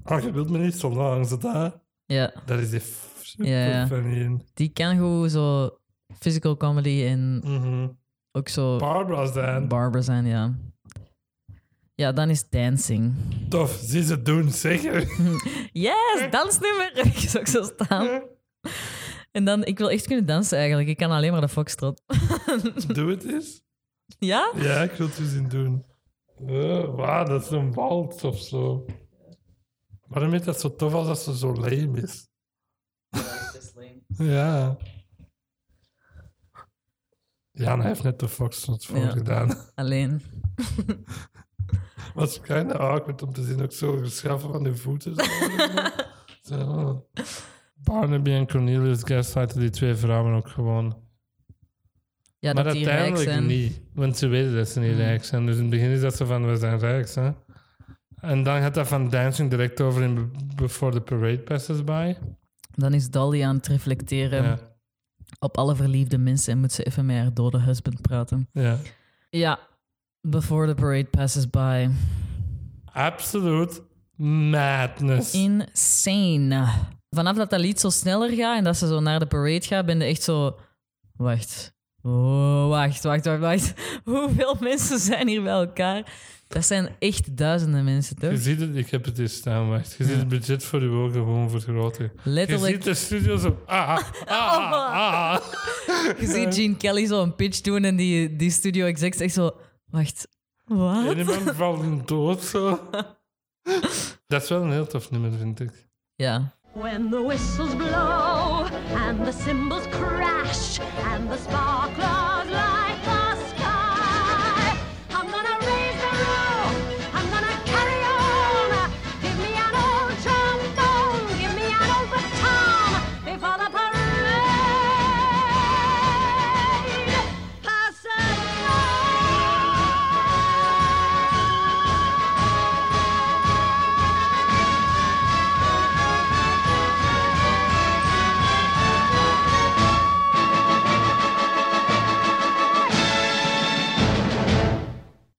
[SPEAKER 1] Ah, je wilt me niet zo lang, zo dat...
[SPEAKER 2] Ja.
[SPEAKER 1] Dat is die f- super
[SPEAKER 2] Ja, ja.
[SPEAKER 1] funny in.
[SPEAKER 2] die kan gewoon zo physical comedy en
[SPEAKER 1] Mhm.
[SPEAKER 2] ook zo
[SPEAKER 1] Barbara zijn.
[SPEAKER 2] barber zijn, ja. Ja, dan is dancing.
[SPEAKER 1] Tof, zie ze doen, zeker.
[SPEAKER 2] Yes, dansnummer! Ik zou ook zo staan. En dan, ik wil echt kunnen dansen eigenlijk. Ik kan alleen maar de foxtrot.
[SPEAKER 1] Doe het eens.
[SPEAKER 2] ja?
[SPEAKER 1] Ja, ik wil het eens zien doen. Eh, Wauw, dat is een wals of zo. Waarom is dat zo tof als dat ze zo lame is? Ja. Jan heeft net de Foxtrot voor
[SPEAKER 2] Ja.
[SPEAKER 1] gedaan.
[SPEAKER 2] Alleen.
[SPEAKER 1] Was kind of awkward om te zien, ook zo geschaffen van de voeten. zo. Zo. Barnaby en Cornelius gaslighten die twee vrouwen ook gewoon.
[SPEAKER 2] Ja,
[SPEAKER 1] Maar
[SPEAKER 2] dat die rijk
[SPEAKER 1] uiteindelijk
[SPEAKER 2] zijn. Hmm.
[SPEAKER 1] niet. Want ze weten dat ze niet rijk zijn. Dus in het begin is dat ze van, we zijn rijk. Hè? En dan gaat dat van dancing direct over in be- Before the Parade Passes By.
[SPEAKER 2] Dan is Dolly aan het reflecteren
[SPEAKER 1] Ja.
[SPEAKER 2] op alle verliefde mensen en moet ze even met haar dode husband praten.
[SPEAKER 1] ja.
[SPEAKER 2] Ja, before the parade passes by.
[SPEAKER 1] Absoluut madness.
[SPEAKER 2] Insane. Vanaf dat dat lied zo sneller gaat en dat ze zo naar de parade gaat, ben je echt zo... Wacht. Oh, wacht, wacht, wacht, wacht. Hoeveel mensen zijn hier bij elkaar? Dat zijn echt duizenden mensen,
[SPEAKER 1] Je
[SPEAKER 2] toch?
[SPEAKER 1] ziet het, ik heb het hier staan, wacht. Je ziet het budget voor je ogen gewoon vergroten.
[SPEAKER 2] Letterlijk. Oh.
[SPEAKER 1] Je ziet de studio zo... Ah, ah, ah, ah.
[SPEAKER 2] Je ziet Gene Kelly zo een pitch doen en die, die studio execs echt zo... Wacht,
[SPEAKER 1] En
[SPEAKER 2] wat?
[SPEAKER 1] iemand valt dood zo. Dat is wel een heel tof nummer, vind ik.
[SPEAKER 2] Ja.
[SPEAKER 5] When the whistles blow and the cymbals crash and the sparklers light the sky, I'm gonna raise the roof. I'm gonna carry on. Give me an old trombone. Give me an old baton before the parade passes by.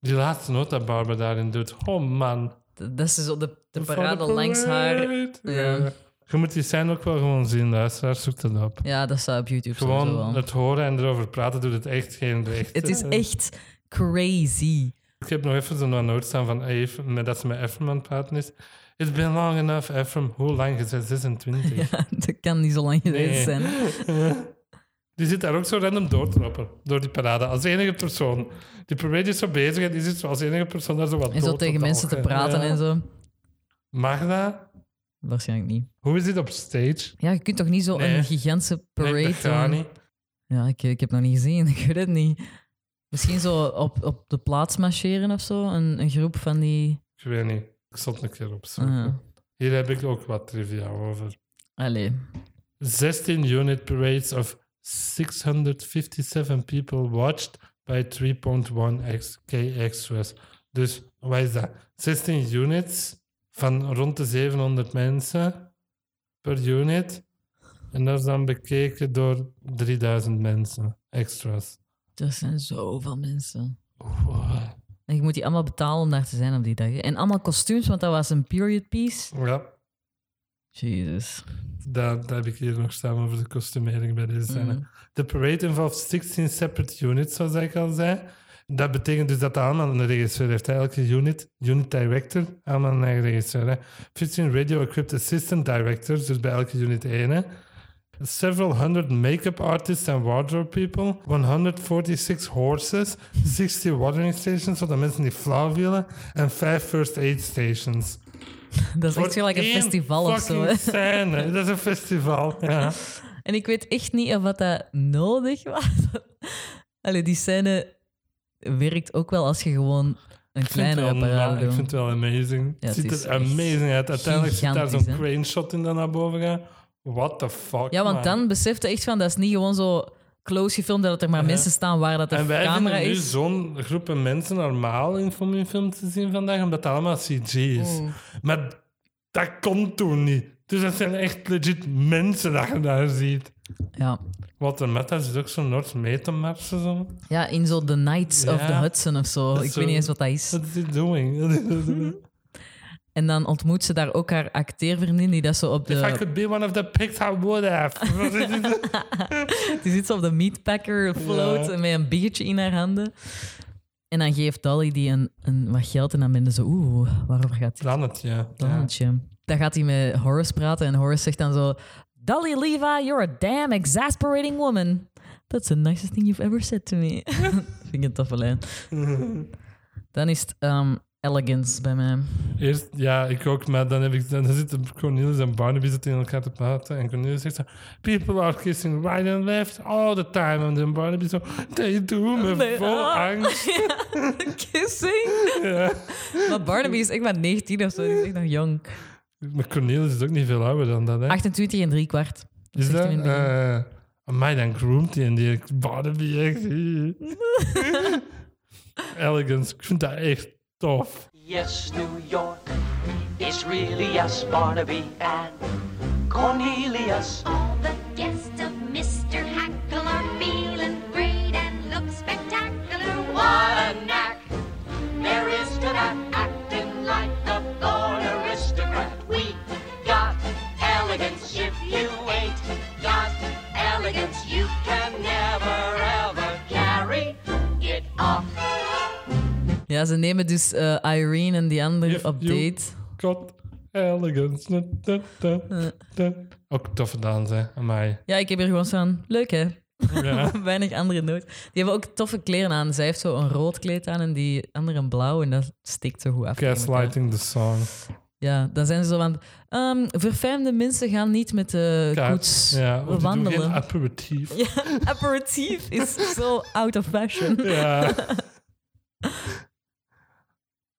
[SPEAKER 1] Die laatste noot dat Barbara daarin doet. Oh man.
[SPEAKER 2] Dat dat ze zo de, de
[SPEAKER 1] Van
[SPEAKER 2] parade
[SPEAKER 1] de
[SPEAKER 2] langs haar...
[SPEAKER 1] parade.
[SPEAKER 2] Ja.
[SPEAKER 1] Ja. Je moet die scène ook wel gewoon zien, luisteraar. Zoek dat op.
[SPEAKER 2] Ja, dat staat op YouTube sowieso
[SPEAKER 1] Gewoon
[SPEAKER 2] wel.
[SPEAKER 1] het horen en erover praten doet het echt geen recht.
[SPEAKER 2] Het is
[SPEAKER 1] Eh,
[SPEAKER 2] echt crazy.
[SPEAKER 1] Ik heb nog even zo'n noot staan van Eve, met dat ze met Ephraim aan het praten is. It's been long enough, Ephraim. Hoe lang? Je bent 26.
[SPEAKER 2] Ja, dat kan niet zo lang geweest
[SPEAKER 1] Nee.
[SPEAKER 2] zijn.
[SPEAKER 1] Die zit daar ook zo random door te lopen, door die parade, als enige persoon. Die parade is zo bezig en die zit zo als enige persoon daar zo wat
[SPEAKER 2] En zo
[SPEAKER 1] dood
[SPEAKER 2] tegen
[SPEAKER 1] te
[SPEAKER 2] mensen te
[SPEAKER 1] talken.
[SPEAKER 2] praten
[SPEAKER 1] Ja.
[SPEAKER 2] en zo.
[SPEAKER 1] Magda,
[SPEAKER 2] Waarschijnlijk niet.
[SPEAKER 1] hoe is dit op stage?
[SPEAKER 2] Ja, je kunt toch niet zo
[SPEAKER 1] Nee.
[SPEAKER 2] een gigantische parade
[SPEAKER 1] nee, dat gaat
[SPEAKER 2] doen?
[SPEAKER 1] niet.
[SPEAKER 2] Ja, ik, ik heb nog niet gezien. Ik weet het niet. Misschien zo op, op de plaats marcheren of zo. Een, een groep van die...
[SPEAKER 1] Ik weet niet. Ik zal het een keer opzoeken.
[SPEAKER 2] ah,
[SPEAKER 1] Hier heb ik ook wat trivia over.
[SPEAKER 2] allee.
[SPEAKER 1] 16 unit parades of 657 people watched by 3.1 kx was. Dus wat is dat? 16 units van rond de 700 mensen per unit. En dat is dan bekeken door 3000 mensen extra's.
[SPEAKER 2] Er zijn zoveel mensen.
[SPEAKER 1] Wow.
[SPEAKER 2] En je moet die allemaal betalen om daar te zijn op die dag. hè. En allemaal kostuums, want dat was een period piece.
[SPEAKER 1] Ja,
[SPEAKER 2] Jezus.
[SPEAKER 1] dat, dat heb ik hier nog staan over de kostumering bij deze scène. De parade involves 16 separate units, zoals ik al zei. Dat betekent dus dat de Alman een regisseur heeft. hè. Elke unit, unit director, Alman een eigen regisseur. hè. 15 radio-equipped assistant directors, dus bij elke unit één. hè. Several hundred makeup artists and wardrobe people, 146 horses, 60 watering stations, zodat mensen die flauw vielen, en 5 first aid stations.
[SPEAKER 2] Dat is echt
[SPEAKER 1] Voor
[SPEAKER 2] gelijk een
[SPEAKER 1] één
[SPEAKER 2] festival of
[SPEAKER 1] fucking
[SPEAKER 2] zo. hè.
[SPEAKER 1] Scène. Dat is een festival. Ja.
[SPEAKER 2] En ik weet echt niet of wat dat nodig was. Allee, die scène werkt ook wel als je gewoon een
[SPEAKER 1] Ik vind
[SPEAKER 2] kleine
[SPEAKER 1] het wel
[SPEAKER 2] opera
[SPEAKER 1] normaal, Ik vind het
[SPEAKER 2] doet.
[SPEAKER 1] wel amazing.
[SPEAKER 2] Ja,
[SPEAKER 1] het
[SPEAKER 2] het
[SPEAKER 1] ziet
[SPEAKER 2] is
[SPEAKER 1] er
[SPEAKER 2] echt
[SPEAKER 1] amazing uit. Uiteindelijk zit daar zo'n
[SPEAKER 2] gigantisch, hè?
[SPEAKER 1] crane shot in dat naar boven gaat. What the fuck.
[SPEAKER 2] Ja, want
[SPEAKER 1] man.
[SPEAKER 2] dan besefte echt van, dat is niet gewoon zo close gefilmd dat er maar mensen staan waar dat de
[SPEAKER 1] En wij
[SPEAKER 2] camera
[SPEAKER 1] vinden nu
[SPEAKER 2] is.
[SPEAKER 1] zo'n groepen mensen normaal in om in film te zien vandaag, omdat dat allemaal CG is. Maar dat komt toen niet. Dus dat zijn echt legit mensen dat je daar ziet.
[SPEAKER 2] Ja.
[SPEAKER 1] Wat een meta zit ook zo'n Noord mee te marsen. Zo.
[SPEAKER 2] ja, in zo The Knights of the
[SPEAKER 1] Ja.
[SPEAKER 2] Hudson of zo.
[SPEAKER 1] Dat is
[SPEAKER 2] Ik
[SPEAKER 1] zo-
[SPEAKER 2] weet niet eens wat dat is.
[SPEAKER 1] What is he doing?
[SPEAKER 2] En dan ontmoet ze daar ook haar acteervriendin die dat zo op
[SPEAKER 1] If I
[SPEAKER 2] de...
[SPEAKER 1] could be one of the pigs, I would have.
[SPEAKER 2] Die zit zo op de meatpacker float
[SPEAKER 1] Ja.
[SPEAKER 2] met een biertje in haar handen. En dan geeft Dolly die een, een wat geld en dan ben je zo... Oeh, waarover gaat dit?
[SPEAKER 1] Planet, ja. ja.
[SPEAKER 2] Donnetje. Dan gaat hij met Horace praten en Horace zegt dan zo... Dolly Leva, you're a damn exasperating woman. That's the nicest thing you've ever said to me. Vind ik een toffe lijn. dan is het ehm, elegance bij mij.
[SPEAKER 1] Eerst, ja, ik ook, maar dan, heb ik, dan zitten Cornelius en Barnaby zitten in elkaar te praten. En Cornelius zegt zo: People are kissing right and left all the time. En dan Barnaby zo: They do me
[SPEAKER 2] Nee,
[SPEAKER 1] vol
[SPEAKER 2] ah.
[SPEAKER 1] angst.
[SPEAKER 2] Kissing. Maar Barnaby is echt maar 19 of zo. Die is echt nog jong.
[SPEAKER 1] Maar Cornelius is ook niet veel ouder dan dat, hè?
[SPEAKER 2] 28 en drie kwart. Dat
[SPEAKER 1] is
[SPEAKER 2] zegt
[SPEAKER 1] dat?
[SPEAKER 2] hij in het begin.
[SPEAKER 1] eh amai, dan groomt hij en die Barnaby echt. Elegance, ik vind dat echt tof.
[SPEAKER 6] Yes, New York is really us, Barnaby and Cornelius.
[SPEAKER 3] All the guests of Mr. Hackle are feeling great and look spectacular. What a knack!
[SPEAKER 6] There is to that acting like the born aristocrat. We got elegance if you ain't got elegance. You can never ever carry it off.
[SPEAKER 2] Ja, ze nemen dus eh, Irene en die andere
[SPEAKER 1] If
[SPEAKER 2] op
[SPEAKER 1] you-
[SPEAKER 2] date.
[SPEAKER 1] God, elegance. Da, da, da,
[SPEAKER 2] Eh.
[SPEAKER 1] da. Ook tof gedaan, hè? Amai.
[SPEAKER 2] Ja, ik heb hier gewoon zo'n... Leuk, hè?
[SPEAKER 1] Ja.
[SPEAKER 2] Weinig andere nood. Die hebben ook toffe kleren aan. Zij heeft zo een rood kleed aan en die andere een blauw. En dat steekt zo goed af. tegen elkaar.
[SPEAKER 1] Gaslighting the song.
[SPEAKER 2] Ja, dan zijn ze zo van... ehm verfijnde mensen gaan niet met de
[SPEAKER 1] Ja,
[SPEAKER 2] koets
[SPEAKER 1] ja, of die doen geen
[SPEAKER 2] wandelen.
[SPEAKER 1] aperitief. Ja.
[SPEAKER 2] Ja, aperitief is zo out of fashion.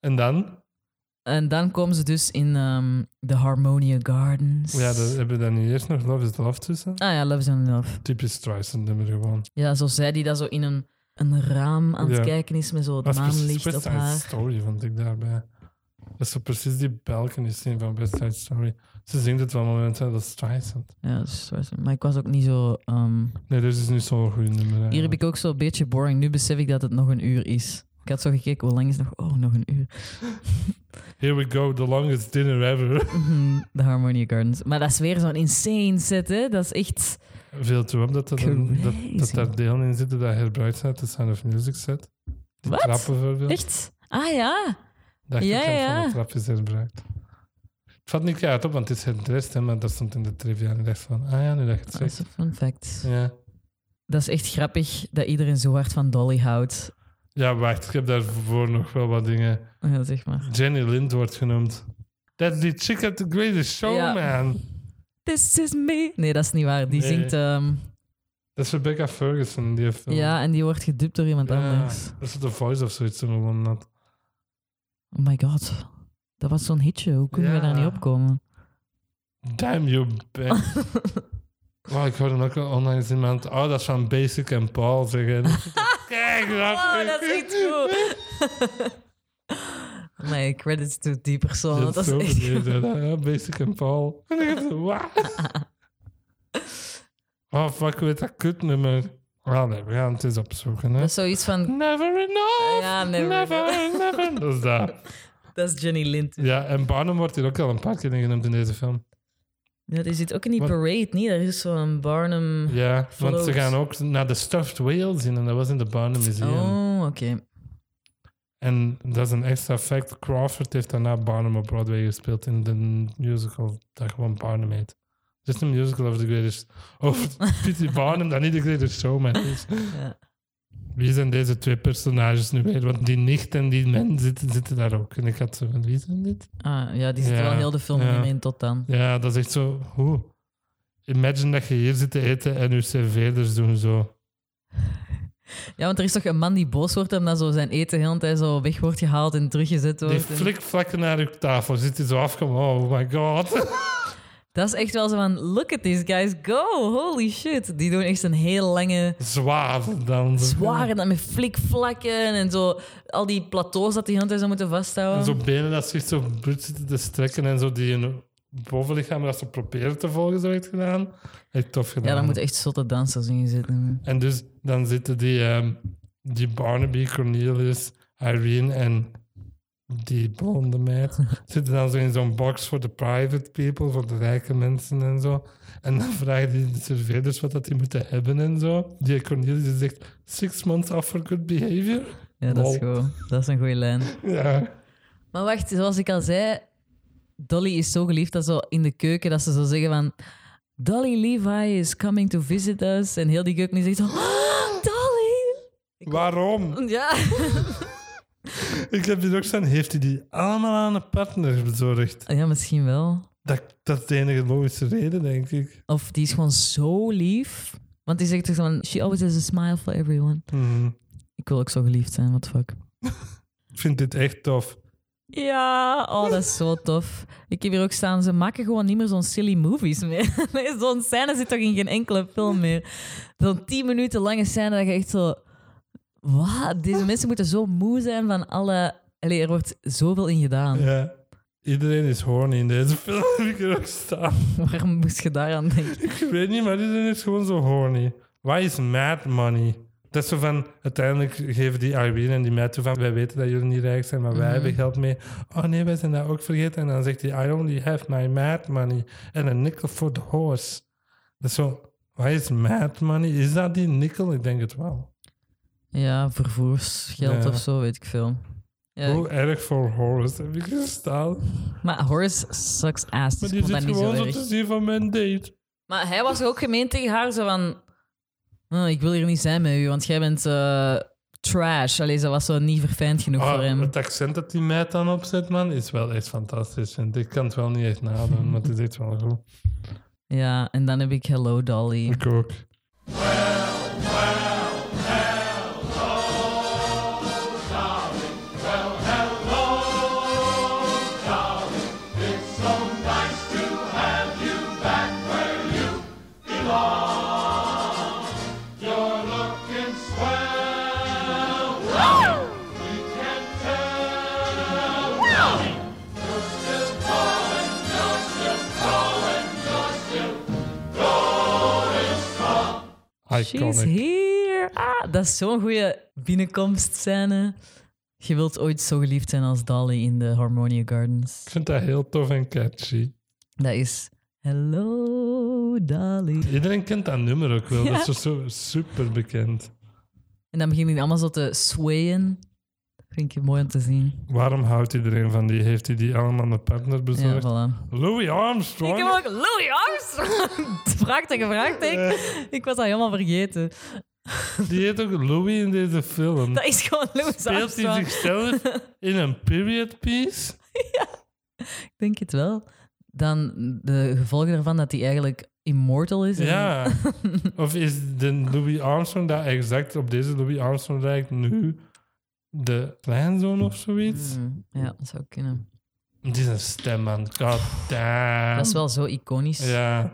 [SPEAKER 1] en dan?
[SPEAKER 2] En dan komen ze dus in ehm de Harmonia Gardens.
[SPEAKER 1] Ja, dan hebben we dan nu eerst nog Love is Love tussen.
[SPEAKER 2] Ah ja, Love is Enough.
[SPEAKER 1] Typisch Streisand nummer gewoon.
[SPEAKER 2] Ja, zo zij die dat zo in een, een raam aan het
[SPEAKER 1] Ja.
[SPEAKER 2] kijken is met zo het
[SPEAKER 1] Dat is precies
[SPEAKER 2] maanlicht op
[SPEAKER 1] West Side
[SPEAKER 2] haar.
[SPEAKER 1] Story, vond ik daarbij. Dat is zo precies die balcony scene van West Side Story. Ze zingt het wel momenten, dat is Streisand.
[SPEAKER 2] Ja, dat is waar. maar ik was ook niet zo... ehm,
[SPEAKER 1] Nee, dit is nu zo'n goed nummer.
[SPEAKER 2] Hier heb
[SPEAKER 1] eigenlijk.
[SPEAKER 2] ik ook zo'n beetje boring. Nu besef ik dat het nog een uur is. Ik had zo gekeken, hoe lang is het nog? Oh, nog een uur.
[SPEAKER 1] Here we go, the longest dinner ever.
[SPEAKER 2] Mhm, De Harmonia Gardens. Maar dat is weer zo'n insane set, hè? Dat is echt...
[SPEAKER 1] Veel toe op dat, er dan- dat, dat
[SPEAKER 2] Crazy.
[SPEAKER 1] daar delen in zitten dat herbruikt uit de Sound of Music set. Die
[SPEAKER 2] Wat?
[SPEAKER 1] trap bijvoorbeeld.
[SPEAKER 2] Echt? Ah ja.
[SPEAKER 1] Dat
[SPEAKER 2] Ja,
[SPEAKER 1] ja,
[SPEAKER 2] ja.
[SPEAKER 1] van de trap is herbruikt. Het valt niet uit op, want het is herdressed, hè, maar dat stond in de trivia. En ik dacht van, ah ja, nu dat je het
[SPEAKER 2] Dat is
[SPEAKER 1] zegt.
[SPEAKER 2] een fun fact.
[SPEAKER 1] Ja.
[SPEAKER 2] Dat is echt grappig dat iedereen zo hard van Dolly houdt.
[SPEAKER 1] ja, wacht, ik heb daarvoor nog wel wat dingen.
[SPEAKER 2] Ja, zeg maar.
[SPEAKER 1] Jenny Lind wordt genoemd. That's the chick at the greatest
[SPEAKER 2] Ja.
[SPEAKER 1] showman.
[SPEAKER 2] This is me. Nee, dat is niet waar. Die
[SPEAKER 1] Nee.
[SPEAKER 2] zingt... ehm,
[SPEAKER 1] Dat is Rebecca Ferguson in die film.
[SPEAKER 2] ja, en die wordt gedupt door iemand
[SPEAKER 1] Ja,
[SPEAKER 2] anders.
[SPEAKER 1] Dat is The Voice of zoiets toen gewonnen had.
[SPEAKER 2] Oh my god. Dat was zo'n hitje. Hoe kunnen we
[SPEAKER 1] Ja.
[SPEAKER 2] daar niet opkomen?
[SPEAKER 1] Damn you, bitch. Wow, ik hoorde ook al online eens iemand. Oh, dat is van Basic and Paul zeggen. Kijk,
[SPEAKER 2] Oh, dat is echt goed. Nee, credits to die persoon.
[SPEAKER 1] Dat
[SPEAKER 2] want
[SPEAKER 1] is
[SPEAKER 2] Oh, Dat
[SPEAKER 1] zo
[SPEAKER 2] is echt...
[SPEAKER 1] beneden. Ja, Basic en Paul. En ik dacht, wat? Oh, fuck, weet dat kutnummer. Ah, nee, we gaan het eens opzoeken. Hè.
[SPEAKER 2] Dat is zoiets van...
[SPEAKER 1] Never enough!
[SPEAKER 2] Ja, never
[SPEAKER 1] never, never. Dat is dat.
[SPEAKER 2] Dat is Jenny Lind.
[SPEAKER 1] Ja, en Barnum wordt hier ook al een paar keer in genoemd in deze film.
[SPEAKER 2] Dat is het ook in die
[SPEAKER 1] Wat-
[SPEAKER 2] parade, niet? Dat is zo'n Barnum...
[SPEAKER 1] Ja, want ze
[SPEAKER 2] Float.
[SPEAKER 1] gaan ook naar de Stuffed Whales in en dat was in de Barnum Museum.
[SPEAKER 2] Oh, oké.
[SPEAKER 1] En dat is een extra fact. Crawford heeft daarna Barnum op Broadway gespeeld in de musical dat gewoon Barnum heet. Het is een musical over de greatest... Over P.T. Barnum, dat niet de greatest showman is.
[SPEAKER 2] Ja.
[SPEAKER 1] Wie zijn deze twee personages nu weer? Want die nicht en die man zitten, zitten daar ook. En ik had zo van, wie zijn dit?
[SPEAKER 2] Ah, ja, die zit
[SPEAKER 1] Ja,
[SPEAKER 2] wel heel de film
[SPEAKER 1] ja.
[SPEAKER 2] niet meer in tot dan.
[SPEAKER 1] Ja, dat is echt zo... Hoe? Imagine dat je hier zit te eten en je serveerders doen zo.
[SPEAKER 2] Ja, want er is toch een man die boos wordt omdat zo zijn eten heel de tijd zo weg wordt gehaald en teruggezet
[SPEAKER 1] Die
[SPEAKER 2] wordt. en-
[SPEAKER 1] flikvlakken naar uw tafel. Zit hij zo afgekomen. Oh my god.
[SPEAKER 2] Dat is echt wel zo van, look at these guys go, holy shit. Die doen echt een heel lange,
[SPEAKER 1] Zwaar dan.
[SPEAKER 2] zware, dan met flikvlakken en zo. Al die plateaus dat die heel de tijd zou moeten vasthouden.
[SPEAKER 1] En zo benen dat zich zo brut zitten te strekken en zo die hun bovenlichaam dat ze proberen te volgen, zo heeft gedaan. Echt tof gedaan.
[SPEAKER 2] Ja, daar moeten echt zotte dansers in zitten.
[SPEAKER 1] En dus dan zitten die, ehm, die Barnaby, Cornelius, Irene en die blonde meid zitten dan zo in zo'n box voor de private people, voor de rijke mensen en zo. En dan vragen die de serveerders wat dat die moeten hebben en zo. Die Cornelius die zegt, six months off for good behavior.
[SPEAKER 2] Ja, dat is
[SPEAKER 1] Lol.
[SPEAKER 2] gewoon, dat is een goede lijn.
[SPEAKER 1] Ja.
[SPEAKER 2] Maar wacht, zoals ik al zei, Dolly is zo geliefd dat zo in de keuken dat ze zo zeggen van Dolly Levi is coming to visit us. En heel die keuken die zegt zo, "Ah, Dolly!
[SPEAKER 1] Waarom?
[SPEAKER 2] Ja,
[SPEAKER 1] Ik heb hier ook staan, heeft hij die allemaal aan een partner bezorgd?
[SPEAKER 2] ja misschien wel.
[SPEAKER 1] Dat, dat is de enige logische reden, denk ik.
[SPEAKER 2] Of die is gewoon zo lief. Want die zegt toch zo van, she always has a smile for everyone.
[SPEAKER 1] Hmm.
[SPEAKER 2] Ik wil ook zo geliefd zijn, what the fuck.
[SPEAKER 1] Ik vind dit echt tof.
[SPEAKER 2] Ja, oh, dat is zo tof. Ik heb hier ook staan, ze maken gewoon niet meer zo'n silly movies meer. Nee, zo'n scène zit toch in geen enkele film meer. Zo'n tien minuten lange scène dat je echt zo... Wat? Deze mensen moeten zo moe zijn van alle... Allee, er wordt zoveel in gedaan.
[SPEAKER 1] Ja. Iedereen is horny in deze film, heb ik er ook staan.
[SPEAKER 2] Waarom moest je daaraan denken?
[SPEAKER 1] Ik weet niet, maar iedereen is gewoon zo horny. Why is mad money? Dat is zo van, uiteindelijk geven die Irene en die meid toe van, wij weten dat jullie niet rijk zijn, maar
[SPEAKER 2] Mhm.
[SPEAKER 1] wij hebben geld mee. Oh nee, wij zijn dat ook vergeten. En dan zegt hij, I only have my mad money and a nickel for the horse. Dat is zo, why is mad money? Is dat die nickel? Ik denk het wel.
[SPEAKER 2] Ja, vervoersgeld
[SPEAKER 1] Ja.
[SPEAKER 2] of zo, weet ik veel. Ja,
[SPEAKER 1] Hoe erg voor horse heb ik gestaan.
[SPEAKER 2] maar Horace sucks ass,
[SPEAKER 1] Maar
[SPEAKER 2] dus
[SPEAKER 1] die
[SPEAKER 2] ik vond
[SPEAKER 1] zit
[SPEAKER 2] dat niet zo
[SPEAKER 1] gewoon zo te
[SPEAKER 2] erg.
[SPEAKER 1] zien van mijn date.
[SPEAKER 2] Maar hij was ook gemeen tegen haar, zo van... "Oh, ik wil hier niet zijn met u, want jij bent eh, trash. Allee, ze was zo niet verfijnd genoeg voor
[SPEAKER 1] Ah,
[SPEAKER 2] hem.
[SPEAKER 1] het accent dat die meid dan opzet, man, is wel echt fantastisch. En ik kan het wel niet echt nadoen, maar het is echt wel goed.
[SPEAKER 2] Ja, en dan heb ik Hello Dolly.
[SPEAKER 1] Ik ook.
[SPEAKER 2] She's
[SPEAKER 1] Iconic.
[SPEAKER 2] here! Ah, dat is zo'n goede binnenkomstscène. Je wilt ooit zo geliefd zijn als Dolly in de Harmonia Gardens.
[SPEAKER 1] Ik vind dat heel tof en catchy.
[SPEAKER 2] Dat is Hello Dolly.
[SPEAKER 1] Iedereen kent dat nummer ook wel. Dat is zo super bekend.
[SPEAKER 2] En dan beginnen die allemaal zo te swayen. Vind ik mooi om te zien.
[SPEAKER 1] Waarom houdt iedereen van die? Heeft hij die allemaal een partner
[SPEAKER 2] Ja,
[SPEAKER 1] bezorgd?
[SPEAKER 2] voilà.
[SPEAKER 1] Louis Armstrong.
[SPEAKER 2] Ik heb ook Louis Armstrong. Vraag tegen vraag
[SPEAKER 1] Eh.
[SPEAKER 2] Ik was dat helemaal vergeten.
[SPEAKER 1] Die heet ook Louis in deze film.
[SPEAKER 2] Dat is gewoon Louis
[SPEAKER 1] Speelt hij
[SPEAKER 2] Armstrong.
[SPEAKER 1] zichzelf in een period piece?
[SPEAKER 2] Ik denk het wel. Dan de gevolgen ervan dat hij eigenlijk immortal is. en-
[SPEAKER 1] Ja. of is de Louis Armstrong dat exact op deze Louis Armstrong lijkt nu de kleinzoon of zoiets?
[SPEAKER 2] Hmm, ja, dat zou kunnen.
[SPEAKER 1] Die is een stem, man. God damn.
[SPEAKER 2] Dat is wel zo iconisch.
[SPEAKER 1] Ja.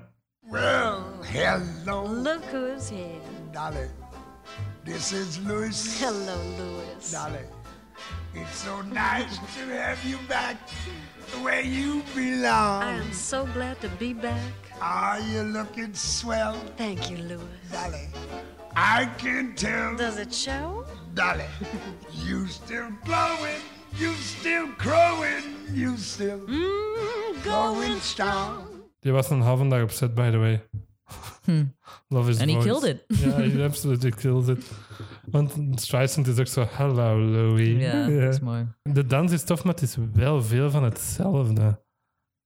[SPEAKER 7] Well, hello,
[SPEAKER 8] Look who's here.
[SPEAKER 7] Dolly. This is Louis.
[SPEAKER 8] Hello, Louis.
[SPEAKER 7] Dolly. It's so nice to have you back where you belong.
[SPEAKER 8] I am so glad to be back.
[SPEAKER 7] Are you looking swell,
[SPEAKER 8] Thank you, Louis.
[SPEAKER 7] Dolly? I can tell,
[SPEAKER 8] Does it show?
[SPEAKER 7] Dolly, you still blowing, you still crowing, you still going strong.
[SPEAKER 1] Die was een halve dag op set, by the way. Love is
[SPEAKER 2] And Hm. he
[SPEAKER 1] voice.
[SPEAKER 2] killed it.
[SPEAKER 1] Ja, he absolutely killed it. Want Streisand is ook zo, hello Louis.
[SPEAKER 2] Ja, dat is mooi.
[SPEAKER 1] De dans is tof, maar het is wel veel van hetzelfde.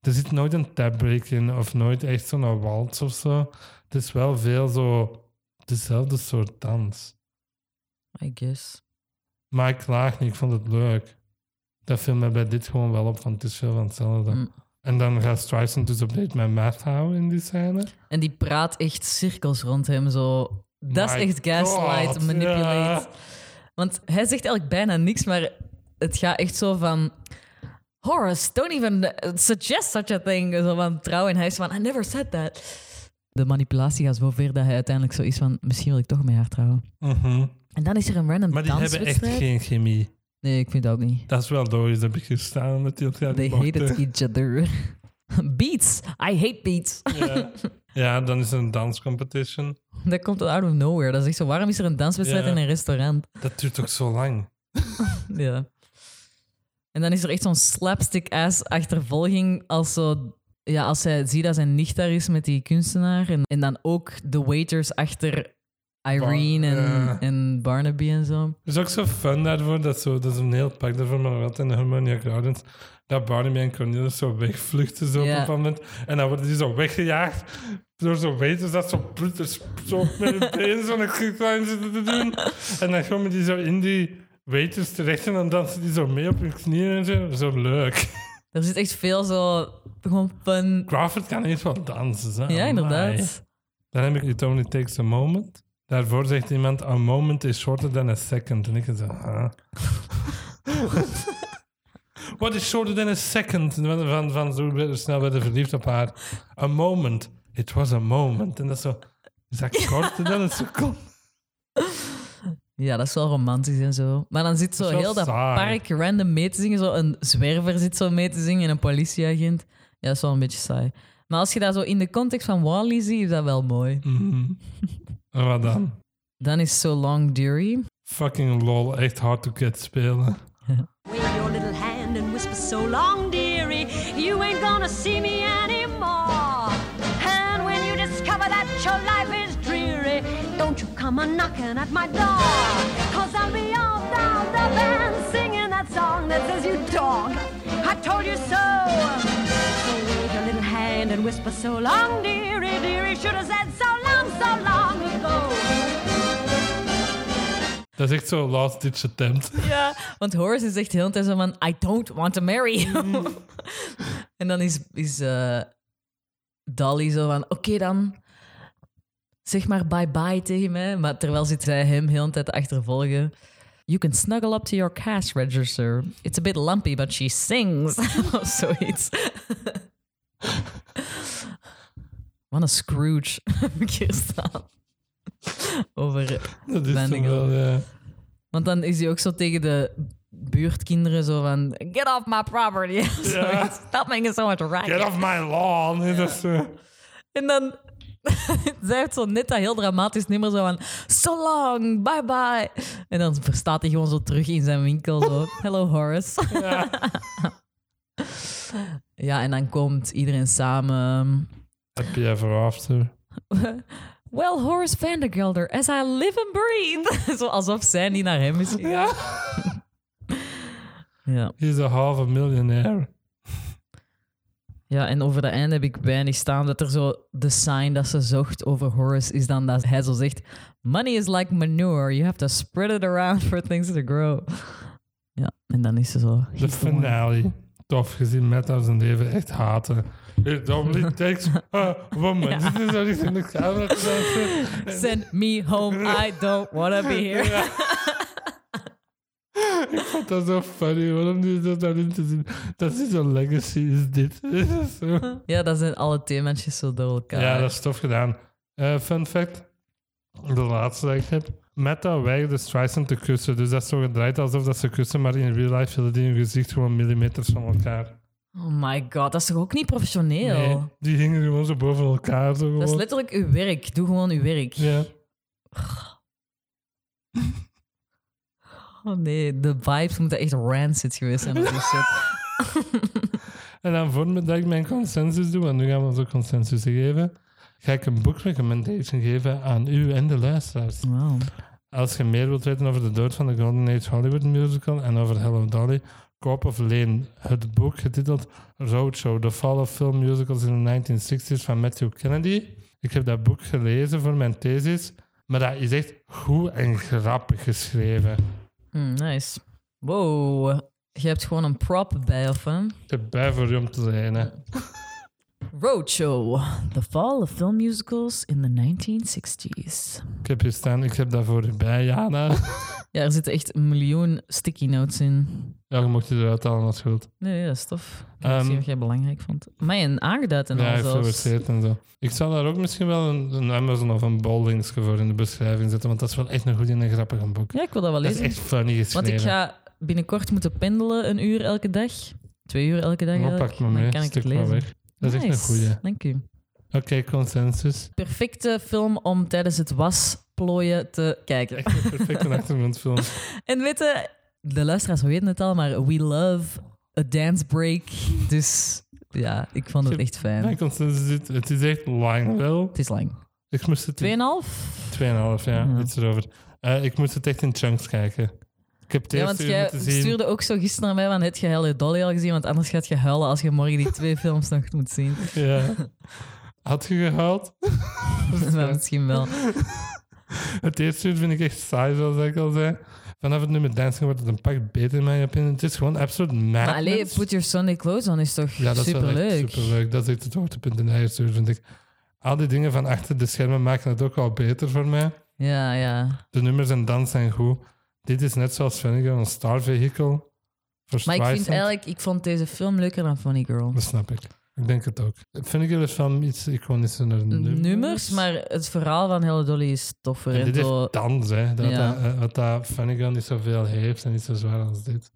[SPEAKER 1] Er zit nooit een tabbreak in of nooit echt zo'n waltz of zo. Het is wel veel zo dezelfde soort dans.
[SPEAKER 2] I guess.
[SPEAKER 1] Maar ik klaag niet, ik vond het leuk. Dat viel me bij dit gewoon wel op, want het is veel van hetzelfde.
[SPEAKER 2] Mm.
[SPEAKER 1] En dan gaat Streisand dus op date met Matt houden in die scène.
[SPEAKER 2] En die praat echt cirkels rond hem zo. Dat
[SPEAKER 1] My
[SPEAKER 2] is echt gaslight,
[SPEAKER 1] God,
[SPEAKER 2] manipulate.
[SPEAKER 1] ja.
[SPEAKER 2] Want hij zegt eigenlijk bijna niks, maar het gaat echt zo van... Horace, don't even suggest such a thing. Zo van trouw en hij is van, I never said that. De manipulatie gaat zo ver dat hij uiteindelijk zo is van... Misschien wil ik toch met haar trouwen.
[SPEAKER 1] Mhm.
[SPEAKER 2] En dan is er een random
[SPEAKER 1] Maar die hebben echt
[SPEAKER 2] danswedstrijd.
[SPEAKER 1] geen chemie.
[SPEAKER 2] Nee, ik vind dat ook niet.
[SPEAKER 1] Dat is wel logisch, dat heb ik gestaan met die elkaar
[SPEAKER 2] They
[SPEAKER 1] niet
[SPEAKER 2] hated
[SPEAKER 1] mochten.
[SPEAKER 2] each other. Beats. I hate beats.
[SPEAKER 1] Ja. ja, dan is er een danscompetition.
[SPEAKER 2] dat komt out of nowhere. Dat is echt zo, waarom is er een danswedstrijd
[SPEAKER 1] Ja.
[SPEAKER 2] in een restaurant?
[SPEAKER 1] Dat duurt toch zo lang?
[SPEAKER 2] Ja. En dan is er echt zo'n slapstick-ass achtervolging als zo... Ja, als hij ziet dat zijn nicht daar is met die kunstenaar. En, en dan ook de waiters achter Irene en,
[SPEAKER 1] ja.
[SPEAKER 2] en Barnaby en zo.
[SPEAKER 1] Het is ook zo fun daarvoor, dat, zo, dat is een heel pak daarvoor, maar wat in Harmonia Gardens, dat Barnaby en Cornelis zo wegvluchten zo
[SPEAKER 2] Ja.
[SPEAKER 1] op een bepaald moment. En dan worden die zo weggejaagd door zo'n wetens dat zo ploeters zo met hun benen zo'n kruiklijn zitten te doen. En dan komen die zo in die waiters terecht en dan dansen die zo mee op hun knieën en zo. Zo leuk.
[SPEAKER 2] Er zit echt veel zo... Gewoon fun...
[SPEAKER 1] Crawford kan eens wel dansen. Zo.
[SPEAKER 2] Ja,
[SPEAKER 1] Amai.
[SPEAKER 2] inderdaad.
[SPEAKER 1] Dan heb ik It Only Takes a Moment. Daarvoor zegt iemand, a moment is shorter than a second. En ik zo, huh? What is shorter than a second? En Van, van, van zo werd- snel werden verliefd op haar. A moment. It was a moment. En dat is zo, is dat korter dan een seconde?
[SPEAKER 2] Ja, dat is wel romantisch en zo. Maar dan zit zo
[SPEAKER 1] Dat is wel
[SPEAKER 2] heel dat
[SPEAKER 1] saai.
[SPEAKER 2] park random mee te zingen. Zo een zwerver zit zo mee te zingen en een politieagent. Ja, dat is wel een beetje saai. Maar als je dat zo in de context van Wally ziet, is dat wel mooi.
[SPEAKER 1] Mhm. En wat dan?
[SPEAKER 2] Dan is So Long Dury.
[SPEAKER 1] Fucking lol, echt hard to get spelen.
[SPEAKER 5] Wave your little hand and whisper so long, dearie. You ain't gonna see me anymore. And when you discover that your life is dreary, don't you come a knocking at my door. Cause I'll be all down the band singing that song that says, You dog, I told you so. So wave your little hand and whisper so long, dearie, dearie. Should have said so long, so long ago.
[SPEAKER 1] Dat is echt zo last ditch attempt.
[SPEAKER 2] Ja, want Horace is echt heel de tijd zo van... I don't want to marry you. en dan is, is eh, Dolly zo van... Oké dan, zeg maar bye-bye tegen mij. Maar terwijl zit zij hem heel de tijd te achtervolgen. You can snuggle up to your cash register. It's a bit lumpy, but she sings. of zoiets. Wat een Scrooge. heb ik hier staan. Over
[SPEAKER 1] Dat is
[SPEAKER 2] Ben
[SPEAKER 1] toch
[SPEAKER 2] ik
[SPEAKER 1] wel, ja.
[SPEAKER 2] want dan is hij ook zo tegen de buurtkinderen zo van... Get off my property. Zo,
[SPEAKER 1] Ja.
[SPEAKER 2] Stop making so much racket.
[SPEAKER 1] Get off my lawn. Dat is, eh,
[SPEAKER 2] En dan... Zij heeft zo net dat heel dramatisch nummer zo van... So long, bye bye. En dan verstaat hij gewoon zo terug in zijn winkel. Zo, Hello Horace. ja, en dan komt iedereen samen...
[SPEAKER 1] Happy ever after.
[SPEAKER 2] Well, Horace Vandergelder, as I live and breathe. zo alsof zij niet naar hem is gegaan. ja.
[SPEAKER 1] He's a half a millionaire.
[SPEAKER 2] Ja, en over dat einde heb ik weinig staan. Dat er zo de sign dat ze zocht over Horace is dan dat hij zo zegt: Money is like manure. You have to spread it around for things to grow. Ja, en dan is ze zo.
[SPEAKER 1] De
[SPEAKER 2] "He's the one."
[SPEAKER 1] finale. Tof gezien met haar zijn leven echt haten. It only takes a woman. Dit is zo niet in de camera te dansen.
[SPEAKER 2] Send me home. I don't wanna be here.
[SPEAKER 1] Ik vond dat zo funny. Waarom is dat daarin te zien? Dat is zo'n legacy, is dit. Dit is zo.
[SPEAKER 2] Ja, dat zijn alle thema's zo door elkaar.
[SPEAKER 1] Ja, dat is tof gedaan. Eh, fun fact. De laatste dat ik heb. met dat weigerde Streisand te kussen. Dus dat is zo gedraaid alsof dat ze kussen, maar in real life vielen die hun gezicht gewoon millimeters van elkaar.
[SPEAKER 2] Oh my god, dat is toch ook niet professioneel?
[SPEAKER 1] Nee, die hingen gewoon zo boven elkaar. Zo
[SPEAKER 2] Dat is
[SPEAKER 1] gewoon.
[SPEAKER 2] letterlijk uw werk. Doe gewoon uw werk.
[SPEAKER 1] Ja.
[SPEAKER 2] Oh nee, de vibes moeten echt rancid geweest zijn. op die set.
[SPEAKER 1] En dan voordat ik mijn consensus doe, want nu gaan we onze consensus geven, ga ik een book recommendation geven aan u en de luisteraars.
[SPEAKER 2] Wow.
[SPEAKER 1] Als je meer wilt weten over de dood van de Golden Age Hollywood musical en over Hello Dolly, koop of leen het boek getiteld Roadshow, The Fall of Film Musicals in the 1960s van Matthew Kennedy. Ik heb dat boek gelezen voor mijn thesis, maar dat is echt goed en grappig geschreven.
[SPEAKER 2] Hmm, nice. Wow. Je hebt gewoon een prop bij of hè?
[SPEAKER 1] Ik heb bij voor u om te lenen.
[SPEAKER 2] Roadshow. The fall of film musicals in the 1960s.
[SPEAKER 1] Ik heb hier staan, ik heb dat voor u bij, Jana.
[SPEAKER 2] Ja, er zitten echt een miljoen sticky notes in.
[SPEAKER 1] Ja, je mocht je eruit halen als je wilt.
[SPEAKER 2] Nee, dat is tof. Ik
[SPEAKER 1] Ehm,
[SPEAKER 2] um, zie wat jij belangrijk vond. Mij een aangeduid en
[SPEAKER 1] ja, eh, hij
[SPEAKER 2] al
[SPEAKER 1] heeft
[SPEAKER 2] zelfs.
[SPEAKER 1] geverseerd en zo. Ik zal daar ook misschien wel een, een Amazon of een Boldingsje voor in de beschrijving zetten, want dat is wel echt een goed en een grappig boek.
[SPEAKER 2] Ja, ik wil dat wel
[SPEAKER 1] Dat is
[SPEAKER 2] lezen.
[SPEAKER 1] echt funny
[SPEAKER 2] Want
[SPEAKER 1] geschreven.
[SPEAKER 2] ik ga binnenkort moeten pendelen een uur elke dag. Twee uur elke dag
[SPEAKER 1] Maar
[SPEAKER 2] eigenlijk.
[SPEAKER 1] pak me
[SPEAKER 2] Dan
[SPEAKER 1] mee,
[SPEAKER 2] kan ik
[SPEAKER 1] stuk
[SPEAKER 2] het
[SPEAKER 1] maar
[SPEAKER 2] lezen.
[SPEAKER 1] weg. Dat is echt
[SPEAKER 2] Nice.
[SPEAKER 1] een goeie. Oké,
[SPEAKER 2] Dank u.
[SPEAKER 1] consensus.
[SPEAKER 2] Perfecte film om tijdens het wasplooien te kijken.
[SPEAKER 1] Echt een perfecte achtergrondfilm.
[SPEAKER 2] En weten, de luisteraars weten het al, maar we love a dance break. Dus ja, ik vond het echt
[SPEAKER 1] Mijn
[SPEAKER 2] fijn.
[SPEAKER 1] consensus is, het is echt lang wel.
[SPEAKER 2] Het is lang.
[SPEAKER 1] Ik moest het... in-
[SPEAKER 2] Tweeënhalf?
[SPEAKER 1] Tweeënhalf, ja, iets erover. Eh, ik moest het echt in chunks kijken. Ik heb het
[SPEAKER 2] Ja, want
[SPEAKER 1] eerste uur
[SPEAKER 2] jij
[SPEAKER 1] moeten zien.
[SPEAKER 2] stuurde ook zo gisteren naar mij van het je Hello Dolly al gezien, want anders gaat je huilen als je morgen die twee films nog moet zien.
[SPEAKER 1] Ja. Had je gehaald?
[SPEAKER 2] maar misschien wel.
[SPEAKER 1] Het eerste uur vind ik echt saai, zoals ik al zei. Vanaf het nummer dansen wordt het een pak beter in mijn opinie. Het is gewoon absoluut madness.
[SPEAKER 2] Maar alleen Put Your Sunday Clothes On is toch
[SPEAKER 1] Ja, dat is wel echt
[SPEAKER 2] superleuk?
[SPEAKER 1] superleuk. Dat is echt het hoogtepunt in de eerste uur, vind ik. Al die dingen van achter de schermen maken het ook al beter voor mij.
[SPEAKER 2] Ja, ja.
[SPEAKER 1] De nummers en dans zijn goed. Dit is net zoals Vinegar, een star vehicle. Voor
[SPEAKER 2] Maar ik vind
[SPEAKER 1] Streisand.
[SPEAKER 2] eigenlijk, ik vond deze film leuker dan Funny Girl.
[SPEAKER 1] Dat snap ik. Ik denk het ook. Vinegar is van iets iconischer naar nummers.
[SPEAKER 2] Nummers, maar het verhaal van Hello Dolly is toffer.
[SPEAKER 1] En
[SPEAKER 2] En
[SPEAKER 1] dit
[SPEAKER 2] zo-
[SPEAKER 1] is dans, hè. Dat,
[SPEAKER 2] Ja.
[SPEAKER 1] dat, eh, wat dat Finnegan niet zoveel heeft en niet zo zwaar als dit.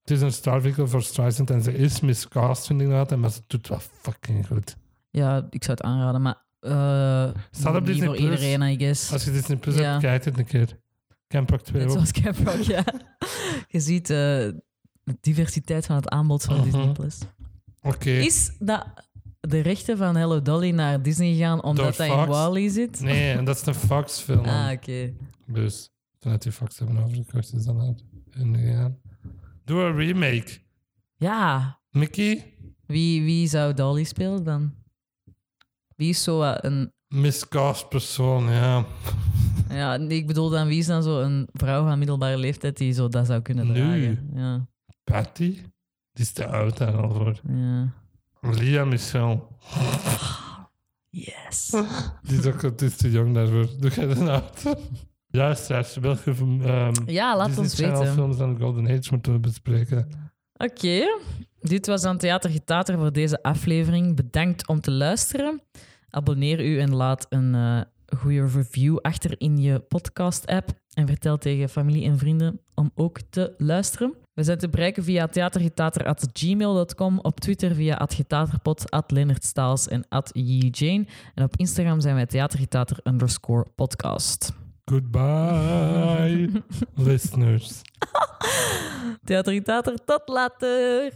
[SPEAKER 1] Het is een star vehicle voor Streisand en ze is miscast, vind ik dat. en Maar ze doet wel fucking goed.
[SPEAKER 2] Ja, ik zou het aanraden, maar eh
[SPEAKER 1] Staat op
[SPEAKER 2] niet
[SPEAKER 1] Disney
[SPEAKER 2] voor
[SPEAKER 1] Plus.
[SPEAKER 2] iedereen, I guess.
[SPEAKER 1] Als je Disney Plus
[SPEAKER 2] Ja.
[SPEAKER 1] hebt, kijk het een keer. Campak 2
[SPEAKER 2] Net
[SPEAKER 1] ook.
[SPEAKER 2] zoals Camp Rock, ja. Je ziet eh, de diversiteit van het aanbod van
[SPEAKER 1] Mhm.
[SPEAKER 2] Disney+. Plus.
[SPEAKER 1] Oké.
[SPEAKER 2] Is dat de rechten van Hello Dolly naar Disney gaan omdat
[SPEAKER 1] Door
[SPEAKER 2] hij in
[SPEAKER 1] Fox?
[SPEAKER 2] Wally zit?
[SPEAKER 1] Nee, en dat is een Fox-film.
[SPEAKER 2] Ah, oké.
[SPEAKER 1] Dus toen had die Fox hebben overgekocht, is dus dan uit hun gegaan. Doe een remake.
[SPEAKER 2] Ja,
[SPEAKER 1] Mickey,
[SPEAKER 2] wie, wie zou Dolly spelen dan? Wie is zo wat een...
[SPEAKER 1] miscast persoon, ja.
[SPEAKER 2] Ja, nee, ik bedoel dan, wie is dan zo een vrouw van middelbare leeftijd die zo dat zou kunnen
[SPEAKER 1] Nu.
[SPEAKER 2] dragen? Ja,
[SPEAKER 1] Patty? Die is te oud daar al voor.
[SPEAKER 2] ja.
[SPEAKER 1] Lia Michel.
[SPEAKER 2] Yes.
[SPEAKER 1] Die is ook het is te jong daarvoor. Doe jij dat nou? Luisteraars, welke van, ehm
[SPEAKER 2] Ja, laat
[SPEAKER 1] Disney
[SPEAKER 2] ons
[SPEAKER 1] Channel
[SPEAKER 2] weten.
[SPEAKER 1] films van de Golden Age moeten we bespreken?
[SPEAKER 2] Oké, dit was dan Theater Getater voor deze aflevering. Bedankt om te luisteren. Abonneer u en laat een eh, goede review achter in je podcast-app. En vertel tegen familie en vrienden om ook te luisteren. We zijn te bereiken via theatergetater.gmail.com, op Twitter via @getaterpod, @leonardstaals en @jane. En op Instagram zijn wij theatergetater underscore podcast.
[SPEAKER 1] Goodbye, listeners.
[SPEAKER 2] Theater Getater, tot later!